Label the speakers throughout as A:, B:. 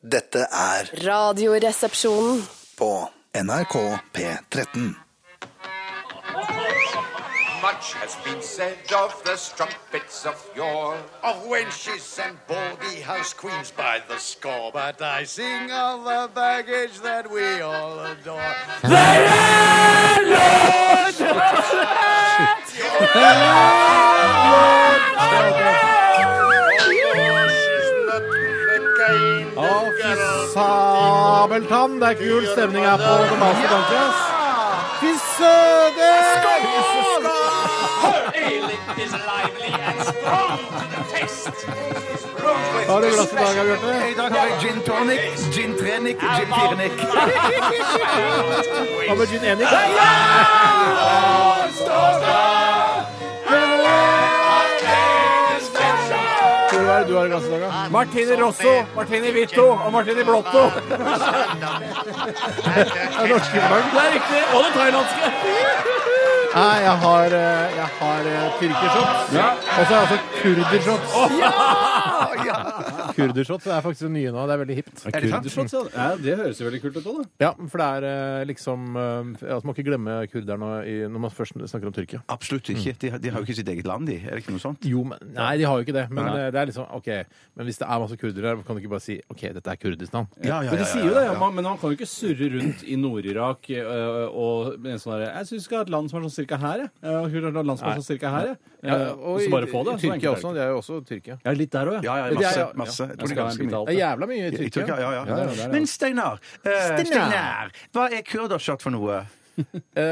A: Dette er
B: Radioresepsjonen.
A: på NRK P13.
C: Much has been said of the strumpets of yore, of wenches and baldy house queens by the score, but I sing of the baggage that we all adore.
D: Å, fy sabeltann! Det er kul stemning her på The Master Dankers. Fy søder! Har du glass i dag, Bjarte?
E: I dag har jeg gin tonic, gin trenic, gin firenic.
D: Hva med gin enig? Hvor er det du har i glass i dag, da?
F: Martini Rosso, Martini Vito og Martini Blotto.
D: Det er norske
F: Det
D: flagg.
F: er riktig. Og det thailandske.
D: Nei, jeg har, eh, jeg har eh, tyrkershots. Og så har jeg også kurdershots. Kurdershots er faktisk det nye nå. Det er veldig hipt.
G: Kurdershots, ja. ja. Det høres jo veldig kult ut òg, da.
D: Ja, for det er eh, liksom eh, altså, Man må ikke glemme kurderne i, når man først snakker om Tyrkia.
E: Absolutt ikke. De, har- de har jo ikke sitt eget land, de. Er det ikke noe sånt?
D: Jo, men, nei, de har jo ikke det. Men eh, det er liksom OK. Men hvis det er masse kurdere her, kan du ikke bare si OK, dette er Kurdistan?
E: Ja, ja,
G: Men de
E: ja,
G: sier
E: ja,
G: jo det,
E: ja.
G: ja, man- men han kan jo ikke surre rundt i Nord-Irak eh, og med en sånn derre Jeg syns vi skal ha et land som er sånn cirka her, jeg. Jeg har hørt om et land som er sånn cirka her, jeg. Eh, Og så bare få det. så enkelt
D: Tyrkia
G: er det
D: også.
G: ikke.
D: Det er jo også Tyrkia.
G: Ja, litt der òg, ja.
E: Ja, ja,
D: Det er-
E: masse.
D: ja.
E: masse. Jeg
G: Jeg
E: tror det er
G: skal ha en
E: ganske
G: bit
E: mye.
G: av
D: Det er
G: alt.
D: jævla mye i
E: I
D: Tyrkia.
E: Tyrkia, ja, ja.
G: Ja, ja, der, ja.
E: Men Steinar, eh,
D: Steinar.
E: Steinar, hva er kurdershot for noe?
D: Eh,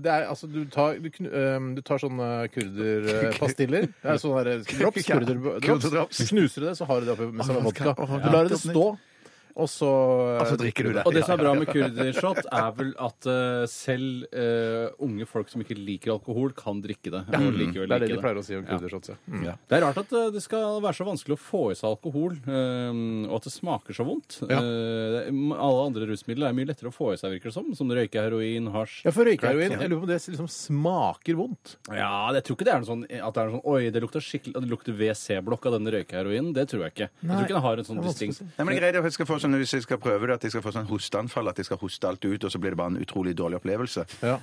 D: det er altså Du tar, du, knu- ehm, du tar sånne kurderpastiller. Det er sånne der drops,
E: Ja,
D: kurderdrops.
E: kurderdrops.
D: Du knuser det, så har du det oppi med samme vodka.
E: Å,
D: Du lar det stå, og så eh,
E: Og så drikker du det.
G: Og det som er bra med kurdershot, er vel at eh, selv eh, unge folk som ikke liker alkohol, kan drikke det. Og likevel
D: Det er det
G: like
D: de pleier å si om Mm. kurdershots. Ja.
G: Det er rart at eh, det skal være så vanskelig å få i seg alkohol, eh, og at det smaker så vondt.
D: Ja.
G: Eh, m- alle andre rusmidler er mye lettere å få i seg, virker det som. Som røyke, heroin, hasj.
D: Ja, for røykeheroin Jeg lurer på om det liksom smaker vondt.
G: Ja, jeg tror ikke det er noe sånn at det er noe sånn Oi, det lukter skikkelig Det lukter WC-blokk av denne røykeheroinen. Det tror jeg ikke. Jeg tror ikke den har en sånn
D: Det er vanskelig å
G: distinkt
D: si.
E: Nei, men jeg greier, jeg skal få sånn, Hvis jeg skal prøve det, at jeg skal få sånn hosteanfall, at jeg skal hoste alt ut, og så blir det bare en utrolig dårlig opplevelse.
D: Ja.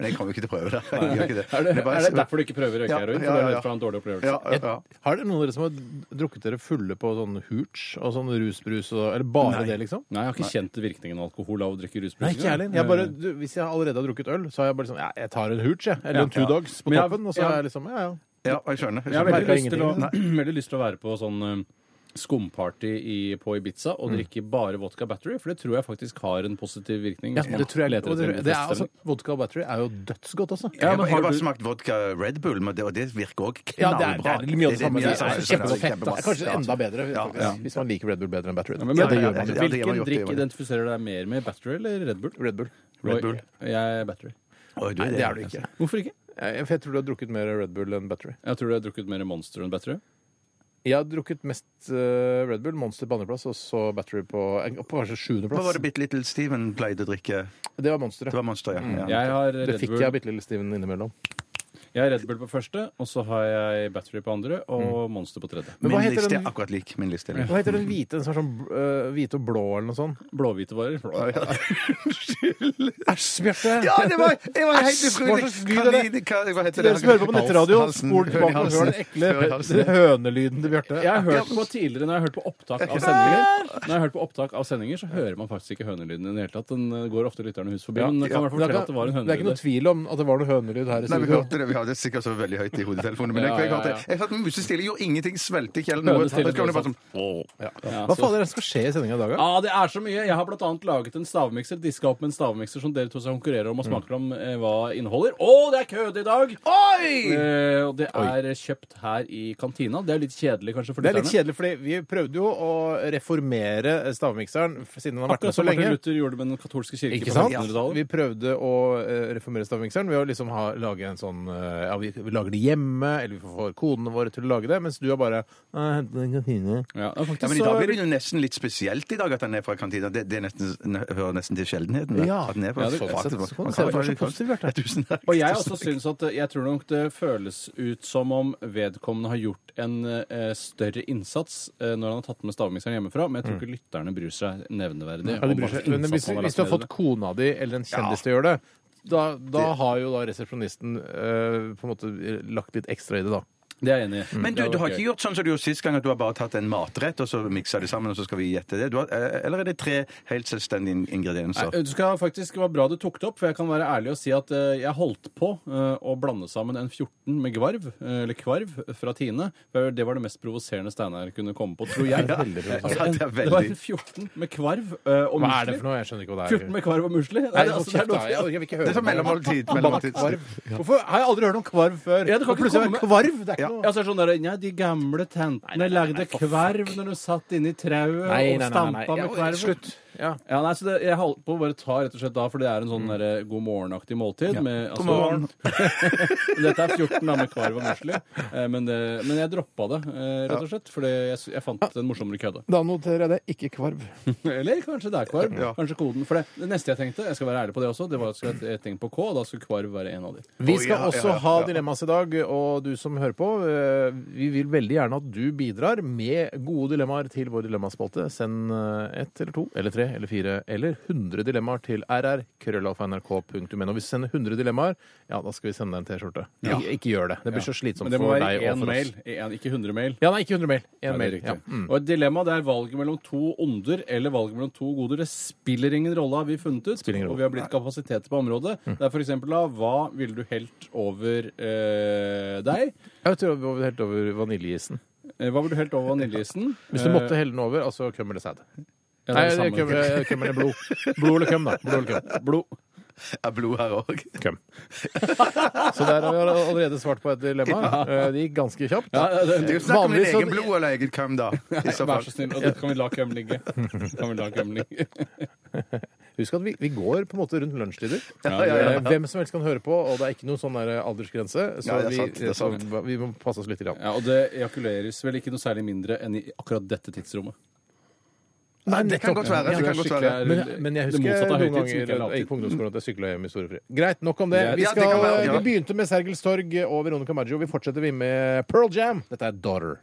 E: Men jeg kommer jo ikke til å prøve det. Jeg gjør ikke det.
G: er det,
E: Men bare-
G: er det derfor du ikke prøver
E: Ja,
G: røykeheroin? For
E: ja,
G: det
E: ja,
G: er
E: ja.
G: redd for å ha en dårlig opplevelse?
E: Ja, ja, ja.
D: Har dere noen av dere som har drukket dere fulle på sånn hooch og sånn rusbrus og Eller bare
E: Nei.
D: det, liksom?
G: Nei, jeg har ikke kjent virkningen av alkohol av å drikke rusbrus.
D: Nei, ikke jeg heller. Jeg bare, du, hvis jeg allerede har drukket øl, så har jeg bare sånn ja, Jeg tar en hooch, jeg. Eller en two dogs på
G: Men jeg-
D: toppen. Og så
G: ja.
D: er jeg liksom Ja, ja.
E: ja, jeg skjønner. Jeg
G: Jeg har
E: skjønner.
G: veldig
D: Merker
G: lyst, til å,
E: ingenting.
G: veldig lyst til å være på sånn eh, skumparty i, på Ibiza
D: Mm.
G: og drikke bare vodka battery, for det tror jeg faktisk har en positiv virkning.
D: Ja,
G: hvis man
D: det tror jeg
G: leter
D: og
G: etter
D: det,
G: en
D: det er, altså,
G: feststemning.
D: Vodka og battery er jo dødsgodt, altså.
G: Ja, men
E: Jeg har- jeg har
G: har
E: bare
G: du-
E: smakt vodka Red Bull, men det, og det virker òg
D: Ja, det
E: knallbra.
D: er, det er mye av det samme. Det
E: mye av det samme.
D: er kjempefett. da. Det er Kanskje enda bedre, faktisk,
E: ja.
D: hvis man liker Red Bull bedre enn battery.
G: Ja,
D: da.
G: men,
D: Ja,
G: men,
D: det gjør man
E: ja, ja,
D: jo.
E: ja. det gjør
G: Hvilken
E: man jo, det gjør
G: drikk
E: man jo.
G: identifiserer deg mer med, battery eller Red Bull?
D: Red Bull.
E: Red Bull.
G: Jeg er battery.
E: Oi, du,
D: Nei, det er du ikke.
G: Hvorfor ikke?
D: Jeg, for jeg tror du har drukket mer Red Bull enn battery.
G: Jeg tror du har drukket mer Monster enn battery.
D: Jeg har drukket mest eh, Red Bull, Monster på andreplass og så battery på, eh, på kanskje
E: Hva var
D: sjuendeplass.
E: det Bitte Little Steven pleide å drikke?
D: Det var
E: Det
D: monsteret.
E: var Monster, ja. ja.
G: Jeg har
D: Det
G: Red
D: fikk
G: Bull,
D: jeg av bitte lille Steven innimellom.
G: jeg har Red Bull på første, og så har jeg battery på andre,
D: Mm.
G: og Monster på tredje.
D: Men hva
E: Min
D: heter
E: liste
D: den,
E: er akkurat lik min liste.
D: hva heter den hvite den som er sånn eh, hvite og blå eller noe sånt?
G: Blåhvite varer.
D: Æsj, Bjarte!
E: Ja, det var, jeg var helt
D: Æsj,
E: utrolig!
D: hva slags lyd er det?
E: Kanin- ka- Hva heter det?
D: Dere som hører på på
E: Hals-
D: nettradio,
E: halsen,
D: spol tilbake
E: høl
D: og
E: i
D: hør
E: halsen.
D: den ekle
E: Høl i halsen.
D: den hønelyden til Bjarte.
G: Jeg har hørt på tidligere, når jeg har hørt på opptak av sendinger, Når jeg har hørt på opptak av sendinger, så hører man faktisk ikke hønelyden i det hele tatt. Den eh, går ofte lytterne hus forbi,
D: Ja.
G: men jeg kan i hvert fall
D: Men det,
G: fortelle
D: er
G: at det var en
D: ikke, det er
G: hønelyd
D: ikke noe
G: der.
D: tvil om at det var noe hønelyd her i
E: Nei, vi
D: studio.
E: hørte det. Vi hadde sikkert så veldig høyt i hodetelefonene. Men jeg,
G: Ja, ja,
E: jeg hørte det.
G: ja.
E: Jeg hørte musestille, gjorde ingenting, svelte ikke eller noe.
G: Hønestille,
E: Jeg tror det var sånn,
D: Ja.
G: Ja,
D: Hva
G: så-
D: faen er det som skal skje i sendinga i dag, da?
G: Ja, det er så mye. Jeg har blant annet laget en stavmikser, diska opp med en stavmikser som dere to skal konkurrere
D: Mm.
G: om og smake om eh, hva inneholder. Å, det er køde i dag!
E: Oi!
G: Eh, og det er kjøpt her i kantina. Det er litt kjedelig kanskje for
D: Det er litt kjedelig,
G: lytterne.
D: fordi vi prøvde jo å reformere eh, stavmikseren f- siden den har vært
G: Akkurat
D: med så
G: som Martin
D: lenge.
G: Luther gjorde med den katolske kirke
D: Ikke
G: på
D: sant?
G: 1500-tallet.
D: Vi prøvde å eh, reformere stavmikseren ved å liksom ha, lage en sånn eh, eh, ja, vi, vi lager det hjemme, eller vi får kodene våre til å lage det, mens du er bare «Nei, hente den i kantine».
G: Ja, faktisk,
E: Ja, men I dag
G: så-
E: blir det jo nesten litt spesielt i dag at han er fra kantina. Det, det er nesten, ne, hører nesten til sjeldenheten. det.
D: Ja.
E: At han er fra
D: Ja, det-
E: så-
D: så-
E: faktisk-
D: så kan du
E: man
D: se
E: kan
D: det var så
E: faktisk-
D: positivt, Bjarte.
E: Ja, Tusen takk.
G: Og jeg også synes at eh, jeg tror nok det føles ut som om vedkommende har gjort en eh, større innsats eh, når han har tatt med stavmikseren hjemmefra, men jeg tror ikke lytterne bryr seg nevneverdig.
D: Ja, de
G: om
D: bryr
G: hva
D: seg.
G: slags
D: Men hvis,
G: innsats han har
D: hvis
G: lagt
D: du har
G: ned i
D: fått
G: det.
D: kona di eller en kjendis til å gjøre det, da, da har jo da resepsjonisten eh, på en måte lagt litt ekstra i det, da.
G: Det er jeg enig i.
E: Men du,
G: Det
E: du har
G: var
E: ikke
G: gøy.
E: gjort sånn som du gjorde sist gang, at du har bare tatt en matrett og så miksa det sammen, og så skal vi gjette det? Du har, eh, eller er det tre helt selvstendige in- ingredienser?
G: Nei, du skal faktisk, Det var bra du tok det opp, for jeg kan være ærlig og si at eh, jeg holdt på eh, å blande sammen en 14 med gvarv, eh, eller kvarv, fra Tine. For det var det mest provoserende Steinar kunne komme på, tror jeg.
D: veldig provoserende.
G: Altså, en,
E: Ja, det er
G: det
E: veldig.
G: var en 14 med kvarv eh, og
D: Hva er det for
G: musli.
D: noe? Jeg skjønner ikke hva det er.
G: 14 med kvarv og musli? Nei,
D: Nei,
G: det- altså, det er noe-
D: jeg orker ikke høre
E: Det er sånn
D: mer.
E: mellommåltid. mellommåltid.
D: Hvorfor har jeg aldri hørt om kvarv før?
G: Ja, det kan
D: Og
G: ikke
D: plutselig er det kvarv! Det er ikke
G: Ja, så er det sånn der, ja, De gamle tentene lagde kverv når du satt inni trauet og stampa med
D: Ja,
G: kverv.
D: Slutt. Ja.
G: Ja, nei, så det, Jeg holdt på å bare ta rett og slett da, for det er en sånn der, god morgen-aktig måltid. Med, altså,
E: morgen.
G: Dette er 14 da med kvarv og musli, eh, men, det- men jeg droppa det, eh, rett og slett. Fordi jeg, s- jeg fant en morsommere kødde.
D: Da noterer jeg det. Ikke kvarv.
G: Eller kanskje det er kvarv. Kanskje koden. For det, det neste jeg tenkte, jeg skal være ærlig på det også, det var at jeg skulle- jeg tenkte på K, og da skulle kvarv være en av de.
D: Vi
E: Å,
D: skal
E: ja,
D: også
E: ja, ja,
D: ha
E: ja.
D: dilemmas i dag, og du som hører på, eh, vi vil veldig gjerne at du bidrar med gode dilemmaer til vår dilemmaspalte. Send eh, ett eller to eller tre eller fire eller 100 dilemmaer til rr.krøllalfa.nrk.no. Hvis du sender 100 dilemmaer, ja, da skal vi sende deg en T-skjorte. Ikke, ikke gjør det. Det blir så
G: Men
D: slitsomt
G: det må
D: for
G: være
D: deg og
G: i én
D: for oss.
G: mail, i en, ikke 100 mail.
D: Ja, nei, ikke 100 mail. En
G: Nei,
D: mail.
G: det er
D: Ja.
G: riktig.
D: Mm.
G: Og et dilemma det er valget mellom to onder eller valget mellom to goder. Det spiller ingen rolle, har vi funnet ut.
D: Spiller ingen rolle. Mm.
G: Og vi har blitt kapasiteter på området. Det er for eksempel da, hva ville du helt over eh, deg?
D: Jeg tror vi var helt over vaniljeisen.
G: Eh, Hva ville du helt over vaniljeisen? Eh,
D: Hvis du måtte helle den over, altså køm eller sæd.
G: ja,
D: Nei,
G: det er det
D: køm,
G: samme.
D: køm eller blod. Blod eller køm, da. Blod eller køm.
G: Blod.
E: Er blod her òg?
D: Køm. Så der har vi allerede svart på et dilemma. Eh, Det gikk ganske kjapt.
G: Ja, det, det,
E: Det er jo snakk om din
D: Vanligvis så-
E: egen blod eller eget køm, da. I så
G: Vær
E: fall.
G: så snill. Og det kan vi la køm ligge. Kan vi la køm ligge.
D: Husk at vi, vi går på en måte rundt lunsjtider.
E: Ja, ja, ja.
D: Eh, Hvem som helst kan høre på, og det er ikke noen sånn der aldersgrense. Så,
E: Nei, det er
D: vi,
E: sant, det er sant.
D: så vi må passe oss litt. Grann.
G: Ja, og det ejakuleres vel ikke noe særlig mindre enn i akkurat dette tidsrommet.
D: Nei,
E: Det kan
D: nettopp.
E: godt være.
D: Ja,
E: Det kan godt være.
D: Men, men jeg
G: det
D: husker
G: motsatte av
D: noen
G: høytid, som
D: ganger
G: ikke er
D: jeg gikk
G: lavtid.
D: på ungdomsskolen at jeg sykla hjem i storefri. Greit, nok om det.
G: Ja,
D: Vi,
E: ja, det
D: skal,
E: kan være- ja.
D: vi begynte med Sergels torg og Veronica Maggio. Vi fortsetter vi med Pearl Jam. Dette er Daughter.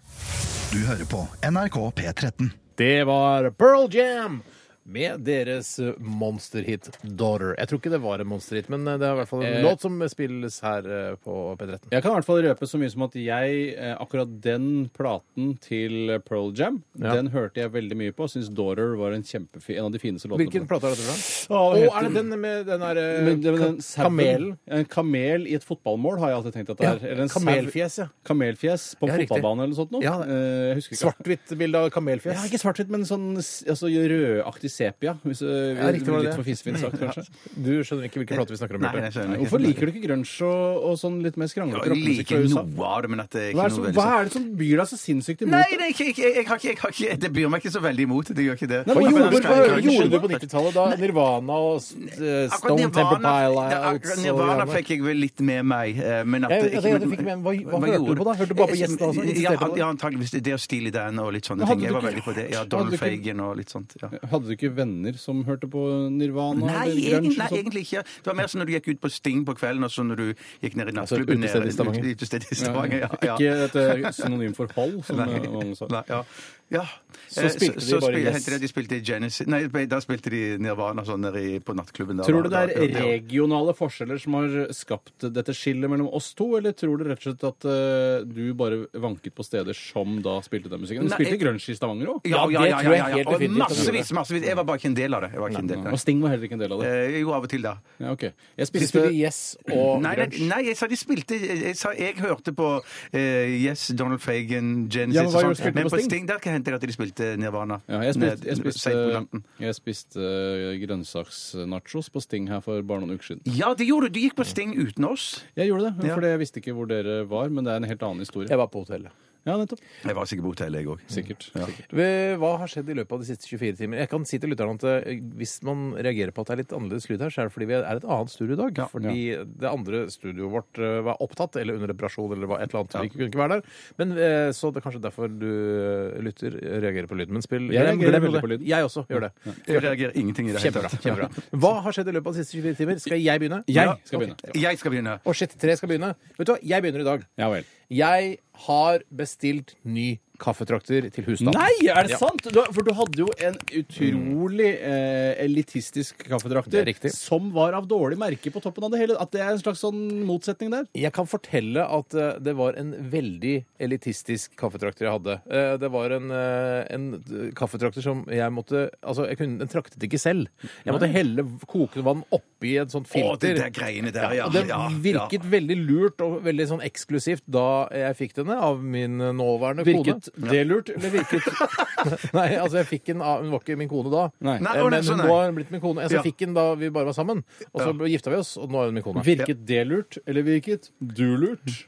A: Du hører på NRK P13.
D: Det var Pearl Jam! Med deres monsterhit Daughter. Jeg tror ikke det var en monsterhit, men det er i hvert fall en
G: Eh.
D: låt som spilles her eh, på P13.
G: Jeg kan i hvert fall røpe så mye som at jeg, eh, akkurat den platen til Pearl Jam,
D: Ja.
G: den hørte jeg veldig mye på. Syns Daughter var en, kjempefi, en av de fineste låtene.
D: Hvilken
G: på.
D: plate er dette fra?
G: Å,
D: Å,
G: hva heter
D: er det den med den der eh,
G: Men det var den
D: ka-
G: sauen.
D: kamelen?
G: En kamel i et fotballmål har jeg alltid tenkt at det
D: Ja,
G: er. Eller en sau-
D: kamelfjes, ja.
G: Kamelfjes på
D: Ja,
G: en
D: riktig.
G: fotballbane eller noe sånt noe.
D: Ja.
G: Eh, jeg husker ikke.
D: Svart-hvitt bilde av
G: Ja,
D: kamelfjes?
G: ikke svart-hvitt, men sånn s- altså, rødaktig sepia. Hvis, eh,
D: Ja, riktig var det det.
G: litt for fisfint sagt, kanskje. Eh,
D: Du skjønner ikke hvilken plate vi snakker om?
E: Nei,
D: Bjarte.
E: jeg skjønner ikke.
G: Hvorfor liker du ikke grunge og, og sånn litt mer skranglete
E: Jeg
G: rockemusikk fra
E: liker
G: USA?
E: noe av det, men at det er
G: Hva
E: ikke
G: er, det
E: noe
G: som,
E: veldig
G: hva
E: sånn-
G: er det som byr deg så sinnssykt imot?
E: Nei, det, er ikke, ikke, jeg, jeg, har ikke, jeg har ikke Det byr meg ikke så veldig imot. Det gjør ikke det.
G: Nei,
D: Hva
G: men
D: gjorde,
G: hvorfor
D: du- hva
G: skal jeg
D: gjorde du
G: ikke
D: på 90-tallet da Nirvana og eh,
E: Akkurat
D: Stone Temple
E: Nirvana, det-
D: Pilots
E: akkurat
D: og
E: Nirvana
D: Rihanna?
E: fikk jeg vel litt med meg. eh,
D: Jeg- jeg tenkte
E: Men at det ikke-
D: jeg fikk med- hva- hva hørte
E: gjorde
D: du på da? Hørte du bare på gjestene også?
E: Ja,
D: Insisterte på det?
E: ja, antageligvis det, det og Steely Dan og litt sånne
G: hadde
E: ting. Jeg
G: du
E: var
G: ikke-
E: veldig på det. Ja,
G: hadde
E: Donald
G: du ikke-
E: Fagan og litt sånt. Ja.
G: Hadde du ikke venner som hørte på Nirvana?
E: Nei,
G: eller grunge
E: egentlig,
G: og
E: nei,
G: sånt?
E: egentlig ikke. Det var mer sånn når du gikk ut på Sting på kvelden, og så når du gikk ned i nattklubben
D: utested i
E: nede-
D: Stavanger.
E: ut- Utested i Stavanger, ja. ja.
G: Ikke et eh, synonym for hold, som
E: Nei.
G: eh, mange sa.
E: Nei, ja. ja.
D: Så
E: Eh,
D: spilte de
E: så
D: bare
E: spil-
D: Yes.
E: hendte det at de spilte i Genesis Nei, da spilte de Nirvana sånn der i, på nattklubben. Der,
G: Tror du det
E: da- da-
G: er
E: ja, ja.
G: regionale forskjeller som har skapt dette skillet mellom oss to, eller tror du rett og slett at eh, du bare vanket på steder som da spilte den musikken? Du
E: Nei,
G: spilte
E: jeg-
G: grunge i Stavanger òg?
E: Ja, ja,
D: det
E: ja,
D: tror jeg
E: ja, ja.
D: helt
E: Og
D: definitivt at de
E: massevis, massevis. Jeg var bare ikke en del av det. Jeg var ikke en del.
G: Og Sting var heller ikke en del av det.
E: Eh, Jo, av og til, da.
G: Ja, ok. Jeg
D: De
G: spiste
D: spiller Yes og
E: Nei, nei,
D: Grunge.
E: nei, jeg sa de spilte Jeg, sa, jeg hørte på eh, Yes, Donald Fagan, Genesis
G: Ja, men hva
E: og
G: gjorde- spilte
E: sånn. Men
G: på
E: på
G: Sting?
E: Sting der kan jeg hente at de spilte Nirvana.
G: ja, jeg
E: Ned-
G: spiste, jeg spiste,
E: sent på natten.
G: jeg spiste eh, grønnsaksnachos på Sting her for bare noen uker siden.
E: Ja, det gjorde du. Du gikk på Sting uten oss.
G: Jeg gjorde det,
E: Ja.
G: fordi jeg visste ikke hvor dere var, men det er en helt annen historie.
D: Jeg var på hotellet.
G: Ja, nettopp.
E: Jeg var sikkert på hotellet, jeg òg.
G: Sikkert. sikkert.
D: Ved- Hva har skjedd i løpet av de siste 24 timer? Jeg kan si til lytterne at eh, Hvis man reagerer på at det er litt annerledes lyd her, så er det fordi vi er et annet studio i dag. fordi det andre studioet vårt eh, var opptatt eller under reparasjon eller var et eller annet. Vi kunne ikke være der. Men, eh, så det er kanskje derfor du eh, lytter, reagerer på lyden. Men spill
G: Jeg
D: glem-
G: reagerer
D: glem
G: veldig
D: det.
G: på lyden.
D: Jeg også gjør det.
E: Jeg reagerer ingenting i det hele
D: Kjempebra.
E: tatt.
D: kjempebra. Hva har skjedd i løpet av de siste 24 timer? Skal jeg begynne?
G: Jeg skal begynne.
E: Jeg skal begynne.
D: Å, shit, tre skal begynne. Vet du hva, jeg begynner i dag.
G: Ja vel.
D: Jeg har bestilt ny kaffetrakter til husstanden.
G: Nei, er det
D: Ja.
G: sant? Du, for du hadde jo en utrolig eh, elitistisk
D: Det
G: kaffedrakter
D: er riktig.
G: som var av dårlig merke på toppen av det hele. At det er en slags sånn motsetning der.
D: Jeg kan fortelle at eh, det var en veldig elitistisk kaffetrakter jeg hadde. Eh, Det var en, eh, en eh, kaffetrakter som jeg måtte Altså, jeg kunne, den traktet ikke selv. Jeg måtte helle kokende vann oppi et sånt filter.
E: Å, det der greiene der, ja,
D: og det
E: ja,
D: virket veldig lurt og veldig sånn eksklusivt da jeg fikk denne av min nåværende
G: Virket
D: kone.
G: det lurt, eller virket
D: Nei, altså, jeg fikk den av Hun var ikke min kone da.
G: Nei.
E: Nei,
D: Eh,
E: å, nei,
D: Men
E: så
D: hun
E: nei.
D: nå har hun blitt min kone. Altså,
E: Ja.
D: Jeg fikk den da vi bare var sammen, og så gifta vi oss, og nå er hun min kone.
G: Virket det lurt, eller virket du lurt?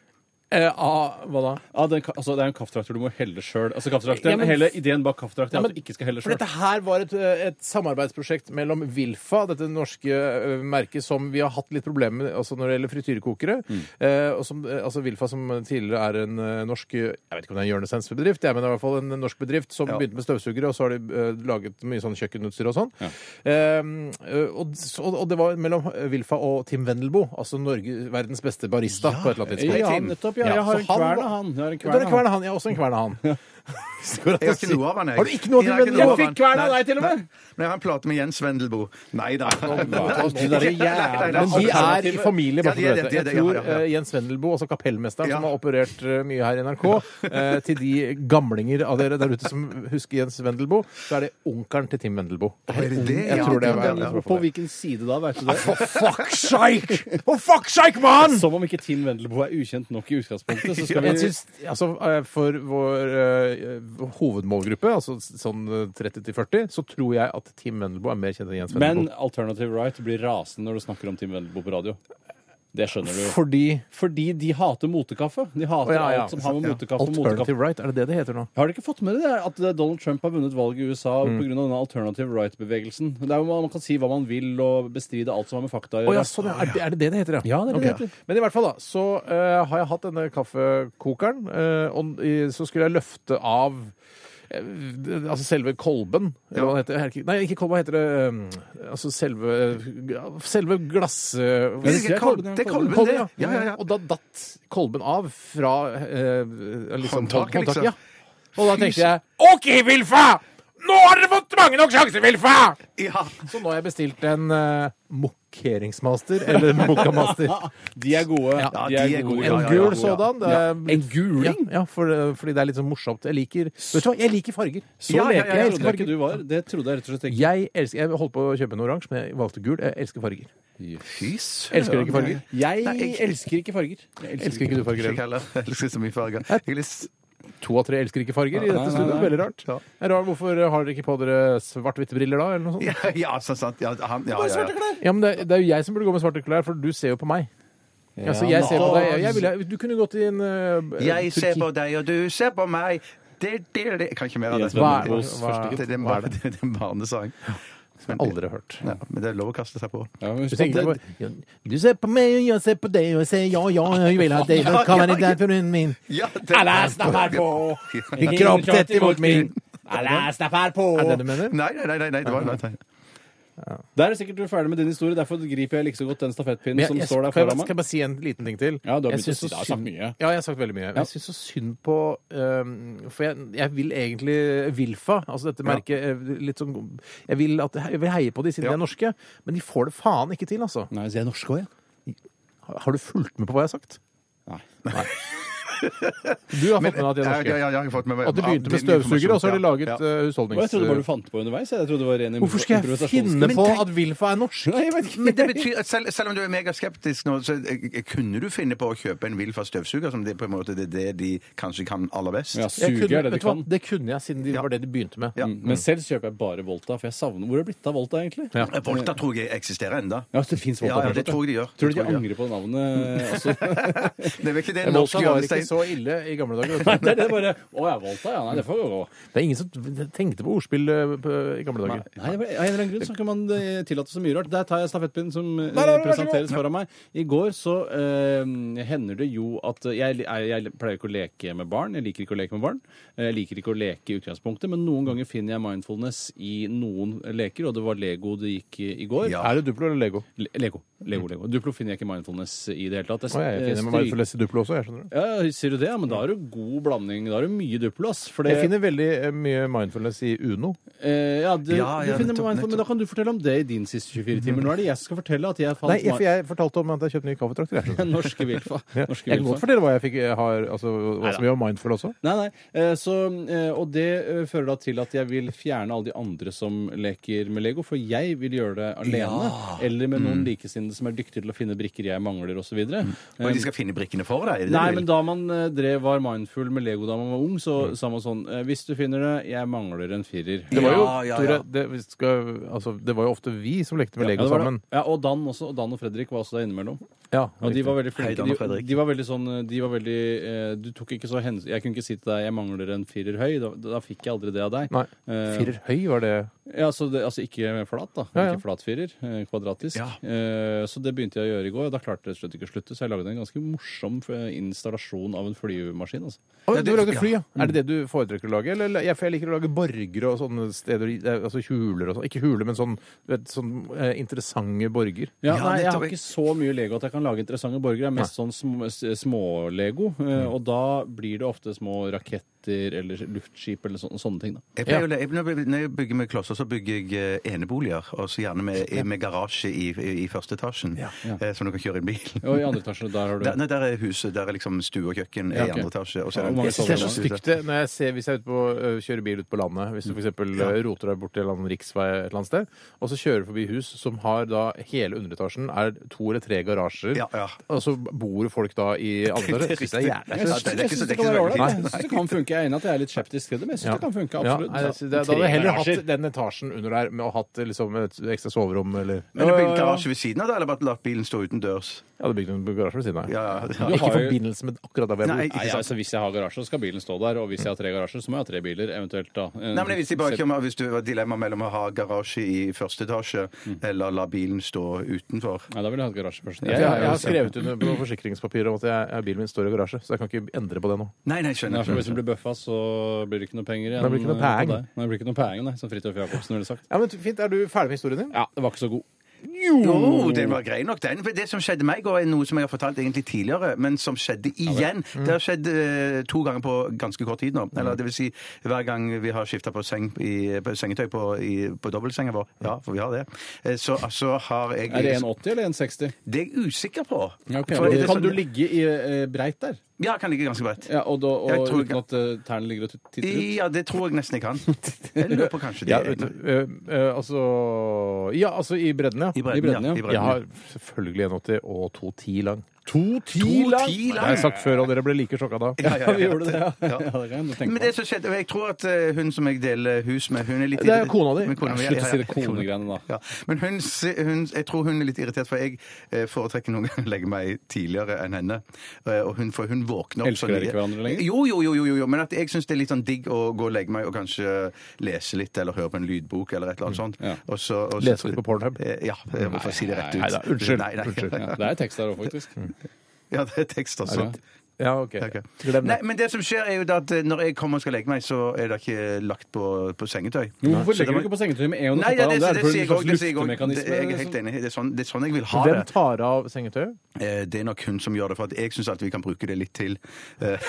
D: Eh, ah, hva da?
G: Ja, den, ka- altså, det er en kaffetrakter du må helle sjøl. Altså, kaffetrakteren-
D: Ja, men-
G: hele ideen bak kaffetrakter er
D: Ja,
G: at
D: men-
G: du ikke skal helle
D: For
G: sjøl.
D: dette her var et, eh, et samarbeidsprosjekt mellom Vilfa, dette norske ø, merket som vi har hatt litt problemer med altså når det gjelder frityrekokere.
G: Mm.
D: Eh, og som, eh, altså Vilfa som tidligere er en eh, norsk Jeg vet ikke om det er en hjørnesensbedrift, jeg, men det er i hvert fall en norsk bedrift som begynte med støvsugere, og så har de eh, laget mye sånn kjøkkenutstyr og sånn. Eh, og, så- og det var mellom Vilfa og Tim Wendelboe, altså Norge, verdens beste barista på et eller annet tidspunkt.
G: Ja, nettopp. Ja,
D: Ja,
G: jeg
D: så
G: har en
D: han
G: kvern av
D: var-
G: han. Jeg har en
D: Du har en
G: kvern av han.
D: kvern av han, jeg har også en kvern av han.
E: Jeg har ikke noe av han, jeg.
D: Har du ikke noe av Tim
E: Jeg har
D: Wendelboe?
E: noe av
D: Jeg
E: han.
D: fikk kvern av
E: Nei,
D: deg til og
E: nei.
D: med.
E: Men jeg har en plate med Jens Wendelboe. Nei da.
G: Det der er jævla-
D: Men de er i familie, bare så
E: altså, Ja, de
D: du
E: er
D: vet
E: det, de
D: det.
E: er det,
D: Jeg tror
E: ja, ja, ja.
D: eh, Jens Wendelboe, altså kapellmesteren
E: Ja.
D: som har operert eh, mye her i NRK, eh, til de gamlinger av dere der ute som husker Jens Wendelboe, så er det onkelen til Tim Wendelboe.
E: Er det det?
D: Jeg tror det er
E: Ja,
G: På hvilken side da, veit du det?
D: Ah, For fuck sake! For fuck sake, mann!
G: Som om ikke Tim Wendelboe er ukjent nok i utgangspunktet, så skal vi
D: Jeg synes, altså, eh, for vår eh, hovedmålgruppe, altså s- sånn eh, 30 til 40, så tror jeg at Tim Wendelboe er mer kjent enn Jens
G: Men
D: Wendelboe.
G: Alternative Right blir rasende når du snakker om Tim Wendelboe på radio. Det skjønner du jo.
D: Fordi
G: Fordi de hater motekaffe. De
D: Å,
G: hater
D: ja, ja.
G: alt som har med motekaffe og motekaffe
D: Alternative right, er det det det heter nå?
G: Har dere ikke fått med dere at eh, Donald Trump har vunnet valget i USA
D: Mm.
G: på grunn av denne alternative right-bevegelsen? Det er jo Man kan si hva man vil og bestride alt som har med fakta å
D: Å ja,
G: gjøre.
D: sånn, ja. Er, det, er det det det heter, ja?
G: det er det
D: Ok.
G: det heter.
D: Men i hvert fall, da, så eh, har jeg hatt denne kaffekokeren, eh, og i, så skulle jeg løfte av eh, det- Altså selve kolben. eller Hva det heter Her- Nei, ikke kolben, hva heter det eh, Altså selve eh, Selve glass... eh,
E: Det er ikke kolben, det er kolben, det.
D: ja.
E: Ja, ja, ja.
D: Og da datt kolben av fra eh, liksom,
E: Håndtaket,
D: håndtaket,
E: liksom.
D: ja. Og da tenkte jeg OK, Vilfa! Nå har dere fått mange nok sjanser, Vilfa!
E: Ja.
D: Så nå har jeg bestilt en uh, mokkeringsmaster, eller mokkamaster.
G: De er gode.
E: Ja,
G: de er gode.
E: ja,
D: En
E: ja, ja,
D: gul
E: ja.
D: sådan. Det er
G: En guling?
D: Ja, ja for, fordi det er litt sånn morsomt. Jeg liker Vet du hva, jeg liker farger.
G: Så
D: Ja, ja, ja,
G: leken jeg
D: jeg
G: trodde
D: elsker
G: ikke
D: farger.
G: du var. Det trodde jeg rett og slett ikke.
D: Jeg elsker Jeg holdt på å kjøpe en oransje, men jeg valgte gul. Jeg elsker farger.
E: Fy søren.
D: Elsker du ikke farger?
G: Jeg
E: jeg-
G: elsker ikke farger. Jeg
D: Elsker ikke du farger
E: Ikke
D: heller?
E: heller. Jeg elsker så mye farger. Jeg er litt-
D: To av tre elsker ikke farger i
G: Nei, nei,
D: dette studioet.
G: nei.
D: Veldig rart.
E: Ja.
D: Det er rart, Hvorfor har dere ikke på dere svart-hvitte briller da, eller noe sånt?
E: Ja, ja, så sant. Ja, han, ja, ja, ja.
D: Ja, men det, er- det er jo jeg som burde gå med svarte klær, for du ser jo på meg. altså, jeg ser på deg. Jeg, jeg ville, du kunne gått i en eh,
E: Jeg ser
D: turki-
E: på deg, og du ser på meg. Det, det, det. Jeg kan ikke mer av det.
G: Jens Wendelboes
E: Det-
D: første hit.
E: det, det, er en
D: Hva er
E: bar- det er en barnesang.
D: Aldri hørt.
E: Ja, men det er lov å kaste seg på.
G: Ja, men husk
D: Du,
G: at
D: tenker
G: det-
D: ikke på, du ser på meg, og jeg ser på deg, og jeg sier ja, ja, jeg vil ha deg, og hva er det der for hunden min?
E: Ja, det,
F: Alla snappar på!
D: Din kropp tett imot min.
F: Alla snappar
D: Er det
F: på!
D: det du mener?
E: Nei, nei, nei, nei, det var, nei, nei.
G: Der er sikkert du ferdig med din historie, derfor griper jeg like så godt den stafettpinnen
D: Men
G: som
D: jeg,
G: står der
D: kan jeg
G: foran
D: bare-
G: meg.
D: skal jeg bare si en liten ting til?
G: Ja, du har
D: Jeg
G: begynt å
D: syns
G: si
D: så
G: det. Jeg har sagt
D: synd-
G: mye.
D: Ja, jeg har sagt veldig mye. Men Jeg syns så synd på øhm, For jeg, jeg vil egentlig Vilfa, altså dette merket eh, litt sånn Jeg vil, at, jeg vil heie på de siden de er norske, men de får det faen ikke til, altså.
G: Nei, så jeg er norsk òg, jeg.
D: Har har du fulgt med på hva jeg har sagt?
G: Nei.
D: Du har fått med deg at de er
E: Ja, ja,
D: norske.
E: ja, jeg har fått med meg-
D: At de begynte med
E: Ja, din
D: støvsugere, og så har de
E: informasjon,
D: laget
E: ja. Ja.
D: eh, husholdnings...
G: Og jeg trodde bare du fant på underveis. Jeg trodde det var ren impro-
D: Hvorfor skal jeg
G: improvisasjons-
D: finne på
E: tenk-
D: at Vilfa er norsk? Nei, jeg vet ikke.
E: Men det betyr at selv, selv om du er megaskeptisk nå, så eh, eh, kunne du finne på å kjøpe en Wilfa støvsuger, som det på en måte det er det de kanskje kan aller best?
G: Ja,
D: Jeg
G: suger
D: kunne,
G: er det de
D: vet du hva,
G: kan.
D: det kunne jeg, siden det var det de begynte med.
E: Ja.
G: Mm, Men selv så kjøper jeg bare Volta, for jeg savner Hvor er det blitt av Volta, egentlig?
D: Ja.
E: Eh, Volta tror jeg eksisterer enda.
G: Ja, så det finnes Volta
E: Ja, ja, det
G: fortsatt,
E: tror jeg de gjør.
G: Tror du de
E: Det tror jeg
G: angrer på navnet? Altså?
E: Det er vel ikke det
G: Volta
E: norske
G: var ikke
E: hjørnesteinen
D: så ille i gamle dager.
G: Nei,
D: vet du.
G: det er det bare Å ja, Volta, ja. Nei, det får jo gå.
D: Det er ingen som tenkte på ordspill eh, på- i gamle dager.
G: Nei, det var- Av en eller annen grunn så kan man eh, tillate så mye rart. Der tar jeg stafettpinnen som eh,
D: nei, nei, vær så god.
G: presenteres foran meg. I går så eh, hender det jo at eh, jeg, jeg, jeg pleier ikke å leke med barn. Jeg liker ikke å leke med barn. Eh, Jeg liker ikke å leke i utgangspunktet, men noen ganger finner jeg mindfulness i noen leker, og det var Lego det gikk i i går.
E: Ja.
D: Er det Duplo eller Lego?
G: Le Lego. Lego, Lego. Duplo finner jeg ikke mindfulness i det hele tatt.
D: Å, jeg er
G: eh,
D: ikke enig med meg
G: stryker-
D: for å lese Duplo også, jeg skjønner det.
G: ja, sier du det? Ja, men da er det god blanding. Da er det mye Duplo, ass. For det-
D: Jeg finner veldig eh, mye mindfulness i Uno.
G: Eh, ja, du,
E: Ja, ja,
G: du finner meg en
E: nettopp,
G: for- Men
E: nettopp.
G: da kan du fortelle om det i din siste 24 timer. Nå er det jeg som skal fortelle at jeg fant
D: Nei, for jeg fortalte om at jeg kjøpte ny kaffetrakter. jeg.
G: norske vilfa. Norske
D: Jeg kan godt
G: vilfa.
D: fortelle hva jeg fikk, eh, har, altså, hva som gjør mindful også.
G: Nei, nei. eh, Så, eh, og det eh, fører da til at jeg vil fjerne alle de andre som leker med Lego, for jeg vil gjøre det alene. Eller med noen
D: Mm.
G: likesinnede som er dyktige til å finne brikker jeg mangler, osv.
E: Men de skal finne brikkene for deg? er det det
G: Eh, Nei,
E: du vil?
G: men da man eh, drev var mindful med Lego da man var ung,
D: Mm.
G: så sa man sånn eh, Hvis du finner det, jeg mangler en firer.
D: Det var jo,
E: Ja, ja,
D: Tore,
E: ja.
D: det, vi skal, altså, det var jo ofte vi som lekte med
G: Ja,
D: Lego
G: det var det.
D: sammen.
G: Ja, og Dan også. Og Dan og Fredrik var også der innimellom.
D: Ja,
G: Og de
D: riktig.
G: var veldig
E: Hei,
G: flinke.
E: Dan og
G: De,
E: Fredrik.
G: de var veldig sånn de var veldig, eh, Du tok ikke så hensyn Jeg kunne ikke si til deg 'jeg mangler en firer høy'. Da, da fikk jeg aldri det av deg.
D: Nei.
G: Eh,
D: Firer høy var det
G: ja, så det, altså ikke flat, da.
D: Ja, ja.
G: Ikke flatfirer. eh, Kvadratisk.
E: Ja.
G: Eh, så det begynte jeg å gjøre i går, og da klarte jeg slett ikke å slutte. Så jeg lagde en ganske morsom eh, installasjon av en flymaskin. altså.
D: Å,
E: Ja,
D: du
E: det-
D: lagde fly, ja.
E: ja.
D: Er det det du foretrekker å lage? Eller, eller- ja, for jeg liker å lage borger og sånne steder, i- eh, altså huler og sånn. Ikke huler, men sånn, du vet, sånn eh, interessante borger.
G: Ja,
E: Ja,
G: nei, jeg har
E: nettopp.
G: ikke så mye Lego at jeg kan lage interessante borgere. Jeg er mest sånn sm- s- små-Lego, eh,
D: Mm.
G: og da blir det ofte små raketter eller luftskip eller sånne, sånne ting. da.
E: Jeg pleier, å le- jeg, når jeg- når jeg bygger med klosser, så bygger jeg eh, eneboliger. Og så gjerne med, med garasje i, i, i første etasjen, eh, så du kan kjøre en bil.
G: Og i andre etasje, der har du
E: Der, nei, der er huset. Der er liksom stue og kjøkken
G: Ja, ok.
E: i andre etasje. Og så
G: Ja,
E: er
G: hvor mange
E: det
D: Jeg synes det er så
G: Sånn,
D: stygt det når jeg ser, hvis jeg er ute på, ø, kjører bil ute på landet, hvis du f.eks. roter deg bort til en eller annen riksvei et eller annet sted, og så kjører du forbi hus som har da hele underetasjen er to eller tre garasjer,
E: Ja, ja.
D: og så bor folk da i andre etasje. Det synes jeg er jævlig.
E: Jeg synes-
G: Jeg
E: det er ikke
G: syns
E: så-
G: det
E: det er
G: kan være
E: ikke så
G: ålreit.
E: veldig
G: Jeg
E: fint.
G: synes det kan funke. Jeg er enig at jeg er litt skeptisk til det, men jeg syns det kan funke.
D: Ja,
G: absolutt.
D: nei, jeg synes det,
G: Tre
D: da hadde jeg heller
G: garasjer.
D: hatt den etasjen under der med å hatt liksom, et ekstra soverom eller
E: Men du bygger garasje ved siden av det, eller bare latt bilen stå utendørs?
D: Jeg hadde bygd en garasje ved siden av.
E: Ja, ja, ja.
G: Du
D: Ikke
G: har
D: i
G: jo-
D: forbindelse med akkurat der hvor
E: Nei,
D: jeg bor.
E: ikke
G: Nei,
E: sant.
G: altså Hvis jeg har garasje, så skal bilen stå der. Og hvis jeg har tre garasjer, så må jeg ha tre biler, eventuelt da. en-
E: Nei, men jeg visste bare ikke om hvis du var dilemma mellom å ha garasje i første etasje
G: Mm.
E: eller la bilen stå utenfor.
G: Nei, da vil jeg ha et garasje først.
D: Jeg, jeg, har skrevet under på forsikringspapiret om at jeg, jeg, bilen min står i garasje, så jeg kan ikke endre på det nå.
E: Nei, nei,
G: Nei,
E: skjønner.
G: for hvis du
E: skjønner.
G: blir bøffa, så blir det ikke noe penger igjen.
D: Da blir det ikke noe
G: eh, på
D: peng.
G: deg. Nei, det blir ikke noe peng, nei, som Fridtjof Jacobsen ville sagt.
D: Ja, men Fint, er du ferdig med historien din?
G: Ja, det var ikke så god. Mm.
E: Jo, den var grei nok, den. For det som skjedde meg, og er noe som jeg har fortalt egentlig tidligere, men som skjedde igjen.
G: Mm.
E: Det har skjedd eh, to ganger på ganske kort tid nå. Eller det vil si, hver gang vi har skifta på, seng, i- på sengetøy på, i, på dobbeltsenga vår, ja, for vi har det, eh, så altså har jeg
G: Er det 1,80 eller 1,60?
E: Det er jeg usikker på.
G: Ja, ok.
E: For er det
G: Kan
E: sånn-
G: du ligge i eh, breit der?
E: Ja, jeg kan ligge ganske bredt.
G: Ja, og da,
E: Jeg
G: og
E: tror
G: uten at eh, tærne ligger og titter ut?
E: Ja, det tror jeg nesten jeg kan. Jeg lurer på kanskje det.
D: Ja, vet du, ø, ø, Eh, altså Ja, altså i bredden, ja.
E: I bredden,
G: i bredden, ja.
E: ja. I bredden,
D: Jeg har selvfølgelig 1,80 og 2,10 lang.
E: To
D: lang?
E: ti
D: Det
E: lang?
D: har jeg sagt før, og dere ble like sjokka da.
E: Ja, ja,
G: Vi
E: ja.
G: gjorde det, ja. ja. det kan jeg jo tenke
E: Men
G: på.
E: det som skjedde, og jeg tror at eh, hun som jeg deler hus med, hun er litt
D: Det er kona di.
E: Med kona mi, ja,
G: Slutt å
E: ja,
G: si det
E: ja.
G: konegreiene, da.
E: Ja. Men hun, si- hun, jeg tror hun er litt irritert, for jeg eh, foretrekker noen ganger å legge meg tidligere enn henne. Eh, Og hun, for hun våkner opp
G: Elsker dere ikke hverandre lenger?
E: Jo, jo, jo, jo, jo, jo. men at jeg syns det er litt sånn digg å gå og legge meg og kanskje lese litt eller høre på en lydbok eller et eller annet sånt.
G: Ja.
E: Og så, og så-
D: Lese litt på Pornhub?
E: Eh, Ja, jeg må få si det rett ut.
D: Nei da, unnskyld.
E: Nei, nei.
D: Unnskyld.
G: Ja, det er tekst der òg, faktisk.
E: Mm. Ja, det er tekst, altså.
G: Ja.
D: Ja, OK.
E: Ok.
D: Glem
E: Nei,
D: det.
E: men det som skjer er jo da at eh, når jeg kommer og skal legge meg, så er det ikke lagt på, på sengetøy.
G: Jo, Hvorfor
E: Så
G: legger
E: det
G: du
E: må-
G: ikke på sengetøy med en og
E: Nei, ja, det,
G: det
E: det,
G: er
E: det,
G: vel
E: sier jeg
G: en
E: òg. Det,
G: slags
E: sier jeg også. det,
G: luftemekanisme?
E: jeg er helt
G: liksom?
E: enig. Det er sånn, det er sånn jeg vil ha
D: Hvem
E: det.
D: tar av sengetøyet?
E: Eh, Det er nok hun som gjør det, for at jeg syns at vi kan bruke det litt til. eh,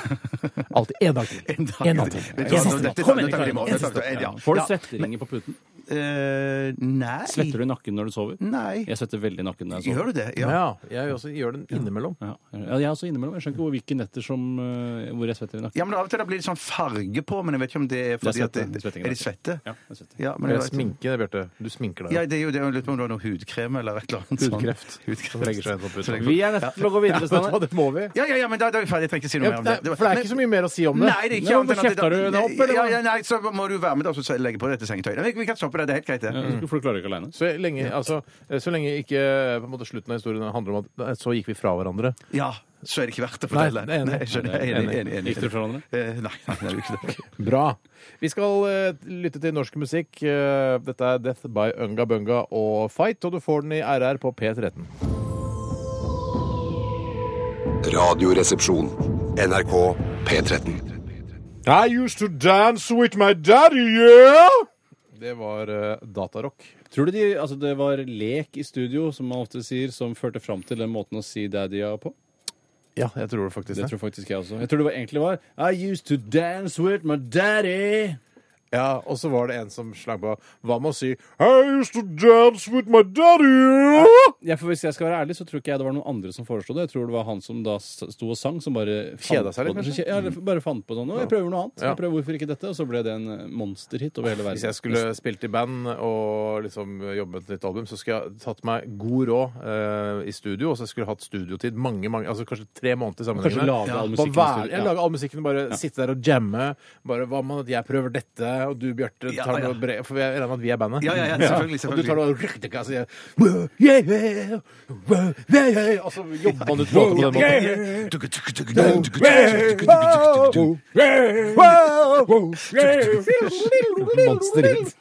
D: Alltid én dag til.
E: en dag.
D: En natt til.
E: Vet du
D: En
E: hva,
D: siste
E: dette-
D: natt.
E: dette-
D: Kom igjen,
E: dette-
D: Karin.
E: dette-
D: En siste
E: dette- ja.
G: Får du
E: Ja, men-
G: svetteringer på puten?
E: eh, Nei.
G: Svetter du i nakken når du sover?
E: Nei.
G: Jeg svetter veldig i nakken når jeg
E: Gjør
G: sover.
E: du det? Ja.
D: Ja, jeg også gjør den innimellom.
G: Ja, ja, jeg er også innimellom. Jeg skjønner ikke hvor- hvilke netter som, eh, hvor jeg svetter i nakken.
E: ja, men Av og til da blir det sånn farge på, men jeg vet ikke om det er fordi at
G: svette.
E: det,
G: Svetting,
E: Er det
G: da.
E: svette?
G: Ja, jeg svetter.
E: Ja, men
D: Eller
E: jeg vet-
D: sminke, Bjarte. Du sminker deg.
E: Ja, det er jo det. Jeg lurer på om det var noe hudkrem eller et eller annet. sånt.
D: Hudkreft. Som legger seg inn på
E: Som
D: puten.
E: legger på-
G: er nødt til å gå videre,
D: Vet du hva, sånn. det må vi.
E: Ja, ja, ja, men da, da er vi ferdige. Jeg trenger ikke si noe
D: Ja,
E: mer om
D: nei,
E: det.
D: for det er ikke så mye mer å si om det.
E: Nei, det er ikke
G: Nei,
E: annet enn at
G: hvorkjefter du det opp, eller
E: ja,
G: hva?
E: ja, Nei, så må du være med da, og så legge på dette sengetøyet. Nei, Vi kan stoppe det. Det er helt greit, det.
G: For du klarer ikke aleine.
D: Så eh, lenge, altså, så lenge ikke på en måte, slutten av historien handler om at så gikk vi fra hverandre.
E: Ja. så er det ikke verdt å
D: Nei,
E: fortelle.
D: det er enig.
E: Nei, jeg skjønner. Jeg er enig, enig, enig.
G: Gikk dere fra hverandre?
E: Eh, Nei, nei, det er jo ikke det.
D: Bra. Vi skal eh, lytte til norsk musikk. Eh, dette er Death by Unga Bunga og Fight, og du får den i RR på P13.
H: Radioresepsjon. NRK P13.
D: I used to dance with my daddy, yeah! Det var eh, datarock.
G: Tror du de, altså det var lek i studio, som man ofte sier, som førte fram til den måten å si daddy ja på?
D: Ja, jeg tror det faktisk
G: Det tror faktisk jeg også. Jeg tror det var, egentlig var I used to dance with my daddy.
D: Ja, Og så var det en som slang på Hva med å si I used to dance with my daddy, yeah!
G: Ja, for hvis jeg skal være ærlig, så tror ikke jeg det var noen andre som foreslo det. Jeg tror det var han som da s- sto og sang, som bare fant
D: Kjeda seg litt,
G: på det.
D: kanskje? Mm.
G: Ja, eller bare fant på sånn. «Å, Jeg prøver noe annet.
D: Ja.
G: Jeg prøver hvorfor ikke dette? Og så ble det en eh, monsterhit over hele verden.
D: Hvis jeg skulle spilt i band og liksom jobbe med et nytt album, så skulle jeg tatt meg god råd eh, i studio, og så skulle jeg hatt studiotid mange, mange, altså kanskje tre måneder
G: Kanskje
D: sammenhengende.
G: lage all musikken.
D: Bare
G: i
D: være-
G: studio.
D: jeg
G: Ja.
D: lager all musikken og bare sitte der og jamme. Bare hva med at jeg prøver dette, og du Bjarte
E: Ja,
D: tar
E: ja.
D: noe bre... For jeg regner med at vi er bandet.
E: Ja, ja, ja, selvfølgelig,
D: Og du tar
E: selvfølgelig.
D: noe riktig og sier «Wow, yeah, yeah, wow, yeah, yeah», Og så jobber man ut låten på den måten. Wow, wow, wow, yeah. Monsterhit.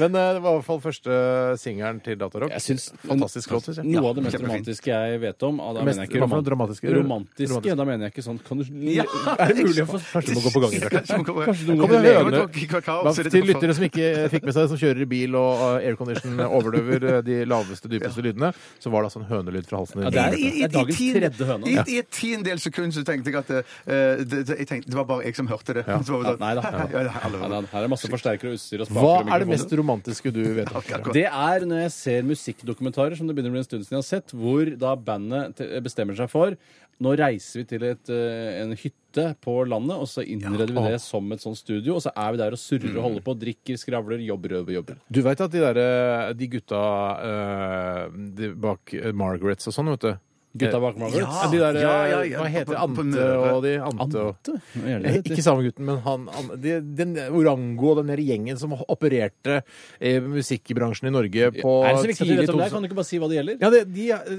D: Men eh, det var i hvert fall første singelen til Datarock.
G: Jeg syns-
D: Fantastisk låt, syns jeg.
G: Noe av det mest
E: kjempefint.
G: romantiske jeg vet om ah, da
D: Mest-
G: mener jeg ikke
D: hva for noe
G: romant-
D: dramatiske?
G: romantiske?
D: Romantiske.
G: Da mener jeg ikke sånn kan du,
D: Er det mulig å få Kanskje du må gå på gangen, Bjarte.
E: Kanskje noen
G: Kanskje noen
D: Kom
E: kommer
D: med
E: til å
D: høne.
E: drikke kakao,
D: Hva,
E: så er det
D: til
E: derfor-
D: lyttere som ikke eh, fikk med seg, som kjører i bil og eh, aircondition overdøver eh, de laveste, dypeste lydene, så var det altså en hønelyd fra halsen din.
G: Ja, det er-
E: I, i,
G: Det dagens
E: i,
G: tredje høne.
E: i, i et tiendedels sekund så tenkte jeg at eh, det, det, jeg tenkte, det var bare jeg som hørte det. Så var det sånn,
G: Nei da.
E: Ja, ja, alle var-
G: Nei, da, Her er masse forsterkere og utstyr og spaker
D: Hva
G: og
D: er det
G: mikrofoner.
D: mest romantiske du vet om?
E: Akkurat.
G: Det er når jeg ser musikkdokumentarer, som det begynner å bli en stund siden jeg har sett, hvor da bandet te- bestemmer seg for Nå reiser vi til et, eh, en hytte på landet, og så innreder vi det som et sånt studio, og så er vi der og surrer
D: Mm.
G: og holder på, drikker, skravler, jobber, jobber, jobber.
D: Du veit at de derre de gutta eh, de bak eh, Margarets og sånn, vet du.
G: Gutta bak Margaret.
D: Ja, de der, eh,
E: Ah, Ja, ja, ja.
D: Hva heter
E: På- på- på
D: Ante
E: Møre.
D: og de Ante og
G: Ante? Hva gjør
D: Eh,
G: det?
D: Ikke samme gutten, men han, han de, den Orango og den der gjengen som opererte eh, musikkbransjen i Norge på
G: er det så viktig at du
D: tidlig
G: vet om det?
D: 2000
G: Kan du ikke bare si hva det gjelder?
D: Ja, det,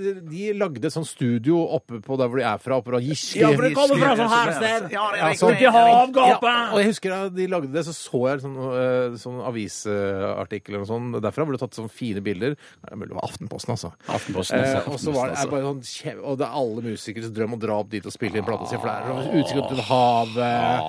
D: de, de lagde et sånt studio oppe på der hvor de er fra, oppe på Giske.
E: for det kommer fra sånn her sted. Ja, det er riktig. Sånn til
D: Ja, og jeg husker da de lagde det, så så jeg en sånn, eh, sånn avisartikkel eller noe sånt derfra, hvor det tatt sånne fine bilder. Nei, Det er mulig det var Aftenposten, altså.
G: Aftenposten, altså.
D: Eh, og så var det, er bare sånn, kje- og det er alle musikeres drøm å dra opp dit og spille inn plata si, for det
G: Ah.
D: er utsikt til havet.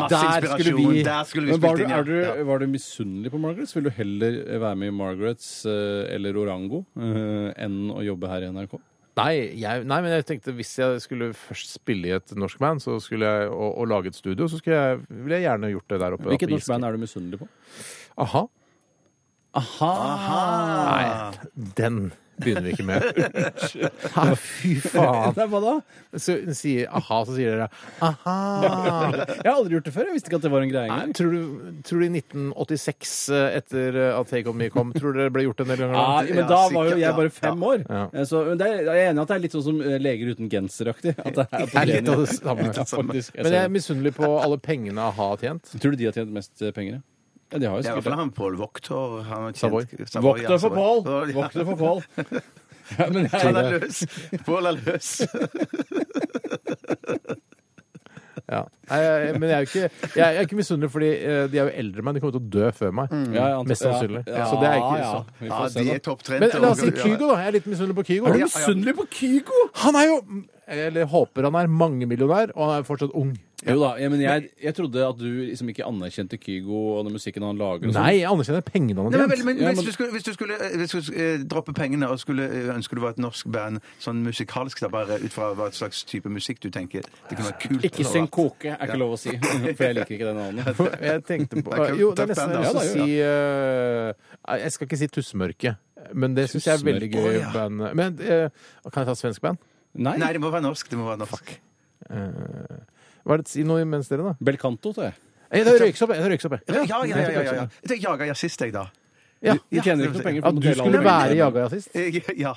E: Masse
D: Der skulle
E: inspirasjon.
D: vi-
E: Der skulle vi
G: Men var
E: spilt
G: du,
E: inn,
G: er du,
E: ja. ja.
G: var du misunnelig på Margarets? Vil du heller være med i Margarets eh, eller Orango eh, enn å jobbe her i NRK?
D: Nei, jeg, nei, men jeg tenkte hvis jeg skulle først spille i et norsk band så skulle jeg, og, og lage et studio, så skulle jeg, ville jeg gjerne gjort det der oppe.
G: Hvilket norsk band er du misunnelig på?
D: Aha.
G: Aha!
D: Den begynner vi ikke med. Nei, fy faen.
G: Nei, hva da?
D: Så sier aha, så sier dere aha.
G: Jeg har aldri gjort det før. Jeg visste ikke at det var en greie
D: Nei,
G: engang.
D: tror du, tror du i 1986, eh, etter eh, at Take On Me kom, tror du det ble gjort en del ganger?
G: Ja,
D: da?
G: men da var jo
E: sikkert,
G: Ah, jeg
E: ja.
G: bare fem år.
D: Ja.
G: Eh, Så men det er, jeg er enig i at det er litt sånn som eh, leger uten genser-aktig. At det er
D: Det er litt av det samme.
G: Ja, faktisk. Jeg
D: Men jeg
G: ser
D: er
G: det.
D: misunnelig på alle pengene a-ha har tjent.
G: Tror du de har tjent mest eh, penger? ja? Ja, de har jo
E: Det er i hvert fall
G: sikkert det.
E: han Pål Voktor. han har tjent-
D: Savoy.
E: Savoy,
G: Vokt
E: ja,
G: deg for
E: Savoy.
G: Pål! Vokt deg for Pål. Ja, men jeg,
E: Pål er løs! Pål er løs!
D: Ja. Nei, jeg, men jeg er jo ikke, jeg er ikke misunnelig, fordi eh, de er jo eldre enn meg. De kommer til å dø før meg.
G: Mm. Ja, jeg antar-
D: Mest sannsynlig.
G: Ja,
D: Så det er ikke sånn.
G: ja, ja.
D: så.
G: Vi
E: Ja,
G: får se,
E: de
G: da.
E: er topptrente.
D: Men la oss si
E: og-
D: Kygo, da. Jeg er litt misunnelig på Kygo.
E: Ja, ja.
G: Misunnelig på Kygo!
D: Han er jo Eller håper han er mangemillionær, og han er fortsatt ung.
G: Jo da, ja, men jeg, jeg trodde at du liksom ikke anerkjente Kygo og den musikken han lager. og sånn.
D: Nei, jeg anerkjenner pengene han
E: Nei,
D: har
E: men,
D: tjent.
E: men,
G: Ja,
E: hvis
G: men-
E: du skulle, hvis du skulle, eh, hvis du skulle eh, droppe pengene og skulle eh, ønske du var et norsk band, sånn musikalsk, da bare ut fra hva slags type musikk du tenker det kunne være kult
G: Ikke
E: å
G: syng
E: være.
G: koke, er ikke lov å si. For jeg liker ikke det navnet.
D: Jeg tenkte på
E: Det er kult.
D: Jo, det er
E: Tøft
D: nesten jeg
E: band, da.
D: har lyst til å si eh, Jeg skal ikke si Tussmørke, men det syns jeg er veldig gøy.
E: Tussmørke, å, ja.
D: Band. Men eh, kan jeg ta svensk band? Eh,
G: Nei.
E: Nei, det må være norsk. Det må være norsk.
D: Hva er det, si noe imens dere, da.
G: Belcanto, sa jeg.
D: Eh, Det røykes opp, jeg. Det røykes opp, jeg.
E: Ja, ja, ja. ja, ja, ja. Jeg tenker jaga jazzist, jeg, da.
D: Ja.
G: Du tjener ikke noe penger.
D: Ja, du skulle være jagerjazzist.
E: Jeg, ja.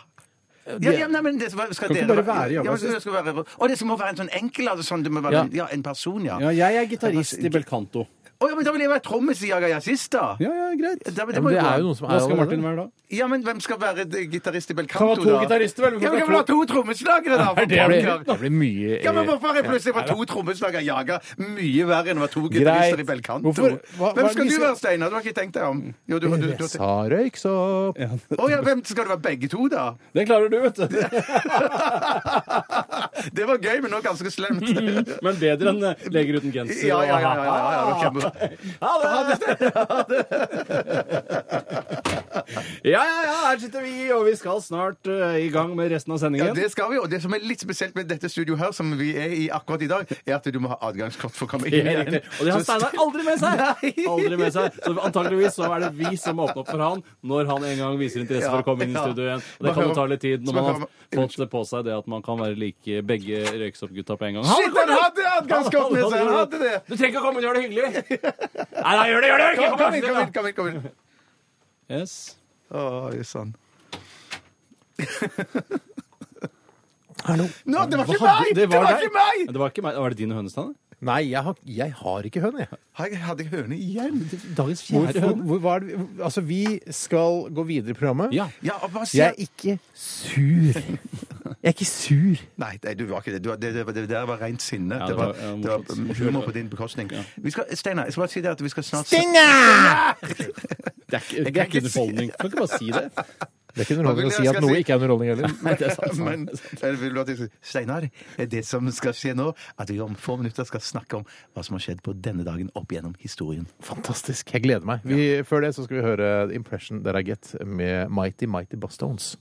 E: Ja, ja, nei, men det skal, skal
D: Kan ikke
E: dere
D: bare være
E: ja,
D: jaga
E: men det skal være, Og det skal må være en sånn enkel altså, sånn, Det må være
D: Ja.
E: en, ja, en person, ja.
G: Ja, jeg er gitarrist i Belcanto.
E: Å ja, men da vil jeg være trommis i Jaga Jazzist, da!
G: Ja, ja, greit.
E: Ja, men
D: Ja,
E: det
D: men
E: må
D: det
E: jo gå
D: er
E: an.
D: jo noen som er
G: Hva skal Martin
D: allerede.
G: være da?
E: Ja, men hvem skal være d- gitarist i
G: Kan
E: Belcanto,
G: ha
E: da?
G: to gitarister, vel? Vi
E: Ja,
G: kan ikke
E: men kan
G: ha
E: vi ha to trommeslagere, da?
D: Det
E: for
D: blir,
E: pokker?
D: det blir mye
E: Ja, men Hvorfor er plutselig var to trommeslagere jaga mye verre enn det var to
D: Greit.
E: gitarister i Belcanto?
D: Hvorfor- hva-
E: Hvem
D: hva-
E: skal
D: vi
E: du
D: skal-
E: være, Steinar? Du har ikke tenkt deg om? Jo, du, du, du, du,
D: Sa røyksopp.
E: Å ja, hvem skal det være begge to, da?
G: Det klarer du, vet du.
E: Det var gøy, men nå ganske slemt.
G: Men bedre enn eh, leger uten genser.
E: Ja, ja, ja. ja, ja, ja, det var kjempe-
G: Ha det! Ja, ja, ja, her sitter vi, og vi skal snart eh, i gang med resten av
E: Ja,
G: sendingen.
E: det skal vi, og det som er litt spesielt med dette studioet her, som vi er i akkurat i dag, er at du må ha adgangskort for å komme inn
G: Det er
E: igjen.
G: riktig. Og det har
E: Så-
G: Steinar aldri med seg!
E: Nei.
G: Aldri med seg. Så antakeligvis så er det vi som åpner opp for han når han en gang viser interesse for å komme inn i
E: Ja, ja.
G: studio igjen. Og
E: Man
G: det kan
E: hører-
G: jo ta litt tid når
E: man
G: man har
E: hører-
G: fått det på seg det at man kan være like begge Røyksopp-gutta på en gang.
E: Shit, han hadde adgangskort med seg! Han hadde det!
G: Du trenger ikke å komme inn og gjøre det hyggelig! Nei, nei, gjør det, gjør det! Ikke kom
E: Kom, kom inn, kom inn! kom inn, kom inn.
G: Yes.
E: Oi, sann.
D: Hallo.
E: Nå, det var ikke
D: Hva hadde-
E: meg!
D: det
E: Det
D: var
E: var
D: deg.
E: ikke meg!
G: Det var ikke meg. Var det din hønestad?
D: Nei, jeg har, jeg har ikke høne, jeg.
E: Har jeg- Hadde jeg høne igjen?
G: Dagens
D: Hvor, hvor, hvor, hva er det, vi- altså, vi skal gå videre i programmet.
G: Ja.
E: Ja, og hva sier
D: Jeg er ikke sur. Jeg er ikke sur.
E: Nei, nei, du var ikke det. Du, var- det, det, var- det der var rent sinne.
G: Ja,
E: det, var,
G: ja,
E: det var
G: morsomt.
E: humor på din bekostning. Vi skal, Steinar, jeg skal bare si det at vi skal snart
G: Det er ikke,
E: Jeg
G: det
E: kan
G: er ikke
E: ikke si-
G: underholdning. Kan ikke bare si det.
D: Det er ikke underholdning å si at noe ikke er underholdning heller.
E: Men eller vil du at jeg skal- Steinar, eh, det som skal skje nå, at vi om få minutter skal snakke om hva som har skjedd på denne dagen opp gjennom historien.
D: Fantastisk. Jeg gleder meg. Vi, før det så skal vi høre The Impression That I Get med Mighty Mighty Bastones.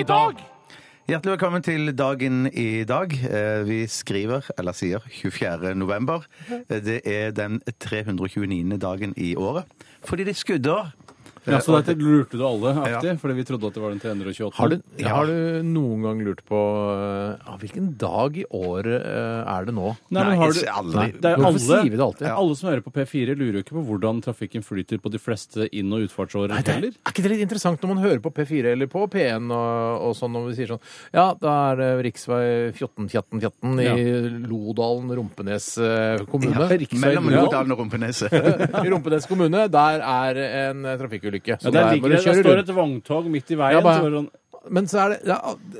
E: Hjertelig velkommen til dagen i dag. Eh, Vi skriver, eller sier, 24. november. Eh, Det er den 329. dagen i året. Fordi det er skuddår. Eh,
G: Ja, så dette lurte du alle,
E: Ja.
G: aktig, fordi vi trodde at det var den 328.
D: Har du, har du noen gang lurt på eh, ah, hvilken dag i året eh, er det nå?
G: Nei, men har du...
E: Nei, aldri.
G: Det er
D: Hvorfor
G: alle,
D: sier vi det alltid?
G: Ja. alle som hører på P4, lurer jo ikke på hvordan trafikken flyter på de fleste inn- og utfartsårer
D: Nei, det er,
G: heller.
D: er ikke det litt interessant når man hører på P4 eller på P1 og, og sånn, når vi sier sånn Ja, da er det riksvei 1414 i Lodalen, Rumpenes eh, kommune.
E: Mellom
D: Ja.
E: Lodalen og Rumpeneset.
D: I Rumpenes kommune, der er en eh, trafikkulykke. Så
G: Ja, der,
D: må du
G: ligger, det, der
D: kjøre
G: står
D: rundt.
G: et vogntog midt i veien.
D: Ja, bare-
G: så er det sånn,
D: Men så er det, ja,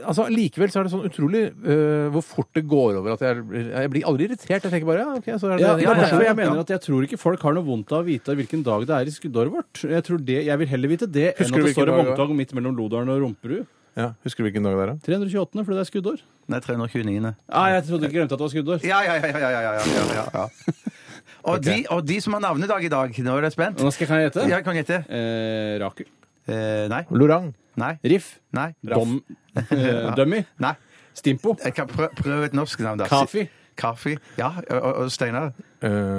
D: altså, likevel så er det sånn utrolig eh, hvor fort det går over at jeg, jeg blir aldri irritert. Jeg tenker bare ja, ok, så er det
G: ja, det er derfor jeg
D: Ja.
G: mener at jeg tror ikke folk har noe vondt av å vite hvilken dag det er i skuddåret vårt. Jeg, tror det, jeg vil heller vite det
D: Husker
G: enn
D: du
G: at det står
D: hvilken dag
G: et
D: det var?
G: vogntog midt mellom Lodalen og Romperud.
D: ja, Husker du hvilken dag det er? da?
G: 328. fordi det er skuddår.
E: Nei, 329.
G: Nei, Ah, jeg trodde ikke glemte at det var skuddår.
E: Ja, ja, ja. ja, ja, ja, ja, ja, ja. Og, de, og de som har navnedag i dag, nå er dere spent?
G: Nå skal jeg, kan jeg gjette.
E: Ja, kan jeg gjette?
G: Eh, Rakel.
E: Eh, nei.
D: Lorang.
E: Nei.
G: Riff.
E: Nei.
G: Dom, eh, dummy.
E: Nei.
G: Stimpo.
E: Jeg kan prøve, prøve et norsk navn, da.
G: Kafi.
E: Kafi. Ja. Og, og- og Steinar?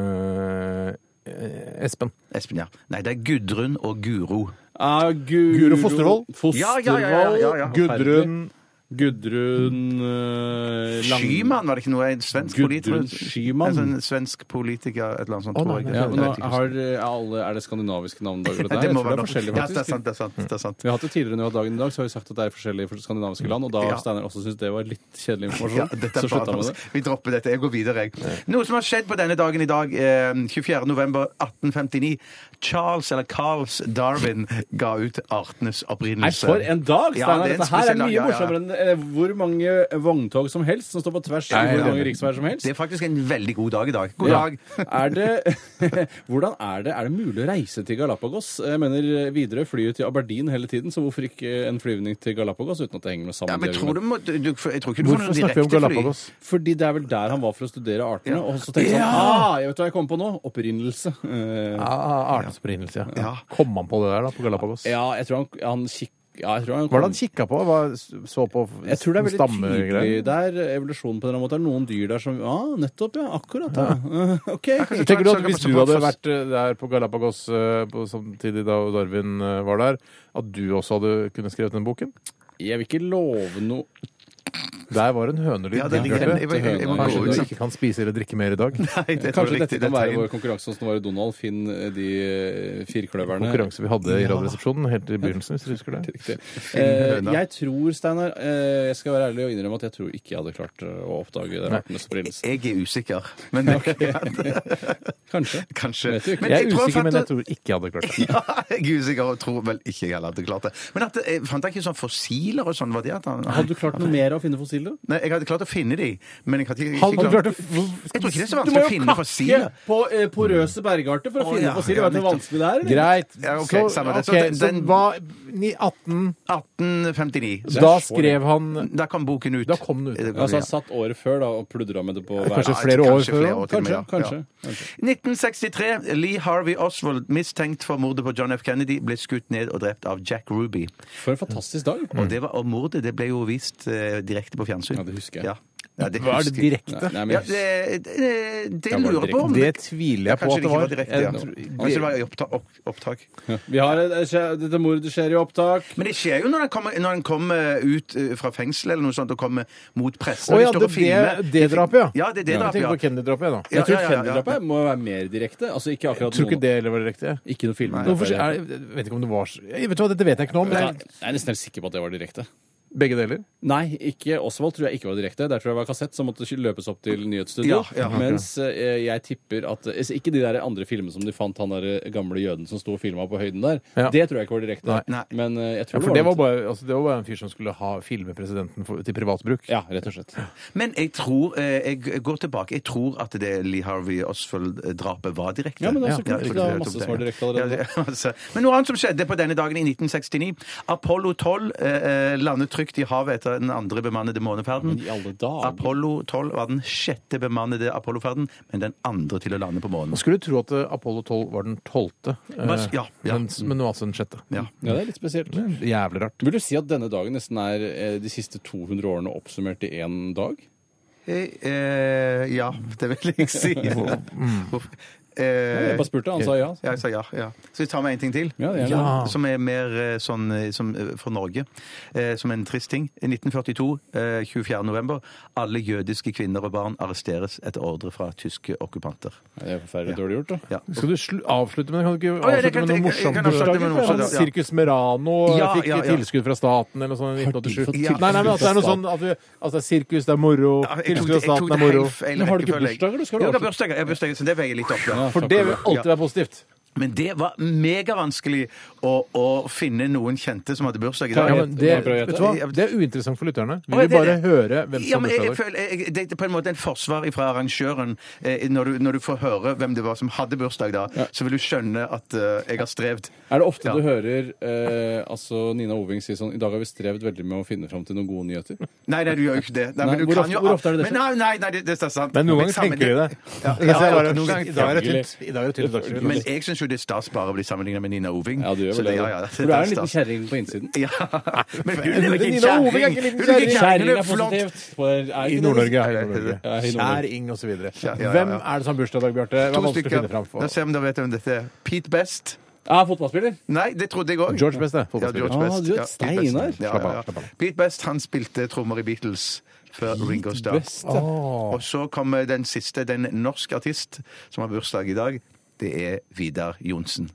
D: Eh, eh, Espen.
E: Espen, ja. Nei, det er Gudrun og Guro.
G: Ah, Guro,
D: Guro Fostervoll.
E: Ja, ja, ja, ja, ja, ja.
D: Gudrun.
G: Gudrun eh, Lang-
E: Skyman, var det ikke noe? En svensk
G: Gudrun
E: politiker?
G: Schyman.
E: En sånn svensk politiker, et eller annet sånt.
D: Å, nei,
E: tror jeg.
D: nei,
G: Ja,
E: Jeg
G: men
E: vet
G: nå
E: ikke.
G: har eh, alle, Er det skandinaviske navn? Det,
E: Nei,
G: det
E: det må
G: det
E: være
G: er
E: noe.
G: forskjellig,
E: Ja, det er
G: faktisk.
E: sant, det er sant. Det er sant.
G: Vi har hatt det tidligere når vi har hatt dagen i dag, så har vi sagt at det er forskjellig for skandinaviske land, og da har
E: Ja.
G: Steinar også syntes det var litt kjedelig
E: Ja,
G: informasjon.
E: dette er
G: så slutta han
E: bare
G: med det.
E: norsk. Vi dropper dette. Jeg går videre, jeg. Noe som har skjedd på denne dagen i dag, eh, 24. november 1859. Charles, eller Carls Darwin, ga ut artenes
G: Nei,
E: opprinnelse.
G: for en dag!
E: Ja,
G: Steinar!
E: det er en
G: Dette her er
E: spesiell dag,
G: mye
E: ja, ja, ja.
G: morsommere enn eh, hvor mange vogntog som helst som står på tvers i
D: Nei,
G: hvor
D: ja.
G: mange riksveier som helst.
E: Det er faktisk en veldig god dag i dag. God
G: Ja.
E: dag.
G: Er det, hvordan er det, er det mulig å reise til Galapagos? Jeg mener Widerøe flyr jo til Aberdeen hele tiden, så hvorfor ikke en flyvning til Galapagos uten at det henger noe sammen?
E: Ja,
G: med
E: men
G: det
E: tror du, må, du, du, jeg tror ikke du får
D: Hvorfor
E: noen
D: snakker vi om
E: direkte fly.
D: Galapagos?
G: argumentet? Fordi det er vel der han var for å studere artene,
E: Ja.
G: og så tenkte han ah, jeg vet hva jeg kom på nå? Opprinnelse. Eh,
D: Ja, Artens opprinnelse, ja.
E: Ja.
D: Kom han på det der da, på Galapagos?
G: ja, jeg tror han, han kikk... Ja, jeg tror han
D: Hva er det han kikka på? Hva så på
G: Jeg tror det er veldig tydelig
D: stammegreier?
G: der, evolusjonen på en eller annen måte. Det er noen dyr der som Ja, ah, nettopp, ja. Akkurat, ja. Eh, OK.
E: kanskje-
D: Tenker du at
E: Så-
D: Hvis
E: så-
D: du
E: så-
D: hadde
E: så-
D: vært eh, der på Galapagos eh, på samtidig da Darwin eh, var der, at du også hadde kunne skrevet den boken?
G: Jeg vil ikke love noe
D: Der var en hønelyd.
E: Ja, det
D: Bjarte.
E: ligger en- jeg- jeg- jeg må gå
D: Kanskje
E: ut,
D: du
E: sant?
D: ikke kan spise eller drikke mer i dag?
E: Nei, det tror
G: Kanskje
E: jeg
G: dette
E: riktig.
G: kan
E: er
G: være
E: tegn.
G: vår konkurranse som var i Donald. Finn eh, de eh, firkløverne.
D: Konkurranse vi hadde i Radioresepsjonen helt i begynnelsen, hvis du husker det.
G: Riktig. Eh, jeg tror, Steinar, eh, jeg skal være ærlig og innrømme at jeg tror ikke jeg hadde klart eh, å oppdage den artenes opprinnelse.
E: Jeg er usikker, men det kan hende.
G: Kanskje.
E: Kanskje.
G: Vet du ikke.
E: Men
D: Jeg er
E: tror
D: usikker,
E: fant
D: men jeg
E: ut-
D: tror ikke jeg hadde klart det.
E: ja, jeg er usikker og tror vel ikke jeg heller hadde klart det. Men at, jeg fant ikke sånn fossiler og sånn? var det at han...
G: Hadde du klart noe mer av å finne fossiler?
E: Nei, jeg hadde klart å finne de, men jeg hadde ikke,
D: Hadde
E: ikke
D: du klart å
E: Jeg tror ikke det er så vanskelig å finne fossiler.
G: på eh, porøse bergarter for
E: Å, ja, ja, nettopp.
G: vanskelig det er? eller?
D: Greit.
E: Ja, ok,
D: Så-
E: samme det. Så
D: ok,
E: den-
D: så
E: den-
D: hva ni- 18
E: 1859.
D: Da skrev han
E: Da kom boken ut.
D: Da kom den ut.
E: Det-
G: Altså, han satt året før da og pludra med det på hver
D: Kanskje
E: Ja,
D: flere år
E: kanskje
D: før?
E: flere år til og
G: Kanskje,
E: med, ja.
G: kanskje.
E: Ja.
G: kanskje.
E: 1963. Lee Harvey Oswald, mistenkt for mordet på John F. Kennedy, ble skutt ned og drept av Jack Ruby.
G: For en fantastisk dag.
D: Mm.
E: Og, det var, og mordet det ble jo vist eh, direkte på fjernsyn.
G: Ja, det husker jeg.
E: Ja. Ja, det
D: Hva er det
E: husker jeg.
D: direkte?
G: Nei, men
E: Ja,
G: jeg
E: det, det, det
G: Ja, var det
E: lurer jeg på om
D: Det tviler jeg på
E: Kanskje
D: at
E: det
D: det
E: ikke
D: var.
E: var direkte. Ja.
D: Jeg-
E: Kanskje det var i opptak. opp- opptak.
G: Vi har et, skje- dette mordet skjer i opptak.
E: Men det skjer jo når han kommer, når han kommer ut eh, fra fengsel eller noe sånt og kommer mot
D: Å
E: pressen. og
D: ja,
E: står
D: det
E: og
D: er
E: filmer.
D: det- det drapet, ja.
E: Ja, det er det
D: Jeg
E: drapet,
D: tenker
E: ja.
D: på Kennedy-drapet, jeg, da.
E: Ja,
G: Jeg tror
E: ja, ja, ja.
G: Kennedy-drapet må være mer direkte. Altså ikke akkurat
D: Tror ikke
G: noen-
D: det heller var det riktige.
G: Ikke noen film.
D: Hvorfor er, jeg vet ikke om det var så jeg vet, hva, Dette vet jeg ikke noe om.
G: Jeg
D: men det
G: jeg er nesten helt sikker på at det var direkte.
D: er Begge deler.
G: Nei, ikke Osvald tror jeg ikke var direkte. Der tror jeg var kassett som måtte løpes opp til nyhetsstudio.
E: Ja, ja.
G: Mens eh, jeg tipper at eh, Ikke de der andre filmene som de fant han der eh, gamle jøden som sto og filma på høyden der.
D: Ja.
G: Det tror jeg ikke var direkte.
D: Nei.
E: Nei.
G: Men eh, jeg tror
D: Ja, for det var,
G: noe-
D: bare, altså, det var bare en fyr som skulle ha filme presidenten for, til privat bruk.
G: Ja, rett og slett.
E: Men jeg tror eh, Jeg går tilbake. Jeg tror at det Lee Harvey Oswald-drapet var direkte.
G: Ja, men det er så kult.
E: jeg tror
G: Det er
E: jeg
G: masse
E: tok
G: som er
E: det, ja.
G: direkte allerede
E: Ja, det er masse. Men noe annet som skjedde på denne dagen i 1969. Apollo 12 eh, landet trygt i havet etter den andre bemannede måneferden.
G: Men i alle dager.
E: Apollo 12 var den sjette bemannede Apollo-ferden, men den andre til å lande på månen.
D: Man skulle tro at eh, Apollo 12 var den tolvte, eh,
E: Ja, ja.
D: men, men nå altså den sjette.
E: Ja.
G: Ja, det er litt spesielt.
D: Jævlig rart.
G: Vil du si at denne dagen nesten er eh, de siste 200 årene oppsummert i én dag?
E: Eh, eh, ja, det vil jeg si.
D: mm.
E: Hvorfor? Eh,
G: Jeg bare spurte, han sa ja.
E: ja, jeg sa ja, ja. Skal vi ta med en ting til?
G: Ja, det er det.
D: Ja.
E: Som er mer eh, sånn eh, som, eh, for Norge, eh, som en trist ting. I 1942, eh, 24. november, alle jødiske kvinner og barn arresteres etter ordre fra tyske okkupanter.
G: Nei, Det er forferdelig dårlig gjort, da.
E: Ja.
D: Skal du slu avslutte med Kan du ikke
E: Å, ja, det
D: avslutte med noe
E: kan- jeg- jeg
D: morsomt?
E: kan avslutte med noe
D: bursdag?
E: morsomt, ja.
D: Sirkus Merano
E: Ja,
D: fikk
E: ja, ja.
D: tilskudd fra staten eller noe sånt i 1987. Nei,
E: Ja.
D: nei, men at det er noe sånn at, du, at det er sirkus, det er moro,
E: Ja, jeg tok
D: tilskudd fra
E: det- jeg tok
D: staten
E: det
D: er moro.
E: helt feil
G: Men har du ikke
E: rekkefølge.
G: bursdager, du skal
E: Jo,
G: ha
E: det er bursdager, jeg har bursdager, så det veier litt opp. Ja.
D: For det vil alltid være positivt.
E: Men det var megavanskelig å, å finne noen kjente som hadde bursdag i dag.
D: Ja, men det,
G: Kan jeg prøve å
D: vet du hva?
E: gjette?
D: det er uinteressant for lytterne. Vi
E: Å, ja,
D: vil
E: det er
D: bare
E: det.
D: høre hvem
E: Ja,
D: som
E: men
D: har
E: jeg,
D: bursdag i
E: jeg
D: dag.
E: føler, jeg, jeg- det er på en måte en forsvar fra arrangøren. Eh, når, du, når du får høre hvem det var som hadde bursdag da, så vil du skjønne at eh, jeg har strevd.
G: Er det ofte
E: Ja.
G: du hører eh, altså Nina Oving si sånn I dag har vi strevd veldig med å finne fram til noen gode nyheter.
E: Nei, nei, du gjør jo ikke det. Nei,
G: Nei,
E: men du
G: hvor
E: kan
G: ofte-
E: jo,
G: hvor ofte er det det
E: Men nei, nei, nei, det, det er sant.
D: Men noen
E: Jeg
D: ganger
E: sammen-
D: tenker de det.
E: Ja,
D: Det ser jeg
E: ja,
D: bare,
E: noen ganger-
D: I dag er det tynt. I dag er det tynt dagsrevy.
E: Men jeg syns jo det er stas bare å bli sammenlignet med Nina Oving.
G: Ja, du gjør
E: Så
G: vel det.
E: ja, ja,
G: For du er en
E: stas.
G: liten kjerring på innsiden.
E: Ja, men hun er jo ikke
D: Nina
E: kjerring.
D: Oving er ikke en liten
E: Hun er ikke kjerring. Hun
G: Kjerring
E: er
G: er
E: flott.
G: positivt. Er ikke
D: I
G: det?
D: Nord-Norge.
E: Ja,
D: ja, i
E: det er det.
D: Nord-Norge.
G: Ja, i Nord-Norge.
D: Kjæring osv.
E: ja, ja.
D: Hvem er det som har bursdag i dag, Bjarte? Det var
E: To
D: vanskelig å
E: stykker.
D: finne fram
E: Da
D: for.
E: ser vi om dere vet hvem dette er. Pete Best.
D: Ah,
G: Ja, fotballspiller.
E: Nei, det trodde jeg òg.
D: George Best, det.
E: Ja, George
D: Fotballspiller.
G: Ah,
E: Best.
G: du er et
E: Ja,
G: stein,
E: Pete Best.
G: Einar.
E: Ja,
D: Slapp av,
E: ja, ja.
D: slapp av.
E: Pete Best han spilte trommer i Beatles før Ringo Starr.
G: Best,
D: Ah.
G: ja.
E: Og så kommer den siste, den norsk artist som har bursdag i dag. Det er Vidar Johnsen.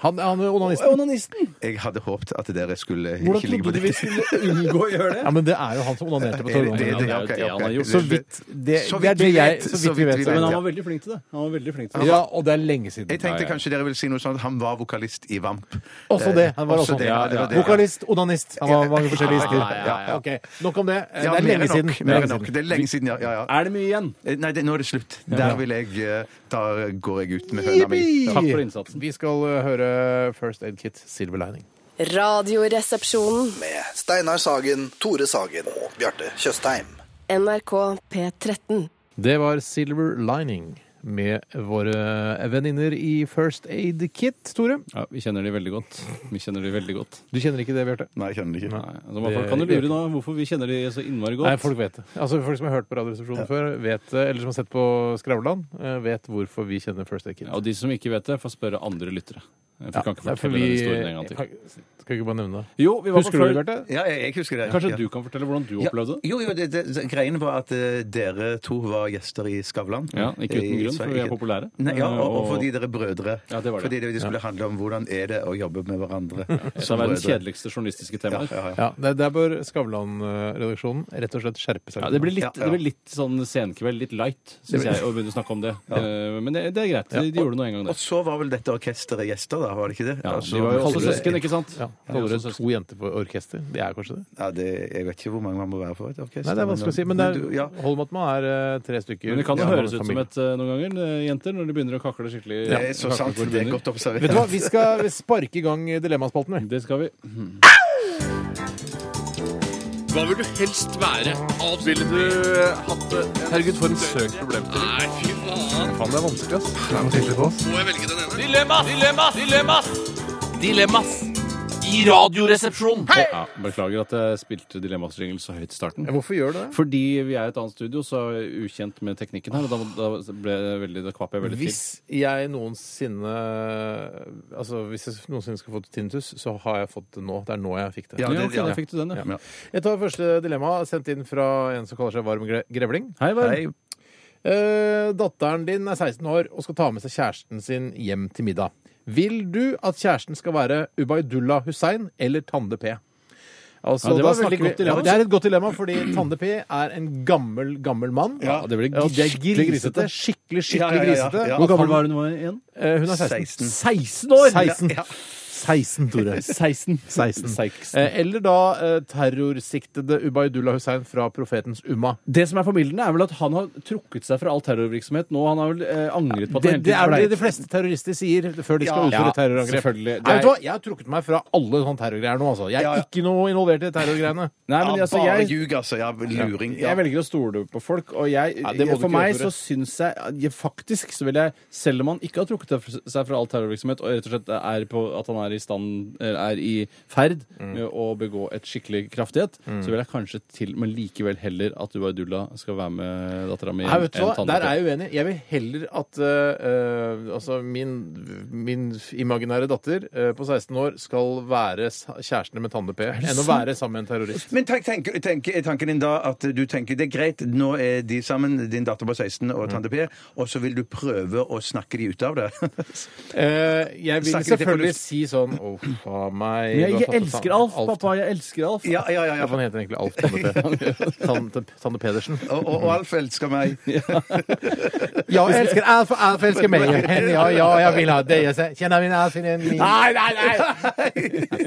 D: Han, han er
G: Å,
D: onanisten.
G: Onanisten!
E: Jeg hadde håpet at dere skulle
G: Hvordan
E: ikke ligge på
G: trodde du vi
E: det.
G: skulle unngå å gjøre
D: Ja,
G: det?
D: men det er jo han som onanerte på
E: Er det- det-
D: torget.
G: Det er jo
E: det- ok,
G: det han har
E: ok.
G: gjort.
D: Så vidt det,
E: Så
D: det
E: vidt
D: er det
E: vi
D: jeg
E: vet,
D: Så
E: så
D: vidt vi vet.
E: vidt vi
D: så-
E: vet,
G: Men han var veldig flink til det. Han var veldig flink til det.
D: Ja, og det er lenge siden.
E: Jeg tenkte kanskje dere ville si noe sånn at han var vokalist i Vamp.
D: Også det. Han var
E: Også
D: også
E: det, ja, det var det, ja.
D: Vokalist, onanist. Han var mange forskjellige lister.
G: Ja, ja, ja, ja.
D: Ok, Nok om det. Eh,
E: Ja,
D: Det er
E: mer
D: lenge
E: enn
D: siden.
E: nok,
D: Det er
E: mer enn
D: lenge
E: nok.
D: siden.
E: Det er lenge siden, ja. ja, ja.
G: Altså, Er det mye igjen?
E: Eh, Nei, det, nå er det slutt. Der vil jeg eh, Da går jeg ut med høna mi.
G: Takk for innsatsen.
D: Vi skal eh, høre First Aid Kit, Silver Lining.
B: Radioresepsjonen.
A: Med Steinar Sagen, Tore Sagen og Bjarte Tjøstheim.
B: NRK P13.
D: Det var Silver Lining med våre venninner i First Aid Kit, Tore.
G: Ja, vi kjenner de veldig godt. Vi kjenner de veldig godt.
D: Du kjenner ikke det, Bjarte?
E: Nei, jeg kjenner det ikke.
G: Nei, altså, hva folk kan du lure nå hvorfor vi kjenner de så innmari godt?
D: Nei, folk vet det. Altså Folk som har hørt på Radioresepsjonen før, vet det, eller som har sett på Skravlan, eh, vet hvorfor vi kjenner First Aid Kit.
G: Ja, og de som ikke vet det, får spørre andre lyttere. For
D: Ja,
G: jeg kan ikke
D: det er
G: fortelle
D: fordi-
G: den historien en gang til.
D: Kan- Skal vi ikke bare nevne det?
G: Jo, vi var
D: Husker
G: på
D: du det,
G: full-
D: Bjarte?
E: Ja, jeg, jeg husker det.
G: Kanskje
E: ja.
G: du kan fortelle hvordan du
E: Ja.
G: opplevde det?
E: Jo, jo, det, det, det- greien var at eh, dere to var gjester i Skavlan.
G: Ja, ikke uten
E: I
G: grunn, for
E: Sverige.
G: vi er populære. Eh,
E: Nei, ja, og, og
G: Og-
E: fordi dere er brødre.
G: Ja, det var det.
E: Fordi det, det skulle handle om hvordan er det å jobbe med hverandre
G: Et av verdens kjedeligste journalistiske
E: Ja,
G: temaer.
E: ja, ja.
D: Ja, der, der bør Skavlan-redaksjonen rett og slett skjerpe seg.
G: Ja, det blir litt,
E: Ja,
G: Det
E: ja.
G: blir litt sånn senkveld, litt light, syns jeg, å begynne å snakke om det. Eh, Men det, det er greit. De, de gjorde noe en gang,
E: Og
G: det.
E: så var vel dette orkesteret gjester, da? Var det ikke det?
G: Ja,
E: Altså,
G: de var jo også
E: kaller det-
G: søsken, ikke sant?
D: ja,
G: De var
D: Kaller det
G: også søsken.
D: to jenter for orkester? Det er kanskje det?
E: Ja, det, jeg vet ikke hvor mange man må være for et orkester.
D: Nei, det er vanskelig å si. Men det er,
E: du- ja.
D: hold med at man er eh, tre stykker.
G: Men det kan jo
D: Ja,
G: høres ut som
D: familie.
G: et eh, noen ganger, eh, jenter, når de begynner å kakle skikkelig.
E: Det er så sant. Det er godt observert.
D: Vet du hva, vi skal sparke i gang Dilemmaspalten, vi.
G: Det skal vi.
I: Hva vil du helst være? Ville du hatt det? Herregud, for en søk problem til. Nei, fy faen. Faen, det er vanskelig, ass. Må jeg velge den ene? Dilemmas! Dilemmas! Dilemmas! Dilemmas! I radioresepsjonen!
G: Ja, beklager at jeg spilte dilemmasjingel så høyt i starten.
D: Hvorfor gjør du det?
G: Fordi vi er i et annet studio, så er jeg ukjent med teknikken her. Og da, må- da ble jeg veldig, da kvapp jeg veldig til.
D: Hvis jeg noensinne Altså, hvis jeg noensinne skulle fått tinnitus, så har jeg fått det nå. Det er nå jeg fikk det.
G: Ja,
E: Ja, det-
G: ok, da fikk du den, ja.
D: Ja. Jeg tar første dilemma, sendt inn fra en som kaller seg Varm Gre- Grevling.
G: Hei, Varm.
E: Nei,
D: Eh, datteren din er 16 år og skal ta med seg kjæresten sin hjem til middag. Vil du at kjæresten skal være Ubaydullah Hussein eller Tande P? Altså,
G: Ja, det var
D: da
G: et veldig
D: snakker vi-
G: godt dilemma.
D: Ja, det er et godt dilemma, fordi Tande P er en gammel, gammel mann.
G: Ja, det blir
D: Og det er
G: skikkelig grisete.
D: grisete. Skikkelig, skikkelig
E: Ja, ja, ja, ja.
D: grisete.
E: Ja.
G: Hvor gammel var hun nå igjen?
D: Eh, Hun er 16.
E: 16.
G: 16 år!
D: 16, 16 Tore.
G: 16.
D: 16.
G: 16.
D: Eh, Eller da eh, terrorsiktede Ubaydullah Hussein fra Profetens Umma.
G: Det som er formildende, er vel at han har trukket seg fra all terrorvirksomhet nå. Han har vel eh, angret på at
D: Det,
G: han hele
D: det er
G: tiden ble-
D: det de fleste terrorister sier før de skal
G: Ja,
D: utføre terrorangrep.
G: selvfølgelig. Det
D: Nei, vet du
G: er-
D: hva? Jeg har trukket meg fra alle sånne terrorgreier nå. altså. Jeg er
E: Ja, ja.
D: ikke noe involvert i terrorgreiene.
G: Nei, men,
E: ja,
G: altså,
E: bare
G: jeg,
E: ljug, altså. Ja, luring. Ja.
G: jeg velger å stole på folk, og jeg,
D: Ja, det må du
G: for
D: ikke
G: meg
D: gjøre,
G: så
D: Tore.
G: syns jeg, jeg Faktisk så vil jeg, selv om han ikke har trukket seg fra all terrorvirksomhet, og rett og slett er på at han er i stand eller er i ferd
D: Mm.
G: med å begå et skikkelig kraftighet, så vil jeg kanskje til Men likevel heller at Ubaydullah skal være med dattera mi
D: Nei, vet du hva?
G: Tande
D: Der
G: P.
D: er jeg uenig. Jeg vil heller at eh, eh, altså min, min imaginære datter eh, på 16 år skal være sa- kjærestene med Tande P enn å være sammen med en terrorist.
E: Men tenk, tenk, tenk, er tanken din da at du tenker det er greit, nå er de sammen, din datter på 16 og tante P, og så vil du prøve å snakke de ut av det?
D: Eh, jeg vil
E: Snakker litt på
D: selvfølgelig
E: luft.
D: si sånn Å, faen meg
G: Men
D: du
G: jeg,
D: har
G: jeg
D: tatt
G: elsker
D: Tan-
G: Alf, pappa. Jeg elsker Alf.
E: ja, ja, ja.
D: Hva
E: ja.
D: faen heter han egentlig? Alf Tande P? Tande, Tande Pedersen.
E: Og, og, og Alf elsker meg.
D: Ja, jeg elsker Alf, og Alf elsker meg. Ja, ja, jeg vil ha det. Jeg kjenner min Alf i min
G: Nei, nei, nei!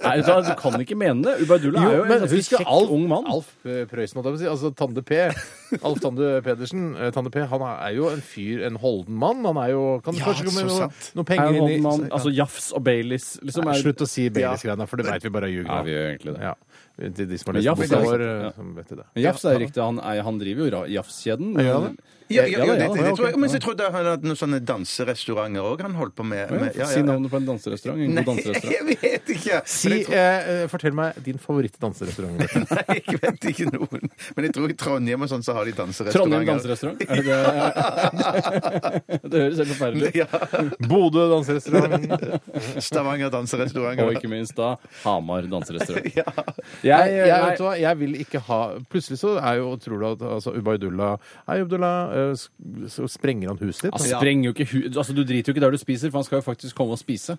G: nei du, du kan ikke mene det. Ubaydullah er jo en ganske kjekk ung mann.
D: Alf eh, Prøysen, holdt jeg på å si. Altså Tande P. Alf Tande Pedersen. eh, Tande P han er jo en fyr, en holden mann. Han er jo Kan
E: Ja,
D: kanskje komme
E: så
D: noe,
E: sant.
D: noe
G: Er
D: penger
G: jo
D: inn
G: en
D: i
G: mann, altså Jafs og Baileys liksom
D: Nei,
G: er,
D: Slutt å si Baileys-greiene, for det veit vi bare er ljug.
G: Ja,
D: nå.
G: vi gjør egentlig det.
D: Ja. Til de som har lest
G: Ja, for
D: boka
G: det er
D: vår,
G: sant, ja.
D: eh, som vet det.
G: Men Jafs er jo riktig. Han, er, han driver jo ra- Jafs-kjeden.
D: gjør han
E: Ja, ja, ja,
G: da,
E: det,
G: ja,
E: det, det
G: ok.
E: tror jeg. Men så trodde jeg han hadde noen sånne danserestauranter òg han holdt på med.
G: Ja,
E: med ja,
G: Si
E: ja, ja.
G: navnet på en danserestaurant. En
E: Nei,
G: god danserestaurant.
E: jeg vet ikke.
D: Si,
E: Men jeg tror-
D: eh, eh, fortell meg din favorittdanserestaurant.
E: Nei, jeg vet ikke noen. Men jeg tror i Trondheim og sånn så har de danserestauranter.
G: Trondheim danserestaurant? Er det det? det høres helt forferdelig ut.
D: Bodø danserestaurant.
E: Stavanger danserestauranter.
G: Og ikke minst da Hamar danserestaurant.
E: Ja.
D: Jeg,
G: Jeg,
D: jeg, vet du hva,
G: nei,
D: jeg vil ikke ha Plutselig så er jo, tror du at altså, Ubaydullah Hei, Ubaydullah. eh, sk- Så sprenger han huset ditt.
G: altså, spreng jo ikke hu altså, du driter jo ikke der du spiser, for han skal jo faktisk komme og spise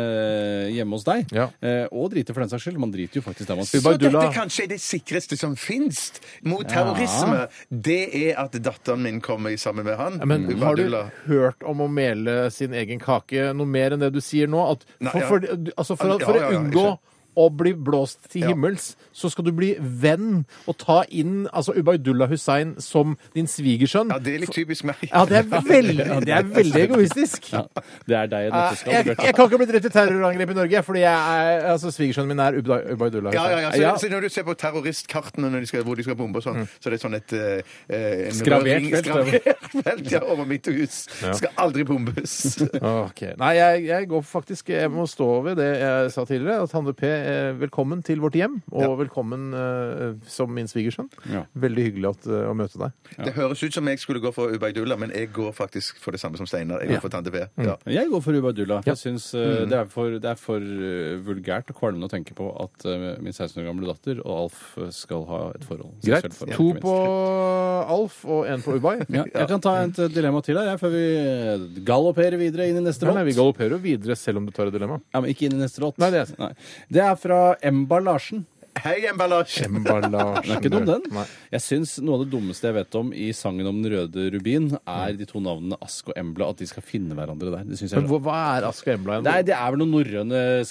G: eh, hjemme hos deg.
D: Ja.
G: Eh, og drite, for den saks skyld. Man driter jo faktisk der man
E: Så
G: spiser.
E: dette
D: Ubaydullah.
E: er kanskje det sikreste som fins mot terrorisme, det er at datteren min kommer sammen med han.
D: Ja, Men har du
E: Ubadullah.
D: hørt om å mele sin egen kake noe mer enn det du sier nå? At
E: Nei,
D: for,
E: ja.
D: for, du- altså for,
E: Ja,
D: for
E: ja,
D: å
E: ja,
D: unngå
E: jeg
D: å bli blåst til himmels, så skal du bli venn og ta inn altså Ubaydullah Hussein som din svigersønn.
E: Ja, det er litt typisk meg.
D: Ja, det er veldig, det er veldig egoistisk.
G: Ja, det er deg i
D: Eh, Jeg,
G: nøtteskall.
D: jeg kan ikke bli drept i terrorangrep i Norge, fordi jeg er, altså, svigersønnen min er Ubda- Ubaydullah
E: Ja, ja, ja.
D: Hussein.
E: Så,
G: Ja.
E: så når du ser på terroristkartene når de skal, hvor de skal bombe og
D: Mm.
E: sånn, så er det sånn et eh, en
G: Skravert
E: røring-
G: felt,
E: skravert felt ja, over mitt hus. Skal aldri bombes.
D: Ok. Nei, jeg, jeg går faktisk Jeg må stå ved det jeg sa tidligere. At Hanne P eh, eh, velkommen til vårt hjem, og velkommen eh, som min svigersønn.
G: Ja.
D: Veldig hyggelig at, eh, å møte deg.
E: Det høres ut som jeg skulle gå for Ubaidullah, men jeg går faktisk for det samme som Steinar. Jeg går for Tante P.
D: Mm.
E: Ja.
G: Jeg går for Ubadullah. Jeg synes, eh, det, er for, det er for eh, vulgært og kvalmende å tenke på at eh, min 16 år gamle datter og Alf eh, skal ha et forhold.
D: Greit.
G: Seksuelt forhold,
D: To
G: ikke minst.
D: på Alf og én på Ubai.
G: ja, Jeg kan ta et eh, dilemma til her jeg, før vi eh, galopperer videre inn i neste
D: Nei,
G: låt.
D: nei, vi galopperer jo videre selv om du tar et dilemma.
G: Ja, men ikke inn i neste låt.
D: Nei, det er-
G: Nei. det er fra Emba Larsen.
E: Hei, emballasje!
D: Emballasjen.
G: Den er ikke dum, den.
D: Nei.
G: Jeg syns noe av det dummeste jeg vet om i sangen om Den røde rubin, er de to navnene Ask og Embla, at de skal finne hverandre der. Det synes jeg
D: Men
G: er
D: hva, hva er Aska Embla igjen?
G: Nei, det er vel noen norrøne
D: ja, sånn,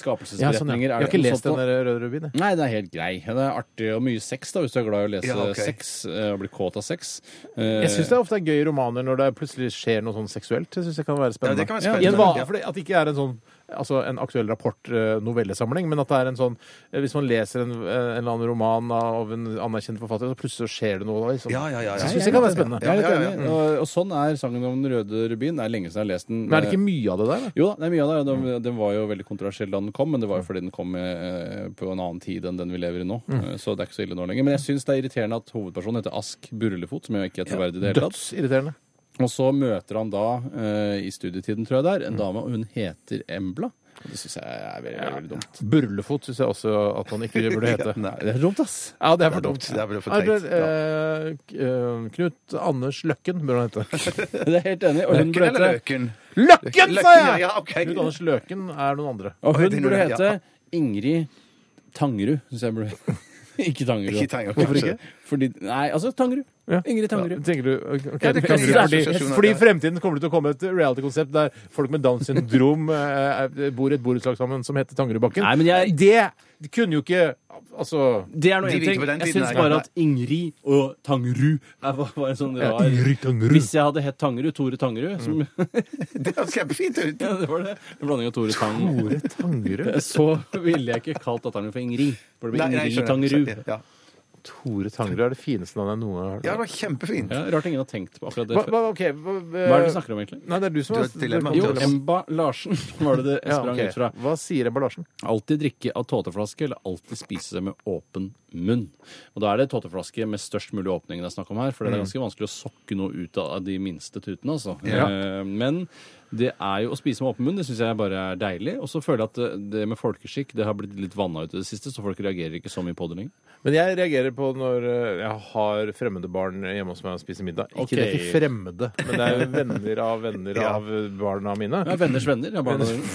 D: ja. Jeg
G: skapelsesberetninger. Er
D: har
G: det
D: ikke
G: noe
D: lest
G: sånt
D: den
G: nå?
D: der Røde rubin, jeg.
G: Nei, den er helt grei. Den er artig og mye sex, da, hvis du er glad i å lese
E: Ja, ok.
G: sex eh, og bli kåt av sex.
D: Jeg syns det ofte er gøy i romaner når det plutselig skjer noe sånn seksuelt. Det syns jeg kan være
E: Ja,
D: spennende.
E: det kan være
D: I en
E: spennende.
D: va- fordi at det ikke er en sånn altså en aktuell rapport-novellesamling, men at det er en sånn eh, Hvis man leser en, eh, en eller annen roman av en anerkjent forfatter, så plutselig så skjer det noe. da, Liksom.
E: Ja, ja, ja, ja.
D: Jeg syns det kan være spennende.
G: Eh, Jeg er litt
E: Ja, ja, ja. Mm.
G: enig. Og, og sånn er sangen om Den røde rubin. Det er lenge siden jeg har lest den.
D: Men er det ikke mye av det der? da?
G: Jo da, det er mye av det. og Den, den var jo veldig kontroversiell da den kom, men det var jo fordi den kom eh, på en annen tid enn den vi lever i nå. Eh, Så det er ikke så ille nå lenger. Men jeg syns det er irriterende at hovedpersonen heter Ask Burlefot, som jo ikke er troverdig i det hele tatt.
D: Dødsirriterende.
G: Og så møter han da, eh, i studietiden tror jeg det er, en dame, og hun heter Embla. Det syns jeg er veldig, veldig, veldig dumt.
D: Burlefot syns jeg også at han ikke burde hete.
E: Nei.
G: Det er dumt, ass.
D: Ja, det er for
E: Det er dumt.
D: dumt.
E: Det er vel for
D: Nei,
E: teit. Ja.
D: eh, K- eh, Knut Anders Løkken burde han hete.
G: Det er helt enig. Og hun
E: Løkken
G: burde
E: eller
G: hete,
E: Løken?
D: Løkken, sa
E: ja,
D: jeg!
E: ja, ok.
D: Knut Anders Løken er noen andre.
G: og
E: Oi,
G: hun
E: det er noe-
G: burde
E: ja.
G: hete Ingrid Tangerud, syns jeg burde Ikke Tangerud.
E: Ikke Tangerud,
G: Hvorfor
E: kanskje.
G: ikke? Fordi, nei, altså Tangerud.
D: Ja.
G: Ingrid Tangerud.
D: Ja, tenker du, ok,
E: Ja, det kan
D: Tangerud,
E: være
D: fordi,
E: assosiasjoner,
D: fordi i
E: ja.
D: fremtiden kommer det til å komme et reality-konsept der folk med Downs syndrom eh, er- bor i et borettslag sammen som heter Tangerudbakken.
G: Nei, men jeg-
D: Det kunne jo ikke Altså
G: Det er noe
E: De
G: en
E: ville
G: ting.
E: på den
G: Jeg
E: tiden
G: syns
E: her.
G: bare at Ingrid og Tangerud er- var, var en sånn
D: Ja,
G: rar
D: Ingrid Tangerud. Mm.
G: Hvis jeg hadde hett Tangerud, Tore Tangerud som,
E: Det høres kjempefint ut.
G: ja, Det var det. En blanding av Tore Tang.
D: Ordet Tangerud?
G: Så ville jeg ikke kalt datteren min for Ingrid. For det blir
E: Nei, nei, jeg
G: Ingrid
E: skjønner.
G: Tangerud.
E: Ja.
D: Tore Tangerud er det fineste navnet jeg noen gang har
E: ja, det
D: hørt.
E: var kjempefint.
G: Ja, rart ingen har tenkt på akkurat det.
D: Hva,
G: før.
D: hva, ok, hva,
G: Hva er det vi snakker om, egentlig?
D: Nei, det er du som
E: Du har et dilemma.
G: Jo,
E: det er-
G: Emba Larsen var det det jeg
D: Ja,
G: sprang
D: ok.
G: ut fra.
D: Hva sier emballasjen?
G: Alltid drikke av tåteflaske eller alltid spise det med åpen munn. Og da er det tåteflaske med størst mulig åpning det er snakk om her, for det er ganske vanskelig å sokke noe ut av de minste tutene, altså. Eh, Men det er jo å spise med åpen munn, det syns jeg bare er deilig. Og så føler jeg at det- det med folkeskikk, det har blitt litt vanna ut i det siste, så folk reagerer ikke så mye på det lenger.
D: Men jeg reagerer på når eh, jeg har fremmede barn hjemme hos meg og spiser middag. Ikke, Det er ikke fremmede, men det er jo venner av venner av barna mine.
G: Ja, venners venner. Ja, barna dine.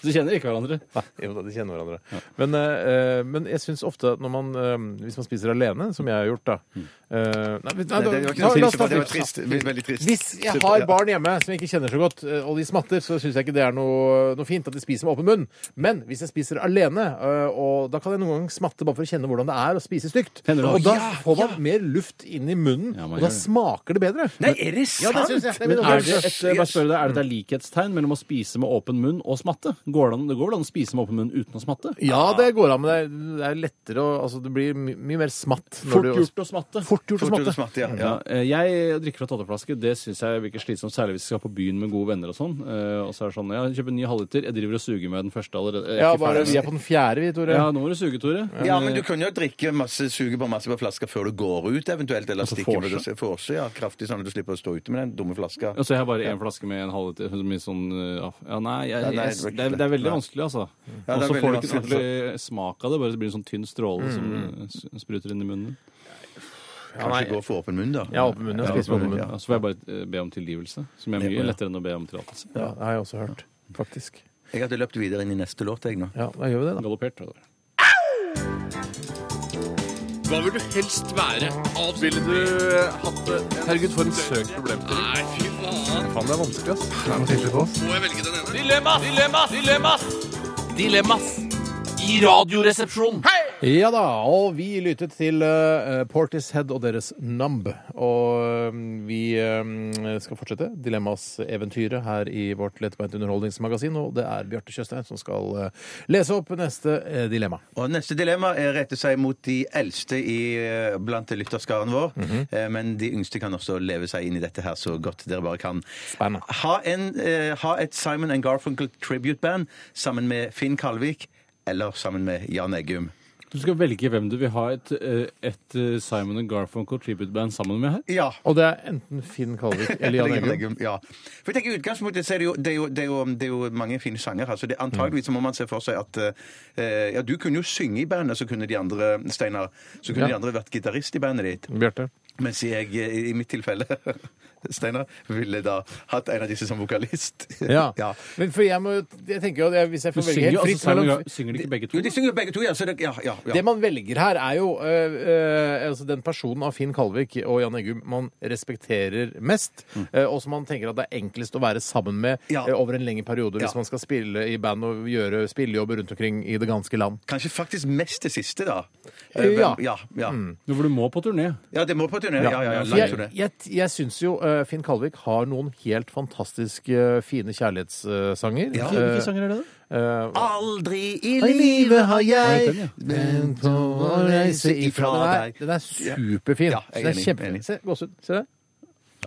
G: Så kjenner ikke hverandre.
D: Nei, jo da, de kjenner hverandre. Men, eh, men jeg syns ofte at når man, eh, hvis man spiser alene, som jeg har gjort, da
G: Mm.
D: eh, Nei, nei, da-
E: Nei, det
D: la-
E: var ikke
D: la
E: noe
D: oss ta
E: trist. Det var
D: tips.
E: trist. Veldig trist.
D: Hvis jeg har barn hjemme som jeg ikke kjenner så godt, eh, og de smatter, så syns jeg ikke det er noe, noe fint at de spiser med åpen munn. Men hvis jeg spiser alene, eh, og da kan jeg noen ganger smatte bare for å kjenne hvordan det er å spise stygt.
G: Hender det?
D: Og da
G: Ja,
D: får man mer luft inn i munnen,
G: Ja, man
D: og da
G: gjør det.
D: smaker det bedre.
E: Nei, er det
D: Ja, det
E: sant?
D: syns jeg. Det eh, er min
G: Men er det
D: opplevelse.
G: et, bare spør deg, er det et likhetstegn mellom å spise med åpen munn og smatte? Går det an, det går vel an å spise med åpen munn uten å smatte?
D: Ja, det går an, men det er, det er lettere å Altså, det blir my mye mer smatt når
G: Fort
D: du
G: gjort å smatte.
D: Fort gjort å
E: Fort gjort
D: smatte.
E: og smart, ja.
G: Ja,
E: ja.
G: eh, jeg drikker fra tåteflaske. Det syns jeg virker slitsomt, særlig hvis vi skal på byen med gode venner og sånn. Eh, Og så er det sånn, ja, kjøper en ny halvliter, jeg driver og suger med den første allerede. Jeg er
D: Ja,
G: ikke
D: bare
G: ferdig.
D: vi er på den fjerde, vi, Tore.
G: Ja, nå må du suge, Tore.
E: Ja, men du kan jo drikke masse, suge på masse på flaska før du går ut, eventuelt. Eller stikke med det forse, ja. Kraftig sånn at du slipper å stå ute med den dumme flaska.
G: Og så har jeg bare én flaske med en halvliter. så Mye sånn, eh, ja, ja, nei, jeg,
E: Ja, nei,
G: jeg,
E: det var ikke
G: det, er,
E: det.
G: det er veldig
E: Nei.
G: vanskelig, altså.
E: Ja,
G: og
E: det er
G: så får du
E: veldig
G: ikke en
E: vanskelig, altså. Mm.
G: ordentlig smak av det. Bare det blir en sånn tynn stråle som eh, s- spruter inn i munnen.
E: Kanskje gå for åpen munn, da.
D: Jeg har åpen munn. Jeg spiser med åpen munn.
E: Ja.
G: Ja, så får jeg bare eh, be om tilgivelse, som er mye lettere enn å be om tillatelse.
D: Ja, det har jeg også hørt. Faktisk.
E: Jeg hadde løpt videre inn i neste låt, jeg nå.
D: Ja, da gjør vi det, da.
G: Galoppert. tror jeg det var.
I: Hva vil du helst være? Ville du hatt det? Herregud, for en søk problemstilling. Nei, fy faen.
D: Faen, det er vanskelig, ass.
I: Må jeg velge den ene? Dilemmas! Dilemmas! Dilemmas! Dilemmas i Radioresepsjonen.
D: Ja da, og vi lyttet til eh, Portishead og deres Numb. Og eh, vi eh, skal fortsette Dilemmas-eventyret her i vårt lettbeint underholdningsmagasin. Og det er Bjarte Tjøstheim som skal eh, lese opp neste eh, dilemma.
E: Og neste dilemma er rette seg mot de eldste i, eh, blant lytterskaren vår.
D: Mhm.
E: Eh, Men de yngste kan også leve seg inn i dette her så godt dere bare kan.
D: Spennende.
E: Ha, en, eh, ha et Simon and Garfunkel tribute-band sammen med Finn Kalvik. eller sammen med Jan Eggum.
G: Du skal velge hvem du vil ha et, eh, et eh, Simon and Garfunkel tribute-band sammen med her.
E: Ja.
D: Og det er enten Finn Kalvik eller Jan Eggum.
E: Ja. For jeg tenker i utgangspunktet så er det, jo, det, er jo, det, er jo, det er jo mange fine sanger her, så det,
D: Mm.
E: antageligvis så må man se for seg at eh, Ja, du kunne jo synge i bandet, så kunne de andre, Steinar, så kunne
D: Ja.
E: de andre vært gitarist i bandet ditt.
D: Bjarte.
E: Mens jeg, eh, i mitt tilfelle, Steinar, ville da hatt en av disse som vokalist.
D: Ja.
E: ja.
D: Men for jeg må jo jeg tenker jo at jeg- Hvis jeg får
G: Du
D: velge
G: synger,
D: helt
G: jo-
D: fritt
G: altså, Simon
D: mellom
G: Gar- synger de ikke begge to?
E: Jo, de synger jo begge to, ja. Så det, ja, ja, ja.
D: Det man velger her, er jo øh, øh, altså den personen av Finn Kalvik og Jan Eggum man respekterer mest, øh, og som man tenker at det er enklest å være sammen med
E: Mm. Ja.
D: øh, over en lengre periode hvis
E: Ja.
D: man skal spille i band og gjøre spillejobber rundt omkring i det ganske land.
E: Kanskje faktisk mest det siste, da. Eh,
D: Ja. Mm.
E: hvem- ja, ja.
G: Nå, For du må på turné.
E: ja det må på turné. Ja, ja, ja, lang
D: jeg
E: turné.
D: jeg, jeg syns jo øh, Finn Kalvik har noen helt fantastiske eh, fine kjærlighetssanger.
E: Ja.
G: Hvilke sanger er det, da?
D: Øh,
E: Aldri i
D: I livet har
G: Ja,
D: jeg
G: den, ja.
D: vent på å reise ifra deg. Den er superfin.
E: Ja, jeg er
D: den er
E: enig,
D: kjempefin.
E: enig.
D: Se, gåsehud. Se der.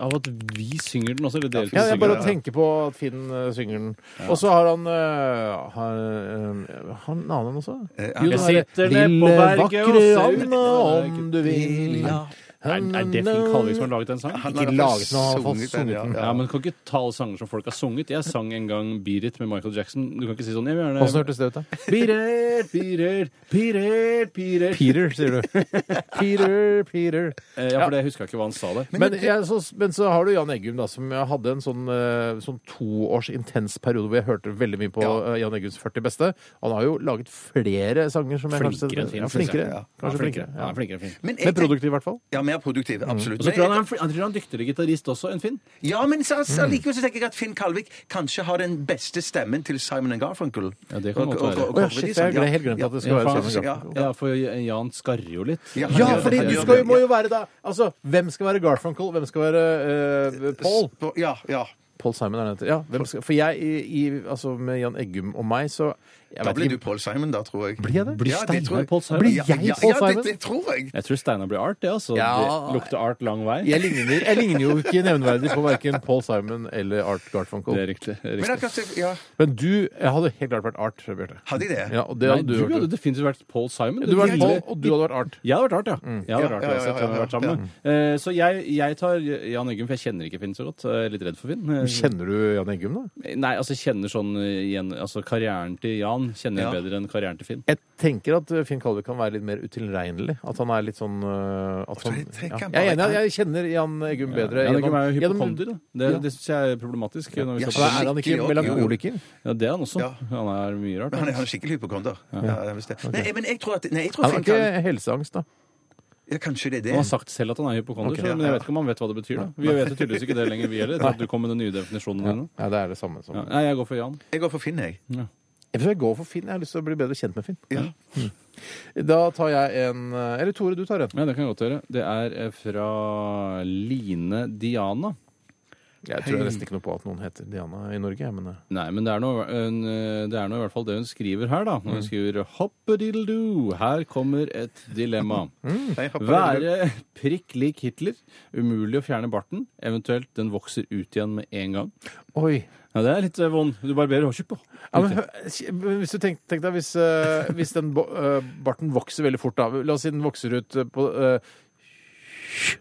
G: Av at vi synger den også, eller dere
D: Ja,
G: to
D: jeg bare
G: synger den.
D: tenker på at Finn eh, synger den. Og så har han eh, har, eh, har en annen også.
G: Eh,
E: Eh, han-
D: den
G: Jeg
D: derre
G: sitter ned på
D: lille,
G: berget
D: vakre
G: og ser ut-
D: Anna,
G: Nei,
D: om
G: ikke-
D: du vil.
G: Er, er det Finn Kalvik som har laget den sangen?
E: Han
D: Ikke
E: har
D: laget den, han har fått
E: sunget den,
D: sunget den.
G: Ja, men Du kan ikke ta alle sanger som folk har sunget. Jeg sang en gang 'Beat It' med Michael Jackson. Du kan ikke si sånn jeg vil gjerne...
D: Åssen hørtes det ut, da?
G: Beat it, beat it, beat it, beat it.
D: Peter, sier du. Peter, Peter.
G: Eh, Ja, for det husker jeg ikke hva han sa der.
D: Men, jeg, så, men så har du Jan Eggum, da, som jeg hadde en sånn, eh, sånn to års intens periode hvor jeg hørte veldig mye på eh, Jan Eggums 40 beste. Han har jo laget flere sanger som jeg
G: Flinkere enn
D: kanskje
G: Finn,
D: ja,
G: synes jeg.
D: flinkere.
G: Ja,
D: Kanskje flinkere.
G: Ja,
D: Ja.
G: han er flinkere enn Finn.
E: Men jeg
D: Men
E: tenk-
D: produktiv, Mm. i hvert fall.
E: Ja, mer produktiv. Absolutt.
G: Og så tror jeg han er en, flin- han tror han er en dyktigere gitarist også enn Finn.
E: Ja, men så,
D: Mm.
E: så likevel så tenker jeg at Finn Kalvik kanskje har den beste stemmen til Simon and Garfunkel.
G: Ja, det kan
E: Og-
G: godt
E: og-
G: være.
E: og- og-
D: Å ja,
E: og-
D: shit,
E: ja.
D: jeg ble helt glemt at det skulle
G: Ja,
D: være
G: faen.
D: Simon Garfunkel.
G: Ja, for Jan skarrer jo litt.
E: Ja,
D: Ja,
E: han gjør
D: fordi
E: det, han
D: du
E: gjør
D: skal jo,
E: det.
D: må jo være da Altså, hvem skal være Garfunkel? Hvem skal være eh, Paul?
E: På- Ja, ja.
D: Paul Simon er det heter. Ja, hvem skal, for jeg, i, i, altså med Jan Eggum og meg, så jeg
E: Da
D: vet
E: blir du
D: ikke,
E: Paul Simon, da, tror jeg.
D: Blir jeg det?
E: Blir ja, det tror jeg.
G: Paul Simon?
D: Blir jeg
E: ja,
D: Paul
E: ja,
D: Simon?
E: det, det tror jeg.
G: Jeg tror Steinar blir art, det. altså.
D: Ja.
G: Det lukter art lang vei.
D: jeg ligner, jeg ligner jo ikke nevneverdig på verken Paul Simon eller Art Garfunkel.
G: Det er riktig. det er
E: Men
G: riktig.
E: jeg kan se- ja,
D: Men du jeg hadde helt klart vært Art, Bjarte.
E: hadde jeg det?
D: Ja, og det
G: Nei,
D: hadde
G: du
D: du,
G: hadde
D: vært.
G: definitivt vært Paul
D: Du
G: Simon.
D: hadde vært Paul,
G: ville-
D: og du hadde vært Mm. Art.
G: Jeg hadde vært rart, ja. Jeg hadde vært rart,
E: Ja, ja,
G: uansett
E: ja, ja,
G: hvem jeg hadde vært
E: ja.
G: sammen med. Eh, Så jeg, jeg tar Jan Eggum, for jeg kjenner ikke Finn så godt. Jeg er litt redd for Finn. Eh,
D: Kjenner du Jan Eggum, da?
G: Nei, altså jeg kjenner sånn eh, igjen, altså Karrieren til Jan kjenner jeg
E: Ja.
G: bedre enn karrieren til Finn.
D: Jeg tenker at eh, Finn Kalvik kan være litt mer utilregnelig. At han er litt sånn øh, at han,
E: tenker
D: ja.
E: han
D: Jeg er
E: bare-
D: enig, jeg kjenner Jan Eggum bedre.
G: Jan Eggum er jo
D: gjennom-
G: hypokonder. da. Det,
D: Ja.
G: det syns jeg er problematisk. Når vi skal
E: Ja,
D: Men er
G: prate-
D: han Altså, ikke
E: Skikkelig,
D: melankoliker?
G: ja, det er han også.
E: Ja.
G: Han er mye rart.
E: Men han er,
G: da.
E: han er skikkelig hypokonder. Ja. det er visst det. Nei, men jeg tror at nei, jeg tror
D: Han har
E: Finn
D: ikke
E: Kalvik
D: helseangst, da.
E: ja, Kanskje det er det.
G: Han har sagt selv at han er hypokonder,
D: Ok,
G: så,
D: ja,
G: men jeg vet ikke om han vet hva det betyr. da. Vi vet jo tydeligvis ikke det lenger, vi heller. etter at Du kom med den nye definisjonen din. nå.
D: Ja, det er det samme som
G: Ja. Nei, jeg går for Jan.
E: Jeg går for Finn, jeg.
D: Jeg tror jeg går for Finn. Jeg har lyst til å bli bedre kjent med Finn.
E: Ja.
D: Da tar jeg en eh, Eller Tore, du tar en.
G: Ja, Det kan jeg godt gjøre. Det er eh, fra Line Diana.
D: Jeg tror nesten ikke noe på at noen heter Diana i Norge, men eh,
G: Nei, men det er, noe, en, eh, det er noe i hvert fall det hun skriver her, da.
D: Mm.
G: Hun skriver hoppedildo, her kommer et dilemma.
D: Mm.
E: Nei, jeg hopper litt.
G: Være prikk lik Hitler, umulig å fjerne barten, eventuelt den vokser ut igjen med en gang.
D: Oi.
G: Ja, det er litt eh, vond. Du barberer hårkjøtt på.
D: Ja, men, hø- men hvis du tenk, tenk deg hvis, eh, hvis den bo- eh, barten vokser veldig fort, da. La oss si den vokser ut eh, på eh,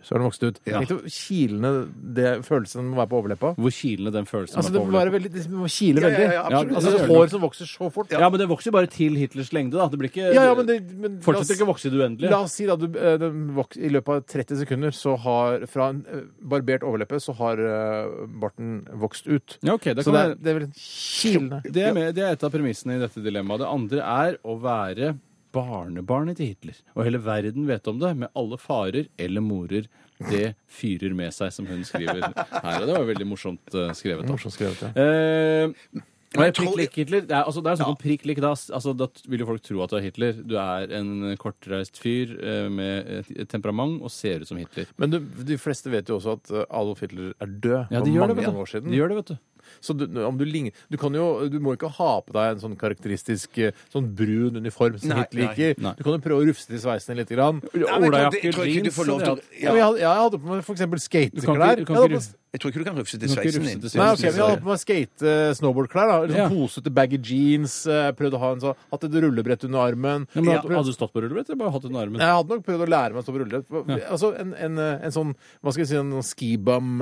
D: Så har den vokst ut.
E: Ja.
D: Tenk deg kilene det følelsen må være på overleppa.
G: Hvor kilende den følelsen
D: Altså,
G: er
D: det
G: på
D: må
G: overleppa.
D: være veldig Det må kile
E: Ja, ja,
D: veldig.
E: ja, absolutt.
D: altså,
G: Ja, det gjør
D: hår som vokser så fort.
G: Ja, men det vokser jo bare til Hitlers lengde, da. Det blir ikke
D: Ja, ja, men det, men la oss-
G: Fortsetter ikke å vokse i det uendelige.
D: La oss si da, du, eh, den vok- I løpet av 30 sekunder så har fra en eh, barbert overleppe så har eh, barten vokst ut.
G: Ja, ok, da
D: så
G: kan
D: det
G: jeg
D: er, det er vel en kilende
G: Det er, med, det er et av premissene i dette dilemmaet. Det andre er å være barnebarnet til Hitler. Og hele verden vet om det, med alle farer eller morer det fyrer med seg, som hun skriver her. Og det var veldig morsomt eh, skrevet. Da.
D: Morsomt skrevet, ja.
G: Eh,
E: Men jeg
G: prikk
E: tror-
G: lik Hitler? Det er, altså, det er sånn om prikk lik, da, altså, da vil jo folk tro at du er Hitler. Du er en kortreist fyr eh, med et- et temperament og ser ut som Hitler.
D: Men du, de fleste vet jo også at eh, Adolf Hitler er død
G: Ja,
D: for
G: de gjør
D: mange
G: det, vet
D: år
G: du.
D: siden.
G: De gjør det, vet du.
D: Så du, om du, ligner, du, kan jo, du må ikke ha på deg en sånn karakteristisk eh, sånn brun uniform som
E: Nei,
D: Hitler
E: nei,
D: liker.
G: nei.
D: Du kan jo prøve å rufse til sveisene litt. Grann.
E: Ja, men jeg tror-
G: Olajakke,
E: jeg tror ikke du
G: jeans,
E: får lov til å-
G: det
D: Ja. men Jeg, hadde, jeg hadde på meg f.eks.
G: Du kan ikke,
D: skateklær. Jeg
G: du kan
D: hadde
G: ikke,
D: på-
G: ru-
E: Jeg tror ikke du kan rufse til
G: Du kan ikke
E: sveisen
G: rufse
E: din.
G: til
D: Nei,
G: sveisen
D: ok, men Jeg hadde på meg skate, eh, snowboardklær. da Litt sånn
G: Ja.
D: Posete, baggy jeans. eh, Prøvde å ha en sånn Hatt et rullebrett under armen.
G: Ja, men
D: Ja,
G: hadde- Hadde du stått på rullebrettet eller bare hatt den i armen?
D: Jeg hadde nok prøvd å lære meg å stå på rullebrett. Altså en, en, eh, en sånn hva skal jeg si, en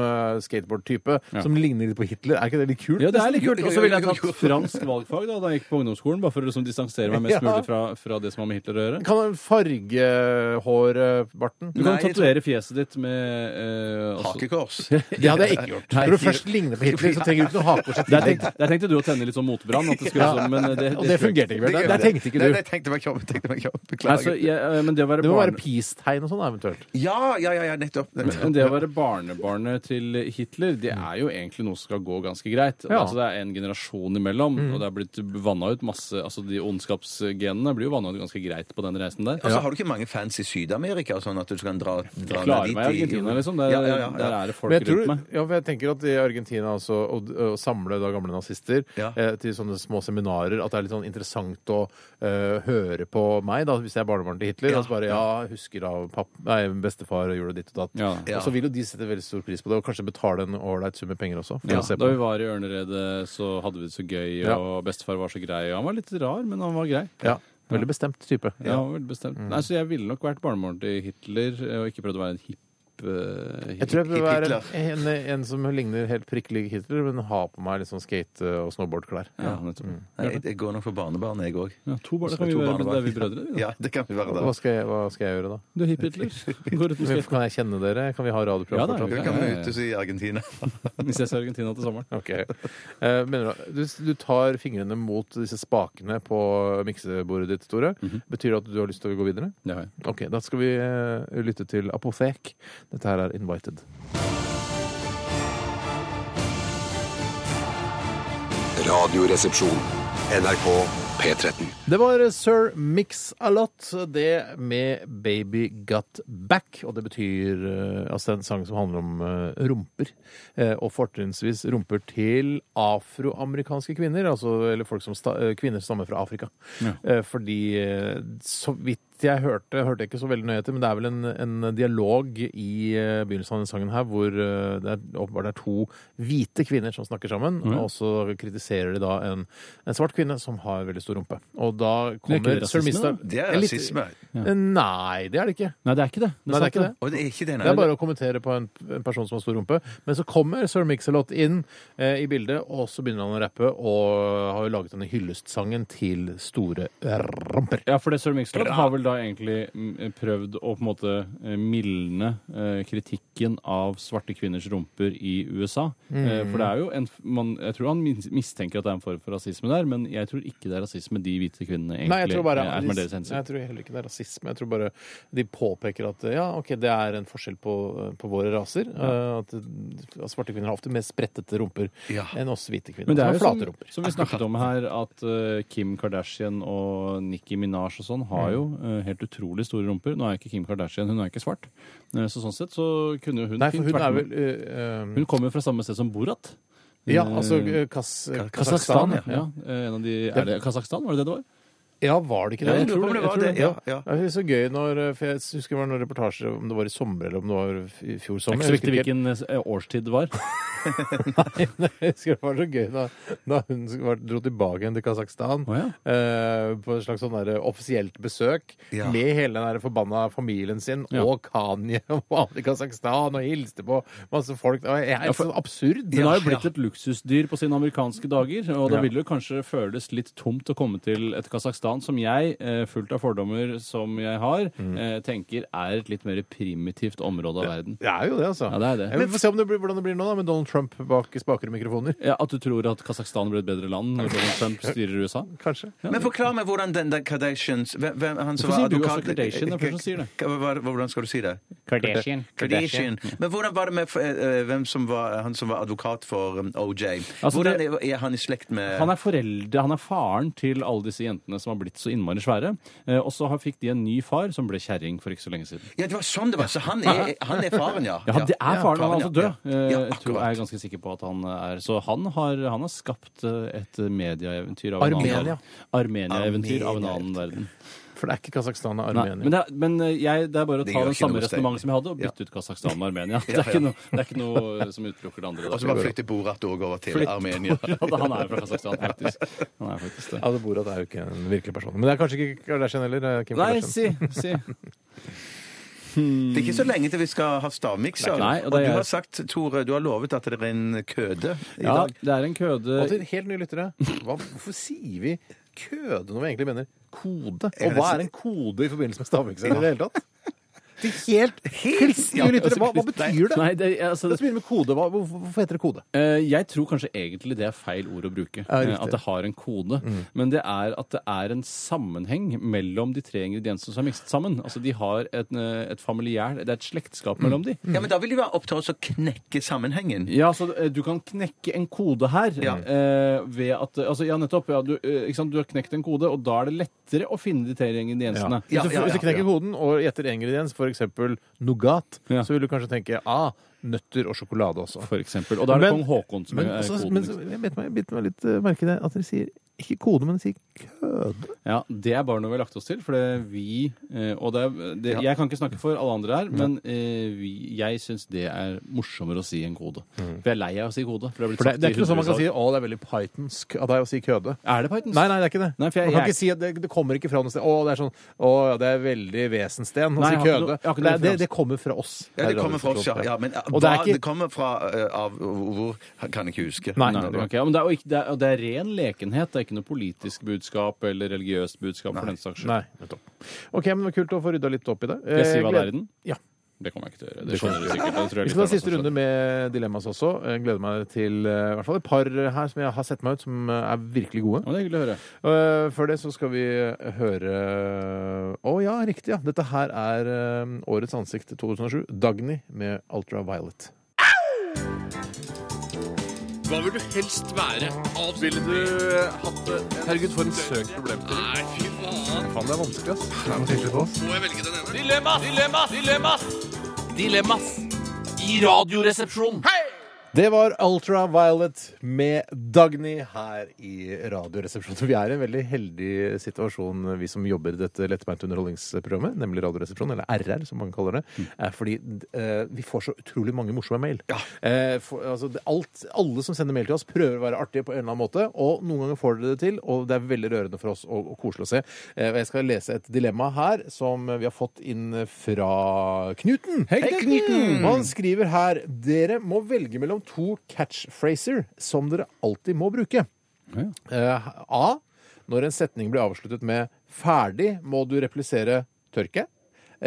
D: skibum-skateboard-type som ligner litt på Hitler. Er ikke det litt kult?
G: Ja, det er litt kult.
E: Jo, jo,
G: Og så ville jeg
E: jo, jo, jo.
G: tatt fransk valgfag da, da jeg gikk på ungdomsskolen, bare for å liksom distansere meg mest
D: Ja.
G: mulig fra, fra det som har med Hitler å gjøre.
D: Kan man farge hårbarten?
G: Du kan
E: Nei, jeg
G: tatovere fjeset ditt med eh, altså-
E: Hakekors.
D: Det hadde jeg ikke gjort. Når du først ligner på Hitler, så trenger du ikke noe hakekors i
G: Der
D: tillegg.
G: tenkte, der tenkte du å tenne litt sånn motbrann. At det skulle,
D: Ja.
G: sånn, men det,
D: Og det fungerte ikke. vel? Der, der tenkte ikke
E: Nei,
D: du.
E: nei, jeg tenkte meg ikke om. jeg tenkte meg ikke om.
G: Nei, så
E: Beklager.
G: jeg, eh, men det å være,
D: Det må være
G: barne-
D: peace-tegn og sånn eventuelt.
E: Ja, ja, ja, ja, nettopp.
G: men
E: nettopp.
G: det å være barnebarnet til Hitler, det er jo egentlig noe som skal gå ganske greit.
D: Ja. Mm.
G: Altså, det er en generasjon imellom, og det er blitt vanna ut masse Altså, de ondskapsgenene blir jo vanna ut ganske greit på den reisen
D: Altså,
G: der.
E: Og så Altså, har du ikke mange fans i Syd-Amerika, sånn at du kan dra, dra
G: Jeg klarer meg i Argentina, liksom. Der,
E: Ja, ja, ja, ja.
G: der er det folk
D: Men jeg, tror,
G: rundt meg.
D: ja, for jeg tenker at i Argentina altså, å, å samle da gamle nazister
E: Ja.
D: eh, til sånne små seminarer, at det er litt sånn interessant å eh, høre på meg da, hvis jeg er barnebarn til Hitler.
E: Ja,
D: og så bare, ja, husker av papp, nei, bestefar og gjorde ditt og datt.
G: Ja.
E: Ja.
D: Og så vil jo de sette veldig stor pris på det, og kanskje betale en ålreit sum med penger også. for
G: Ja,
D: å se
G: da
D: på.
G: vi var i Ørneredet, så hadde vi det så gøy,
D: Ja.
G: og bestefar var så grei. Og han var litt rar, men han var grei.
D: Ja, veldig bestemt type.
G: Ja, vel bestemt. Nei, så jeg ville nok vært barnebarn til Hitler, og ikke prøvd å være en hipp eh,
D: Jeg tror jeg bør
E: Hip-
D: være en, en, en som ligner helt prikkelig Hitler, men ha på meg litt sånn skate- og snowboardklær.
G: Ja, nettopp.
E: Nei, jeg, jeg går nok for barnebarn, jeg òg.
G: Ja, to barn, da kan
E: To
G: vi være
E: barnebarn.
G: det er vi brødre. vi, da.
E: Ja, det kan vi være da.
D: Hva skal, jeg, hva skal jeg gjøre da?
G: Du er hipp Hitler. Går ut med skrekken.
D: Kan jeg kjenne dere? Kan vi ha
G: Ja,
D: radioprogram
G: da,
D: fortsatt?
E: Vi kan møtes i Argentina.
G: Vi ses i Argentina til sommeren.
D: Ok. Eh, mener du, du, du tar fingrene mot disse spakene på miksebordet ditt, Tore. Betyr det at du har lyst til å gå videre?
G: Det har jeg.
D: Ok, da skal vi eh, lytte til Apothek. Dette her er Invited.
H: Radioresepsjon. NRK P13.
D: Det var eh, Sir Mix-a-Lot, det med Baby Got Back. Og det betyr eh, altså det er en sang som handler om eh, rumper. eh, Og fortrinnsvis rumper til afroamerikanske kvinner, altså, eller folk som sta eh, kvinner som stammer fra Afrika. Eh, Fordi eh, så vidt jeg hørte, hørte jeg ikke så veldig nøye etter, men det er vel en, en dialog i eh, begynnelsen av den sangen her hvor eh, det er åpenbart det er to hvite kvinner som snakker sammen,
G: Mm.
D: og så kritiserer de da en, en svart kvinne som har veldig stor rumpe. Og da
G: ikke
D: kommer
G: det
D: Sir
G: rasisme,
D: Mista
G: da?
E: Det er
D: En litt- Eh,
E: rasisme.
D: Nei, det er det ikke.
G: Nei, det er ikke det.
D: Nei, det er ikke det.
E: Og det er ikke det,
D: Det
E: nei.
D: er bare å kommentere på en, en person som har stor rumpe. Men så kommer Sir Mix-a-Lot inn eh, i bildet, og så begynner han å rappe, og har jo laget denne hyllestsangen til store rumper.
G: Ja, for det Sir Mix-a-Lot har vel da egentlig mm, prøvd å på en måte eh, mildne eh, kritikken av svarte kvinners rumper i USA. Eh, for det er jo en f- man, Jeg tror han mis- mistenker at det er en form for rasisme der, men jeg tror ikke det er rasisme de hvite kvinnene egentlig
D: Nei, jeg tror bare
G: eh, er med deres
D: Jeg
G: hensikt.
D: tror heller ikke det er rasisme. Jeg tror bare de påpeker at ja, ok, det er en forskjell på, på våre raser. eh, At, at svarte kvinner har ofte mer sprettete rumper
E: Ja.
D: enn oss hvite kvinner.
G: Men det er jo
D: som har
G: sånn som,
D: flate rumper.
G: som vi snakket om her, at eh, Kim Kardashian og Nicki Minaj og sånn
D: Mm.
G: har jo eh, helt utrolig store rumper. Nå er jo ikke Kim Kardashian, hun er jo ikke svart. Eh, så sånn sett så kunne jo hun
D: Nei, for
G: fint
D: hun er
G: vært med-
D: vel eh, eh,
G: Hun kommer jo fra samme sted som Borat.
D: Ja, altså eh, Kas-
G: Kasakhstan,
D: Kasakhstan.
G: ja. ja. Eh, En av de, er det Kasakhstan, var det det det var?
D: Ja, var det ikke det?
E: Ja, jeg lurer på om det var det.
D: Ja,
E: Ja, ja.
D: Det er så gøy når eh, For jeg husker det var noen reportasjer om det var i sommer eller om det var i fjor
G: Det
D: sommer.
G: er ikke så
D: Jeg
G: viktig
D: husker ikke helt.
G: hvilken eh, årstid det var.
D: Nei, jeg husker det var så gøy da, da hun var, dro tilbake igjen til Kasakhstan.
G: Å, ja.
D: eh, på et slags sånn der offisielt besøk
E: Ja.
D: med hele den der forbanna familien sin
G: Ja.
D: og Kanye og alle i Kasakhstan og hilste på masse folk. Det var helt
G: Ja, for-
D: sånn absurd.
G: Hun har jo blitt et luksusdyr på sine amerikanske dager, og da vil det jo kanskje føles litt tomt å komme til et Kasakhstan som jeg, eh, fullt av fordommer som jeg har, eh, tenker er et litt mer primitivt område av verden.
D: Det er jo det, altså.
G: Ja, det er det.
D: Jeg vil få se om det blir, hvordan det blir nå, da, med Donald Trump bak spaker og mikrofoner.
G: Ja, at du tror at Kasakhstan blir et bedre land når Donald Trump styrer USA?
D: Kanskje.
E: Men forklar meg hvordan den der Kardashians hvem, hvem, han
G: Hvorfor
E: som var
G: sier du
E: advokat-
G: også Kardashian? Det er første som sier det.
E: Hva- hva- Hvordan skal du si det?
G: Kardashian.
E: Kardashian. Men hvordan var det med eh, hvem som var, han som var advokat for um, OJ?
G: Altså,
E: Hvordan
G: det-
E: er, er han i slekt med
G: Han er foreldre, han er faren til alle disse jentene som har blitt så innmari svære. Eh, og så har- fikk de en ny far som ble kjerring for ikke så lenge siden.
E: Ja, det var sånn det var. Så han er, han er faren, ja.
G: Ja, det er faren. Han er
E: ja.
G: altså død.
E: Ja,
G: Eh,
E: ja
G: jeg tror jeg er
E: akkurat.
G: ganske sikker på at han er Så han har, han har skapt eh, et medieeventyr av
D: Armenia.
G: en annen Armenia-eventyr av en annen verden.
D: For det er ikke Kasakhstan og
G: Nei, men
D: Armenia.
G: det, er- men eh, jeg, det er bare å
E: Det
G: ta
E: gjør
G: den
E: ikke noe
G: samme
E: hos deg.
G: resonnementet som jeg hadde, og bytte ut Kasakhstan og Armenia. Det er ikke noe, det er ikke noe eh, som utelukker det andre.
E: Og så bare flytter Borat òg over til Armenia.
G: Ja, han er jo fra Kasakhstan, faktisk. Han er faktisk det.
D: Ja, det Borat er jo ikke en virkelig person. Men det er kanskje ikke Kardashian heller. eh, Kim
G: Nei,
D: Kardashian.
G: si, si.
E: Det er ikke så lenge til vi skal ha stavmikser.
G: Nei, og det
E: og du
G: er-
E: har sagt, Tore, du har lovet at det er en køde i
G: Ja,
E: dag.
G: det er en køde
D: Og til helt nye lyttere, hva, hvorfor sier vi køde når vi egentlig mener kode? Og hva er en kode i forbindelse med stavmikseren i det hele tatt? Til helt, helt nye lyttere, hva, hva betyr det?
G: Nei, det, altså,
D: La oss begynne med kode. Hva, hvor- hvorfor heter det kode?
G: Eh, Jeg tror kanskje egentlig det er feil ord å bruke.
D: Ja,
G: Eh,
D: riktig. Mm.
G: At det har en kode. Men det er at det er en sammenheng mellom de tre ingrediensene som er mikset sammen. Altså de har et, eh, et familiær Det er et
D: Mm.
G: slektskap mellom de.
E: Ja, men da vil det være opp til oss å knekke sammenhengen.
G: Ja, så eh, du kan knekke en kode her
E: Ja.
G: eh, ved at Altså, ja, nettopp. Ja, du, eh, ikke sant? du har knekt en kode, og da er det lettere å finne de tre ingrediensene.
E: Ja,
D: hvis, du,
E: ja,
D: hvis du
E: ja,
D: knekker koden og gjetter én ingrediens, f.eks. nougat,
G: Ja.
D: så vil du kanskje tenke ah, nøtter og sjokolade også.
G: For eksempel. Og da er det
D: Men-
G: kong Haakon som
D: Men,
G: er
D: altså,
G: koden. liksom-
D: men
G: ikke
D: så-
G: sant?
D: jeg bet meg, bet meg litt eh, merke i det at dere sier ikke kode, men dere sier køde.
G: Ja, Det er bare noe vi har lagt oss til, for det vi eh, Og det, er- det, jeg kan ikke snakke for alle andre her, men eh, vi, jeg syns det er morsommere å si enn kode. For jeg er lei av å si kode. For det, er
D: Mm.
G: blitt
D: For det,
G: sagt
D: det er
G: i
D: ikke noe som man kan si
G: hundrevis av år.
D: å, det er veldig pythonsk av deg å si køde.
G: Er det Pythons?
D: Nei, nei, det er ikke det.
G: Nei, for jeg-
D: man kan
G: jeg-
D: ikke si at det, det kommer ikke fra noe sted. Å, det er sånn Å, ja, det er veldig vesensten å si
G: Nei, jeg har ikke noe-
D: køde.
G: jeg har ikke
D: det, er-
G: noe
D: det,
G: referanse.
D: det kommer fra oss.
E: Ja,
D: Her
E: det
D: i
E: kommer fra oss, ja.
D: Radioresepsjonen.
E: ja men
D: Og det
E: hva
D: er
E: det
D: ikke
E: kommer fra eh, av hvor, kan jeg ikke huske.
D: Nei,
G: Nei, det kan ikke jeg. Men det er, jo ikke, det, er, og det er ren lekenhet. Det er ikke noe politisk budskap eller religiøst budskap for den saks skyld.
D: Nei, nettopp. OK, men det var kult å få rydda litt opp i det.
G: Skal jeg si
D: Eh,
G: hva det
D: gled-
G: er i den?
D: Ja.
G: Det kommer jeg ikke til å gjøre. Det skjønner du sikkert.
D: Vi
G: Det tror jeg litt
D: skal ta
G: av meg
D: siste
G: som
D: runde med dilemmas også. Jeg gleder meg til eh, i hvert fall et par her som jeg har sett meg ut, som eh, er virkelig gode.
G: skjønner. Ja, men det er hyggelig å høre.
D: Eh, Før det så skal vi eh, høre eh, Å ja, riktig. ja. Dette her er eh, Årets ansikt 2007. Dagny med Ultraviolet.
I: Hva vil du helst være? Ville du eh, hatt det? Herregud, for en søk problemstilling. Nei, fy faen. Faen, det er vanskelig, ass. Må jeg velge den ene? Dilemmas! Dilemmas! Dilemmas! Dilemmas i radioresepsjonen.
D: Det var Ultraviolet med Dagny her i Radioresepsjonen. Vi er i en veldig heldig situasjon, vi som jobber i dette lettbeinte underholdningsprogrammet, nemlig Radioresepsjonen, eller RR, som mange kaller det. er Fordi eh, vi får så utrolig mange morsomme mail. Eh, for, altså, det, alt, alle som sender mail til oss, prøver å være artige på en eller annen måte, og noen ganger får dere det til, og det er veldig rørende for oss og, og koselig å se. Eh, og jeg skal lese et dilemma her som vi har fått inn fra Knuten. Hei, Knuten! Han skriver her Dere må velge mellom to catchphraser som dere alltid må bruke. Eh, A. Når en setning blir avsluttet med 'ferdig', må du replisere 'tørke'.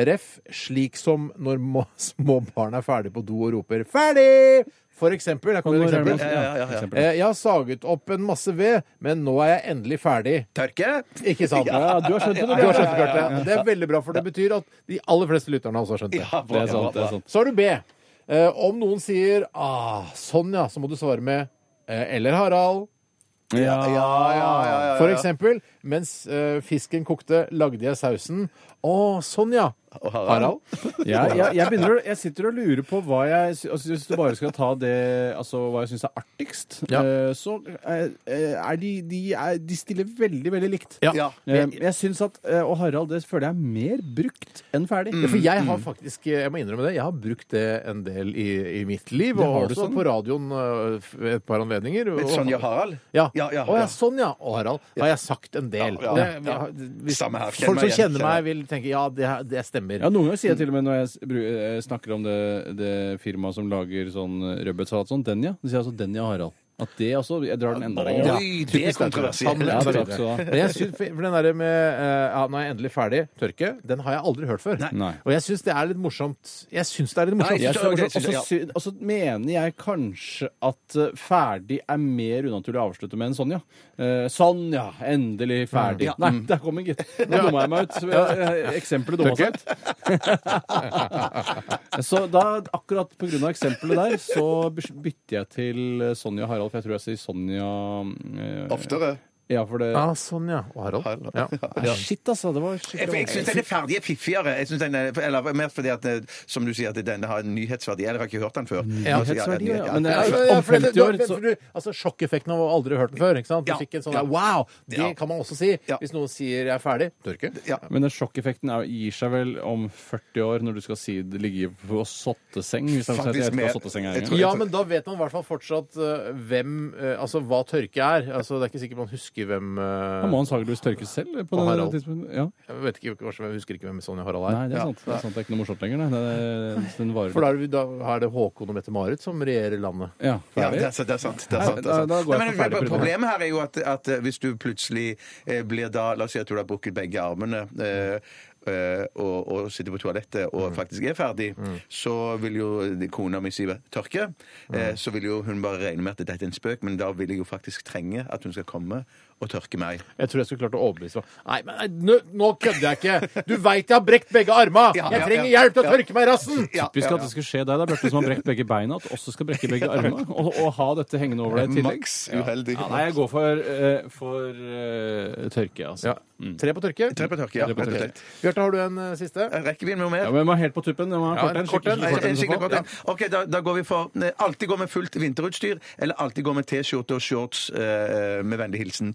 D: Ref. slik som når må, små barn er ferdig på do og roper 'ferdig'! For eksempel. Her kommer et eksempel.
E: Ja, ja, ja, ja.
D: Eh, Jeg har saget opp en masse ved, men nå er jeg endelig ferdig.
E: Tørke?
D: Ikke sant?
G: Ja, du har skjønt det, du.
D: Du har skjønt det, Bjarte. Det er veldig bra, for det betyr at de aller fleste lytterne også har skjønt det.
E: Ja,
G: Det
E: bra,
G: er sant. det
E: bra,
G: er sant.
D: Så har du B. Eh, om noen sier ah, 'sånn, ja', så må du svare med eh, 'eller Harald'.
G: Ja,
D: For eksempel, mens eh, fisken kokte, lagde jeg sausen. Å, sånn ja! Harald?
G: jeg, jeg, jeg, begynner, å- jeg sitter og lurer på hva jeg sy- altså, Hvis du bare skal ta det Altså hva jeg syns er artigst,
D: Ja.
G: eh, så eh, er de de, er, de stiller veldig, veldig likt.
D: Ja.
E: Ja.
G: Eh, Jeg syns at eh, Og Harald, det føler jeg er mer brukt enn ferdig.
D: Mm. For jeg har faktisk, jeg må innrømme det, jeg har brukt det en del i, i mitt liv, og
G: har
D: har
G: du
D: også
G: sånn.
D: på radioen eh, f- ved et par anledninger.
E: Men
D: og-
E: sånn ja, Harald?
D: Ja.
E: Ja, ja,
D: Å, ja,
E: ja.
D: sånn ja, og Harald, har jeg sagt en del.
E: Ja, ja,
D: Det- vi
E: ja.
D: har- hvis-
E: Samme her, kjenner
D: Folk som
E: meg igjen,
D: kjenner
E: kjenner
D: meg, vil tenke ja, det, her- det stemmer.
G: Ja, Noen ganger sier jeg til og med når jeg s- bru- eh, snakker om det, det firmaet som lager sånn rødbetsalat, sånn Denja. Så sier jeg altså Denja Harald. At det også Jeg drar den enda lenger. da.
E: Oi, det er kontroversielt.
G: Ja, takk skal du ha.
D: Men jeg synes, for den der med eh, ja, 'nå er jeg endelig ferdig', tørke, den har jeg aldri hørt før.
G: Nei.
D: Og jeg syns det er litt morsomt. Jeg syns det er litt morsomt.
E: Nei, jeg
G: Jeg
E: synes
G: skjønner,
E: det-
G: og så sy- og så mener jeg kanskje at eh, ferdig er mer unaturlig å avslutte med enn sånn, ja. Eh, Sånn, ja. Endelig ferdig. Nei,
E: Mm.
G: der kom den, gitt. Nå dumma jeg meg ut. Eh, Eksempelet dumma seg ut. Så da, akkurat på grunn av eksempelet der, så bytter jeg til Sonja Harald, for jeg tror jeg sier Sonja eh,
E: Oftere.
G: Ja, for det
E: Ah.
D: Ja, sånn, ja. Og Harald. Ja.
G: Nei, Shit, altså. Det var
E: Jeg,
G: skikkelig
E: jeg syns den er ferdig fiffigere. Jeg synes den er, eller mer fordi at, eh, som du sier, at denne har en nyhetsverdi. Eller jeg har ikke hørt den før.
G: Mm. Nyhetsverdi, ja. Men
D: Ja,
G: det er-
D: ja, om for det- 50 år du- så for du- Altså Sjokkeffekten av å aldri hørt den før. ikke sant? Du
E: Ja.
D: fikk en sånn
E: Ja.
D: der, wow! Det
E: Ja.
D: kan man også si
E: Ja.
D: hvis noen sier 'jeg er ferdig'. Tør ikke.
E: Ja.
G: Men den sjokkeffekten er, gir seg vel om 40 år, når du skal si det ligger på sotteseng? Hvis jeg,
E: Faktisk
G: jeg vet ikke
E: mer.
G: hva sotteseng er.
E: Jeg
G: engang.
E: tror-
D: Ja, men da vet man i hvert fall fortsatt eh, hvem eh, Altså hva tørke er. Altså Det er ikke sikkert man husker hvem
G: Da
D: eh,
G: må antakeligvis tørkes selv. på
D: Og
G: det
D: Harald.
G: tidspunktet. Ja.
D: Jeg vet ikke, kanskje, jeg husker ikke hvem Sonja Harald er.
G: Nei, det er sant. Det er sant. Det er ikke noe morsomt lenger. nei. Det er, den varer
D: For da er, det, da er det Håkon og Mette-Marit som regjerer landet.
G: Ja, ferdig.
E: Ja, det er, sant, det er sant. Det er sant, det
G: Da-
E: er sant.
G: da går jeg
E: Nei,
G: for ferdig på
E: men,
G: det.
E: problemet her er jo at, at eh, hvis du plutselig eh, blir da La oss si at du har brukket begge armene. eh, eh, og, og sitter på toalettet og
G: Mm.
E: faktisk er ferdig, så vil jo de- kona mi si tørke.
G: Mm.
E: eh, Så vil jo hun bare regne med at dette er en spøk, men da vil jeg jo faktisk trenge at hun skal komme og tørke meg.
D: Jeg tror jeg skulle klart å overbevise meg. Nei, men nei, nå, nå kødder jeg ikke! Du veit jeg har brekt begge arma!
E: Ja,
D: Jeg
E: ja,
D: trenger
E: ja.
D: hjelp til å tørke meg i rassen!
E: Ja,
G: Typisk
E: ja,
G: at
E: ja.
G: det skulle skje deg, da, Bjarte, som har brekt begge beina, at også skal brekke begge armene. Og, og ha dette hengende over deg i tillegg.
E: Maks uheldig.
G: Ja, nei, jeg går for, eh, for eh, tørke, altså.
D: Ja. Tre på tørke.
E: Tre på tørke, ja.
D: Tre på
E: rett og
D: tørke.
E: slett.
D: Bjarte, har du en eh, siste?
E: Eh, Rekker vi noe mer?
G: Ja, men jeg må helt på tuppen. Jeg må ha
D: Ja,
G: kort en,
D: kort en.
G: skikkelig kort en.
E: En
G: i så
E: skikkelig
G: fall.
E: kort en. Ok, da, da går vi for ne, alltid gå med fullt vinterutstyr, eller alltid gå med T-skjorte og shorts eh, med vennlig hilsen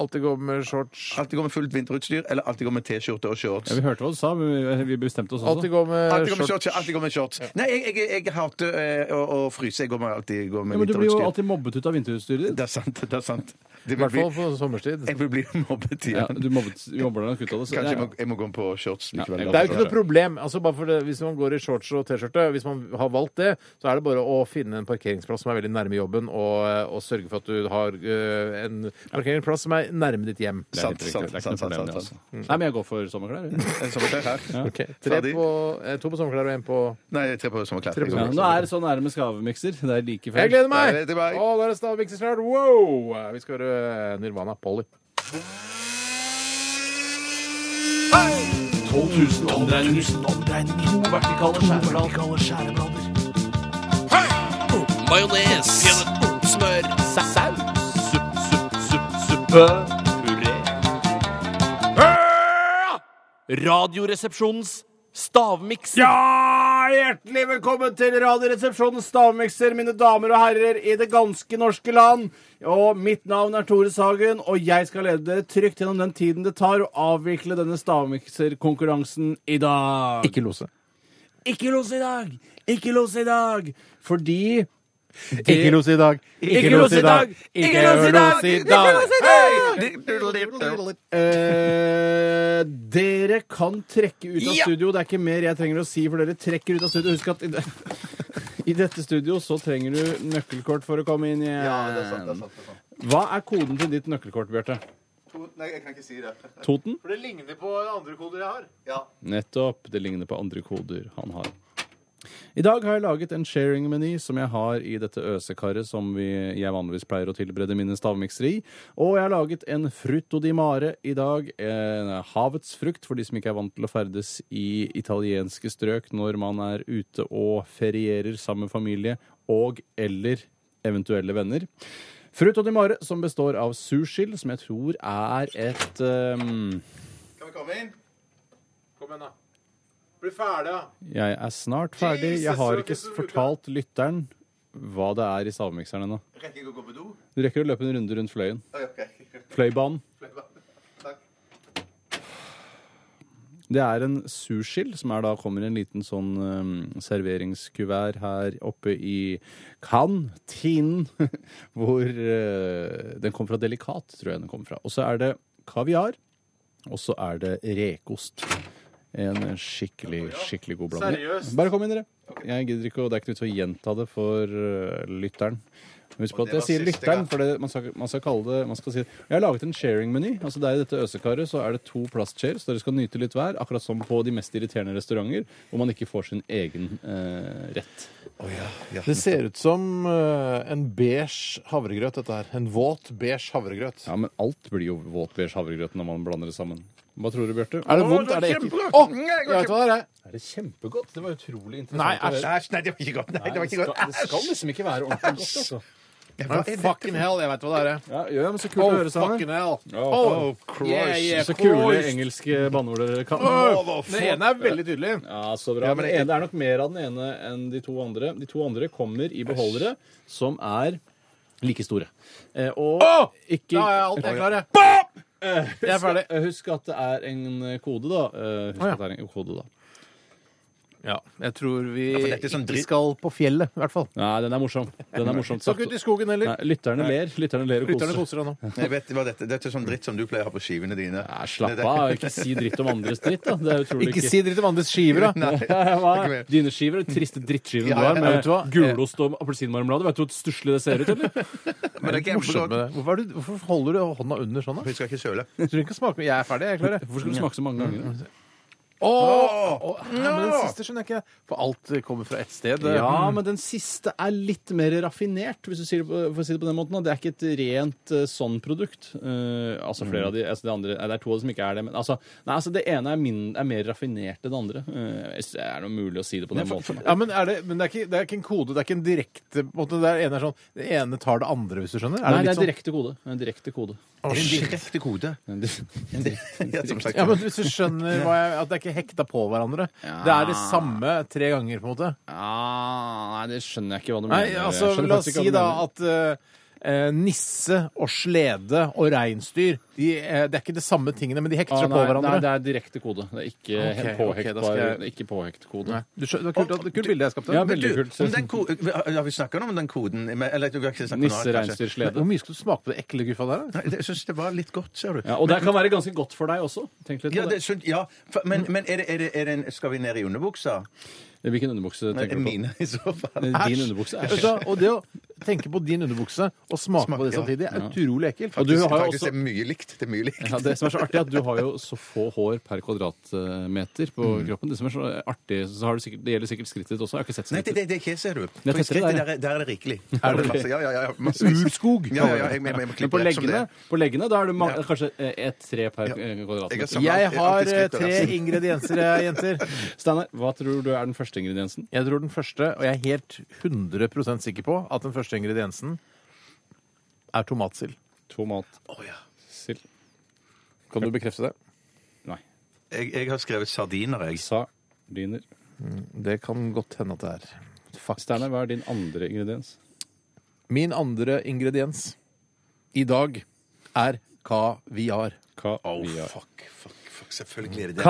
D: Alltid gå med shorts.
E: Alltid gå med fullt vinterutstyr, eller alltid gå med T-skjorte og shorts.
G: Ja, vi hørte hva du sa, men vi bestemte oss
D: Alltid
G: også.
D: gå med
E: Alltid gå med
D: shorts.
E: shorts, ja, alltid gå med shorts. Nei, jeg, jeg, jeg hater eh, å, å fryse. Jeg går med, alltid går med
G: Ja, men du blir jo
E: vinterutstyr.
G: alltid mobbet ut av vinterutstyret ditt.
E: Det er sant. det er sant.
D: I
E: Det vil
D: hvert
E: bli,
D: fall på sommerstid.
E: jeg vil bli mobbet
G: Ja,
E: igjen.
G: du mobbet, vi mobber deg nok ut av det. Så,
E: Kanskje jeg
G: ja,
E: må, jeg må gå på shorts likevel.
G: Ja,
D: Det er jo ikke noe problem. altså bare for det, Hvis man går i shorts og T-skjorte, hvis man har valgt det, så er det bare å finne en parkeringsplass som er veldig nærme jobben, og, eh, og sørge for at du har øh, en parkeringsplass som er nærme ditt hjem.
G: det er helt
E: Sant,
G: riktig.
E: sant,
G: Det er ikke noe
E: sant, sant,
G: problem, det,
E: sant.
G: altså. Nei, men jeg går for sommerklær. jeg.
E: En sommerklær her.
D: Ok, Tre
E: Ferdig.
D: på, eh, to på sommerklær og én på
E: Nei, tre på sommerklær.
D: Tre på
G: Ja,
E: Jeg går med
G: nå er det så nærme skavemikser. Det er like
D: Jeg
G: feil.
D: gleder meg!
E: Jeg gleder meg.
D: Å, nå er det stavmikser snart. Wow! Vi skal høre eh, Nirvana Polly.
I: 12 000 omdreininger. To vertikale skjæreblader. Majones. Smør. Saus. Supp, supp, supp, suppe. Puré. Radioresepsjonens stavmiks.
G: Ja, hjertelig velkommen til Radioresepsjonens stavmikser, mine damer og herrer i det ganske norske land. Og mitt navn er Tore Sagen, og jeg skal lede dere trygt gjennom den tiden det tar å avvikle denne stavmikserkonkurransen i dag.
D: Ikke lose.
G: Ikke los i dag! Ikke los i dag! Fordi
D: Ikke lose i dag.
G: Ikke lose i dag. Ikke lose i dag. Ikke lose i dag. Eh, dere kan trekke ut av studio. Det er ikke mer jeg trenger å si, for dere trekker ut av studio. Husk at i, de i dette studio så trenger du nøkkelkort for å komme inn igjen. Hva er koden til ditt nøkkelkort, Bjarte?
E: Nei, jeg kan ikke si det.
G: Toten?
D: For det ligner på andre koder jeg har.
G: Nettopp. Det ligner på andre koder han har. I dag har jeg laget en sharing-meny som jeg har i dette øsekaret som vi, jeg vanligvis pleier å tilberede mine stavmikser i. Og jeg har laget en frutto di mare i dag. En havets frukt for de som ikke er vant til å ferdes i italienske strøk når man er ute og ferierer sammen med familie og eller eventuelle venner. Frutto di mare som består av sursild, som jeg tror er et ehm,
E: Kan vi komme inn?
D: Kom igjen, da. Bli ferdig, da.
G: Jeg er snart ferdig.
D: Jesus,
G: Jeg har
D: så
G: ikke
D: det som
G: fortalt lytteren hva det er i stavmikseren ennå.
E: Rekker ikke å gå på do?
G: Du rekker å løpe en runde rundt fløyen.
E: Ok.
G: Fløibanen.
E: Takk.
G: Det er en sursild, som er da kommer i en liten sånn eh, serveringskuvert her oppe i kantinen, hvor eh, den kom fra Delikat, tror jeg den kom fra. Og så er det kaviar, og så er det rekeost. En skikkelig, skikkelig god blanding.
D: Seriøst?
G: Bare kom inn, dere. Jeg gidder ikke, og det er ikke noe vits å gjenta det for eh, lytteren. Men Husk på at
E: det
G: jeg sier
E: var siste
G: lytteren,
E: gang.
G: for det, man, skal, man skal kalle det man skal si, Jeg har laget en sharing-meny. Altså der I dette øsekaret så er det to plastskjeer, så dere skal nyte litt hver. Akkurat som på de mest irriterende restauranter, hvor man ikke får sin egen eh, rett.
D: Det ser ut som eh, en beige havregrøt, dette her. En våt beige havregrøt.
G: Ja, men alt blir jo våt beige havregrøt når man blander det sammen. Hva tror du, Bjarte?
D: Er det vondt? Er det ekkelt? Å, jeg vet hva det er.
G: Er det kjempegodt? Det var
D: Nei,
G: utrolig interessant. å høre.
E: Æsj, nei, det var ikke godt. Nei, det var ikke godt.
G: skal liksom ikke være ordentlig godt, altså.
D: fucking hell, jeg veit hva det er.
I: Ja, ja, men så kult å høre, Sander.
D: hell.
G: Oh,
D: Yeah, yeah,
G: Så kule
D: Christ.
G: engelske banneord dere kan.
D: Den ene er veldig tydelig.
G: Ja, så bra.
D: Ja, men
G: men
D: jeg-
G: det er nok mer av den ene enn de to andre. De to andre kommer i beholdere som er like store. Eh, og
D: Åh!
G: ikke
D: Da er alt jeg klar, jeg. Jeg er ferdig.
G: Eh, Husk at det er en kode, da. Eh, Husk
D: Å, ja.
G: at det er en kode, da.
D: Ja, jeg tror vi
E: for dette er sånn dritt.
D: ikke skal på fjellet, i hvert fall.
G: Nei, den er morsom. Den er morsomt
D: Skal
G: sagt.
D: ikke ut i skogen heller.
G: Nei, lytterne ler. Lytterne ler og
D: Lytterne
G: koser.
D: koser seg nå.
E: Jeg vet hva dette, dette er sånn dritt som du pleier å ha på skivene dine.
G: Nei, slapp av. Ikke si dritt om andres dritt, da. Det er utrolig
D: Ikke si dritt om andres skiver, da.
E: Nei.
G: Hva?
E: Ikke mer.
G: Dine skiver, de triste drittskivene
E: Ja,
G: du har
E: ja,
D: vet
G: med
D: du hva?
G: gulost og appelsinmarmelade. Vet du hvor stusslig det ser ut, eller?
E: Men det er ikke
D: Morsomt med det. Hvorfor, er du, hvorfor holder du hånda under sånn, da?
E: Vi skal ikke søle.
D: Du trenger ikke å smake Jeg er ferdig, jeg er klar. jeg.
G: Hvorfor skal du smake så mange ganger?
D: Åh! Åh, hæ, Men den siste skjønner jeg ikke. For alt kommer fra ett sted. Mm.
G: Ja, men den siste er litt mer raffinert, hvis du sier det på, for å si det på den måten. da. Det er ikke et rent eh, sånn produkt. Eh, altså flere av de, altså det, andre, nei, det er to av dem som ikke er det, men altså, nei, altså det ene er, min, er mer raffinert enn det andre. Eh, hvis det er noe mulig å si det på den måten.
D: Ja, men, er det, men det, er ikke, det er ikke en kode, det er ikke en direkte på en måte, det, er ene er sånn, det ene tar det andre, hvis du skjønner?
G: Nei, det sånn-
D: litt sånn-
G: er direkte kode. Det er En direkte kode.
E: En direkte kode.
G: En di-
E: Ja, som sagt.
D: Sånn, ja, men Hvis du skjønner hva jeg, at det er ikke hekta på hverandre. Det er det samme tre ganger, på en måte.
G: Ah, nei, det skjønner jeg ikke hva du
D: Nei,
G: mener. Jeg
D: altså,
G: skjønner
D: La oss
G: faktisk
D: si
G: ikke hva du
D: da
G: mener.
D: at eh, nisse og slede og reinsdyr de, eh, Det er ikke de samme tingene, men de hekter
G: Ah,
D: seg
G: nei,
D: på hverandre.
G: nei, det er direkte kode. Det er ikke
D: Ok,
G: okay,
D: ok, da skal jeg-
G: ikke påhektskode.
D: Nei. Du skjø- det var kult, at- kult bilde jeg skapte.
G: Ja,
D: Men
G: veldig
D: du-
G: kult.
E: Om den ko har vi snakka om den koden? Eller, vi har ikke snakket om den,
G: Nisse,
E: kanskje.
G: reinsdyr, slede.
D: Hvor mye skal du smake på det ekle guffa der? da?
E: Nei, det- Jeg syns det var litt godt, ser du.
G: Ja, og det kan være ganske godt for deg også. Tenk litt
E: Ja,
G: på det.
E: det, er sunt, ja. For, men men er det, er det, er det en, skal vi ned i underbuksa?
G: Hvilken underbukse
E: Nei,
G: tenker du på?
E: Mine, i så fall.
G: Eh, Din underbukse er
D: Vet du hva, Og det å tenke på din underbukse og smake på det samtidig, er utrolig ekkelt.
G: Og du har jo
E: Faktisk
G: også
E: er det mye likt. Det er mye likt.
G: ja, Det som er så artig, er at du har jo så få hår per kvadratmeter på
E: Mm.
G: kroppen. Det som er så artig, så har du sikkert, det gjelder sikkert skrittet ditt også. Jeg har ikke sett
E: Nei,
G: skrittet.
E: det, det, det er ikke jeg, ser du.
G: er
E: For i
G: tettere der,
E: skrittet der, er- der er det rikelig. Er det masse, ja, ja, ja, massevis.
D: Urskog!
E: Ja, ja, ja, jeg, jeg, jeg må
G: Men
E: klippe
G: på
E: rett som det
G: leggene,
E: er.
G: på leggene da er det mange, kanskje eh, et tre per
E: Ja.
G: eh,
E: Jeg har
G: kvadratmeter.
E: samlet-
D: Jeg
E: alltid
D: har eh,
E: skritt og
D: tre
E: resten.
D: ingredienser, jeg, jenter.
G: Steinar, hva tror du er den første ingrediensen?
D: Jeg tror den første, og jeg er helt 100 sikker på at den første ingrediensen er tomatsild.
G: Tomat.
E: Å, ja.
G: Sild.
D: Kan du bekrefte det?
G: Nei.
E: jeg, jeg har skrevet sardiner, jeg.
G: Sardiner.
D: Det kan godt hende at det er. Fuck.
G: Steinar, hva er din andre ingrediens?
D: Min andre ingrediens i dag er kaviar.
G: Kaviar.
E: Fuck, fuck, fuck. Selvfølgelig er det det.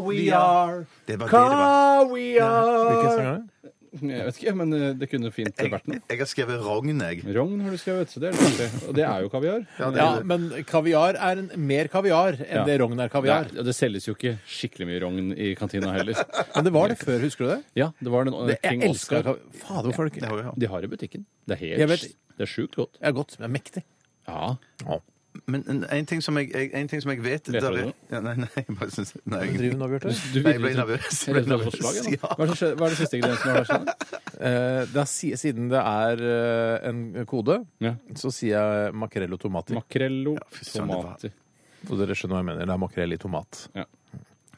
G: Kaviar.
E: Det var det det var.
D: Hvilken
G: Kaviar.
D: sang er det?
G: Jeg vet ikke, men eh, det kunne fint vært noe.
E: Jeg, jeg har skrevet rogn, jeg.
G: Rogn har du skrevet, så det er det første. Og det er jo kaviar.
D: Ja, men kaviar er en, mer kaviar enn
G: Ja.
D: det rogn er kaviar.
G: Det, er- det selges jo ikke skikkelig mye rogn i kantina heller.
D: Men det var det før, husker du det?
G: Ja, det var den
D: det
G: King
D: jeg elsker
G: Oscar.
D: kaviar. Fader, hvorfor er det
E: Det
D: ikke
E: har jeg, ja.
G: De har i butikken. Det er
D: Jeg
G: helt
D: vet-
G: Det er sjukt godt.
D: Det er godt, men det er mektig.
G: Ja.
E: Men en- en ting som jeg, jeg, en ting som jeg vet
G: Leter
E: der
G: du
E: er-
G: nå?
E: ja, Nei, nei, jeg bare syns Nei,
D: Hva
E: jeg-
D: driver du nå, Bjarte?
G: Du
E: Nei, jeg ble nervøs. Jeg
G: Rett
E: ble
G: og slett for slaget,
E: nervøs.
G: da. Hva er det som skje- hva er det siste ingrediensen du har der? Steinar?
D: Eh, det er, si- siden det er eh, en kode,
G: Ja.
D: så sier jeg makrell og tomater.
G: Makrello,
E: fy søren, det var-
G: tomater.
D: Og dere skjønner hva jeg mener. Det er makrell i tomat.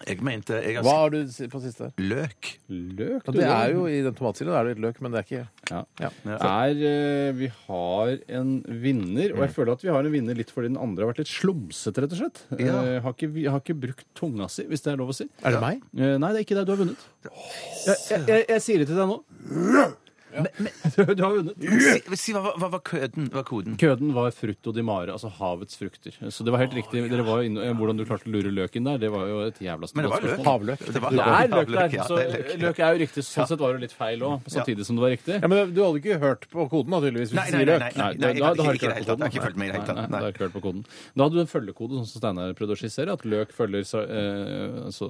E: Jeg mente jeg har
D: Hva
E: skrevet
D: har du si- på siste? her?
E: løk.
G: Løk.
D: Ja,
G: du,
D: det
G: da.
D: er jo I den tomatsilden er det litt løk, men det er ikke
G: ja.
D: ja.
G: er, eh, Vi har en vinner, og jeg
E: Mm.
G: føler at vi har en vinner litt fordi den andre har vært litt slumsete, rett og slett.
E: Ja.
G: Eh, har, ikke, vi har ikke brukt tunga si, hvis det er lov å si.
D: Er det meg?
G: Eh, Nei, det er ikke deg. Du har vunnet. Jeg, jeg, jeg, jeg sier det til deg nå. Du har vunnet.
E: Si, si hva, hva, hva var køden? Hva var koden?
G: Køden var frutto di mare, altså havets frukter. Så det var helt riktig. Dere var jo inne, eh, hvordan du klarte å lure løk inn der, det var jo et jævla
E: Men det var løk.
G: spørsmål.
E: Det var
G: Det er løk
E: havløk,
G: der,
E: ja,
G: så
E: det er løk.
G: løk er jo riktig. Sånn sett var det jo litt feil òg, samtidig som det var riktig.
D: Ja, men Du hadde ikke hørt på koden, da, tydeligvis? hvis
E: Nei,
D: du
E: nei,
D: sier
E: nei,
D: løk.
E: nei,
G: Nei,
E: nei,
G: da,
E: jeg
G: da, da
E: hadde ikke-
G: har du
E: ikke i
G: ikke hørt på
E: det hele tatt. Jeg
G: koden.
E: har ikke fulgt med i det hele
G: Nei,
E: tatt.
G: nei, da har
E: Nei.
G: du ikke hørt på koden. Da hadde du en følgekode, sånn som Steinar prøvde å skissere, at løk følger sa- eh, altså,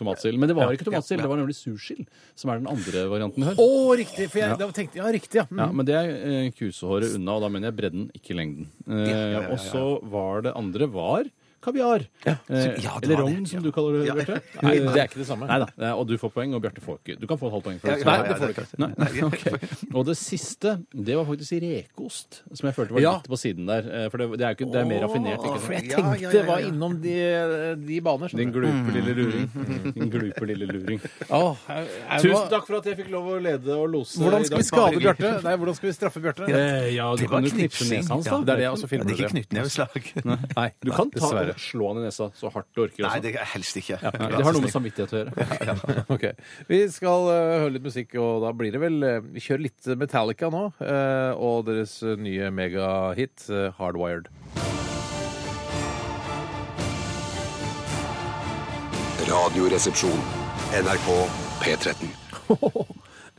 G: tomatsild. Men det var ikke tomatsild, det var nemlig sursild, som er den andre varianten her.
D: Å, riktig! For jeg da tenkte ja, riktig, ja.
G: Ja, men det er eh, kusehåret unna, og da mener jeg bredden, ikke lengden. Eh, Og så var det andre var kaviar. Eh,
E: ja, det
G: Eller
E: var det.
G: rogn, som du kaller det, Bjarte.
D: Nei, det er ikke det samme.
G: Neida. Eh, Og du får poeng, og Bjarte får ikke. Du kan få et halvt poeng. for det.
E: ja,
G: Nei,
E: ja,
G: det får du ikke. Nei, ok. Og det siste, det var faktisk rekeost, som jeg følte var
D: Ja.
G: litt på siden der. eh, For det, det er jo ikke, det er mer raffinert. Ikke
D: For
G: sant?
D: jeg tenkte det var innom de, de baner.
G: Din glupe lille luring. Din glupe lille luring. Tusen
D: Tusen
G: takk for at jeg fikk lov å lede og lose
D: Hvordan skal vi skade
G: Bjarte?
D: Bjarte? Nei, hvordan skal vi straffe Bjarte?
G: Eh, ja, du
E: Det var
G: kan jo knipse
E: knipsing.
G: nesa hans,
E: Ja,
G: da.
D: det er det, og så filmer
E: Men
D: du
E: ikke
D: det.
E: knyttneveslag.
D: Nei,
G: Du kan ta
D: dessverre.
G: og slå han i nesa så hardt du orker.
E: Nei,
G: Også.
E: det er helst ikke.
G: Nei, det har noe med samvittighet å gjøre.
D: Ok. Vi skal eh, høre litt musikk, og da blir det vel eh, Vi kjører litt Metallica nå, eh, og deres nye megahit eh, 'Hardwired'.
H: Radioresepsjon. NRK P13.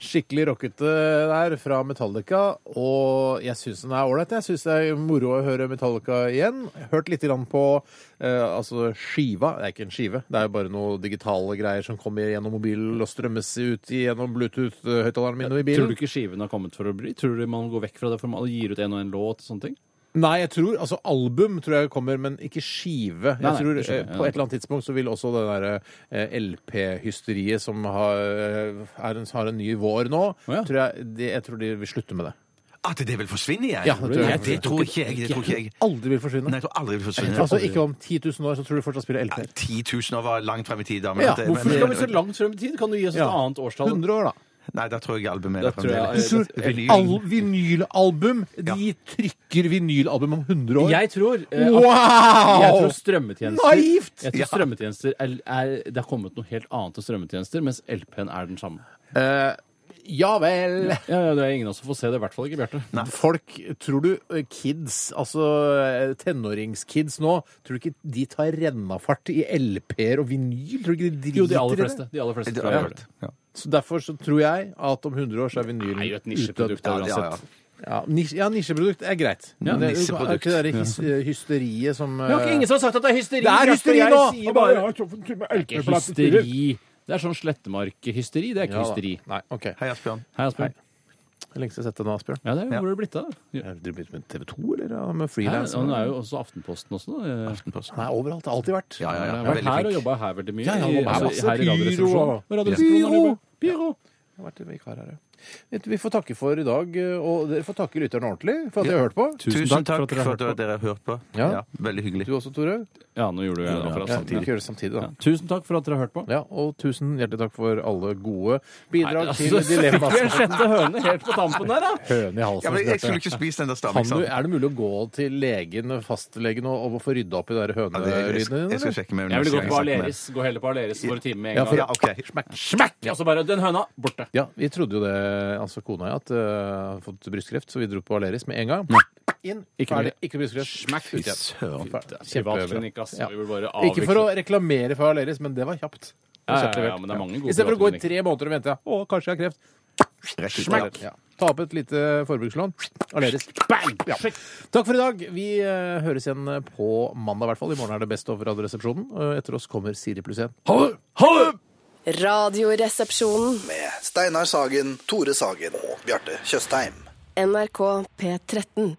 D: Skikkelig rockete der fra Metallica, og jeg syns den er ålreit. Jeg syns det er moro å høre Metallica igjen. Hørt litt grann på eh, altså skiva. Det er ikke en skive, det er jo bare noe digitale greier som kommer gjennom mobilen og strømmes ut gjennom Bluetooth-høyttaleren min og i
G: Tror
D: bilen.
G: du ikke skiven har kommet for å bli? Tror du man går vekk fra det for man gir ut en og en låt og sånne ting?
D: Nei, jeg tror altså album tror jeg kommer, men ikke skive. Jeg
G: Nei, nei,
D: tror
G: det skjønner jeg.
D: eh, På et eller annet tidspunkt så vil også det derre eh, LP-hysteriet som har, eh, er en, har en ny vår nå,
G: Å, ja.
D: tror jeg, de, jeg tror de vil slutte med det.
E: At det vil forsvinne igjen?
D: Ja, det tror jeg.
E: Nei, det tror ikke jeg. Det tror ikke jeg.
D: Aldri vil forsvinne.
E: Nei, jeg tror aldri det vil forsvinne.
D: Altså ikke om 10 000 år, så tror du fortsatt spiller LP.
E: Nei, 10 000 år var langt frem i tid. da, men
D: Ja,
E: at det-
D: hvorfor
E: men-
D: skal
G: vi så langt frem i tid? Kan du gi oss
D: Ja. 100 år, da.
E: Nei, da tror jeg albumet
G: Da
E: er
G: tror jeg-
E: fremdeles.
G: Du
E: Vinyl.
D: Al vinylalbum De trykker vinylalbum om 100 år.
G: Jeg tror eh, at Jeg
D: Wow!
G: tror strømmetjenester
D: Naivt!
G: Jeg tror strømmetjenester er, er, Det har kommet noe helt annet til strømmetjenester, mens LP-en er den samme.
D: Eh, ja vel.
G: Ja, ja, Det er ingen av oss som får se det, i hvert fall ikke Bjarte.
D: Folk, tror du eh, kids, altså eh, tenåringskids nå, tror du ikke de tar rennafart i LP-er og vinyl? Tror du ikke de driter
G: Jo, de
D: i
G: aller
D: det?
G: fleste. De aller fleste tror
E: Det har
G: jeg
E: jeg
G: gjør
E: hørt.
G: det.
E: Ja.
D: Så derfor så tror jeg at om 100 år så er vinylen
G: Det er jo et
D: utdødd.
G: nisjeprodukt da,
E: ja, ja.
G: uansett.
D: Ja, nisje, ja, nisjeprodukt er greit. Men det, det er
E: nisjeprodukt.
D: ikke det der hys, hysteriet som eh,
G: Det er ikke ingen som har sagt at det er hysteri!
D: Det er
G: Bjarte,
D: hysteri
G: jeg
D: nå!
G: sier
D: Og
G: bare-
D: bare, ja,
G: Det er ikke hysteri. Det er sånn Slettemark-hysteri. Det er ikke
D: da.
G: hysteri.
D: Nei, OK.
E: Hei, Asbjørn.
G: Hei, Asbjørn.
D: Lengst jeg har sett deg nå, Asbjørn.
G: Ja, det er, hvor er det blitt av? Ja.
D: Er du blitt med TV 2, eller ja, med
G: Ja,
D: frilanser?
G: Han er sånn. jo også Aftenposten også. da. Eh,
E: Aftenposten.
D: Han er overalt. har Alltid vært.
E: Ja, ja, ja.
G: Han har vært
E: Veldig
G: her og
E: flink.
G: jobba her veldig mye.
D: Ja, ja, han
G: i-
D: jobber
G: altså,
D: masse
G: her i
D: pyro.
G: Radioresepsjonen.
D: Pyro.
G: Pyro! Pyro!
D: Jeg har vært vikar her, ja. Vet du, Vi får takke for i dag, eh, og dere får takke lytterne ordentlig for at dere har hørt på.
E: Tusen takk for at dere har hørt på.
D: Ja.
E: Ja, veldig hyggelig.
D: Du også, Tore.
G: Ja, nå gjorde jeg det akkurat
D: Ja, vi
G: samtidig.
D: gjør det samtidig, da.
G: Ja. Tusen takk for at dere har hørt på.
D: Ja, og tusen hjertelig takk for alle gode bidrag
G: Nei,
D: til
G: altså,
D: Dilemmas.
G: Fikk jeg en sjette høne helt på tampen der, da?
D: Høne i
E: Ja,
D: halsen.
E: men jeg
D: Bjarte.
E: skulle ikke liksom- spist den der
D: Kan du,
E: stammingsanden.
D: er det mulig å gå til legen, fastlegen, og, og få rydda opp i de der
E: Ja, det- jeg- jeg-
D: hønerydene
E: Jeg skal
D: dine?
E: sjekke med
G: Jeg ville gått på
E: neste gang jeg snakker med-
G: Aleris. Gå heller på Aleris for å time med
D: Ja,
G: en
D: for-
E: Ja,
G: gang.
E: OK.
G: Smekk! Og så bare den høna borte.
D: Ja, vi trodde jo det, altså kona jeg, at jeg hadde fått brystkreft, så vi dro på Aleris med en gang. Inn,
G: Ikke
D: ferdig,
G: mulig.
D: ikke brystkreft. Smekk ut igjen.
E: Søren.
D: Kjempebra.
G: Privatklinikk, ass.
D: Ja.
G: Vi vil bare
D: Ikke for å
G: avvikle
D: reklamere for Aleris, men det var kjapt. Det var
G: Ja, ja,
D: kjapt
G: ja,
D: levert.
G: men det er mange gode
D: I stedet for å gå i
G: privatklinikker.
D: tre måneder og vente. Å, kanskje jeg har kreft.
E: Rett ut.
D: Ja. Ta opp et lite forbrukslån. Aleris. Ja. Takk for i dag. Vi eh, høres igjen på mandag, i hvert fall. I morgen er det Best of Radioresepsjonen. Eh, Etter oss kommer Siri pluss én.
B: Radioresepsjonen.
A: Med Steinar Sagen, Tore Sagen og Bjarte Tjøstheim.
B: NRK P13.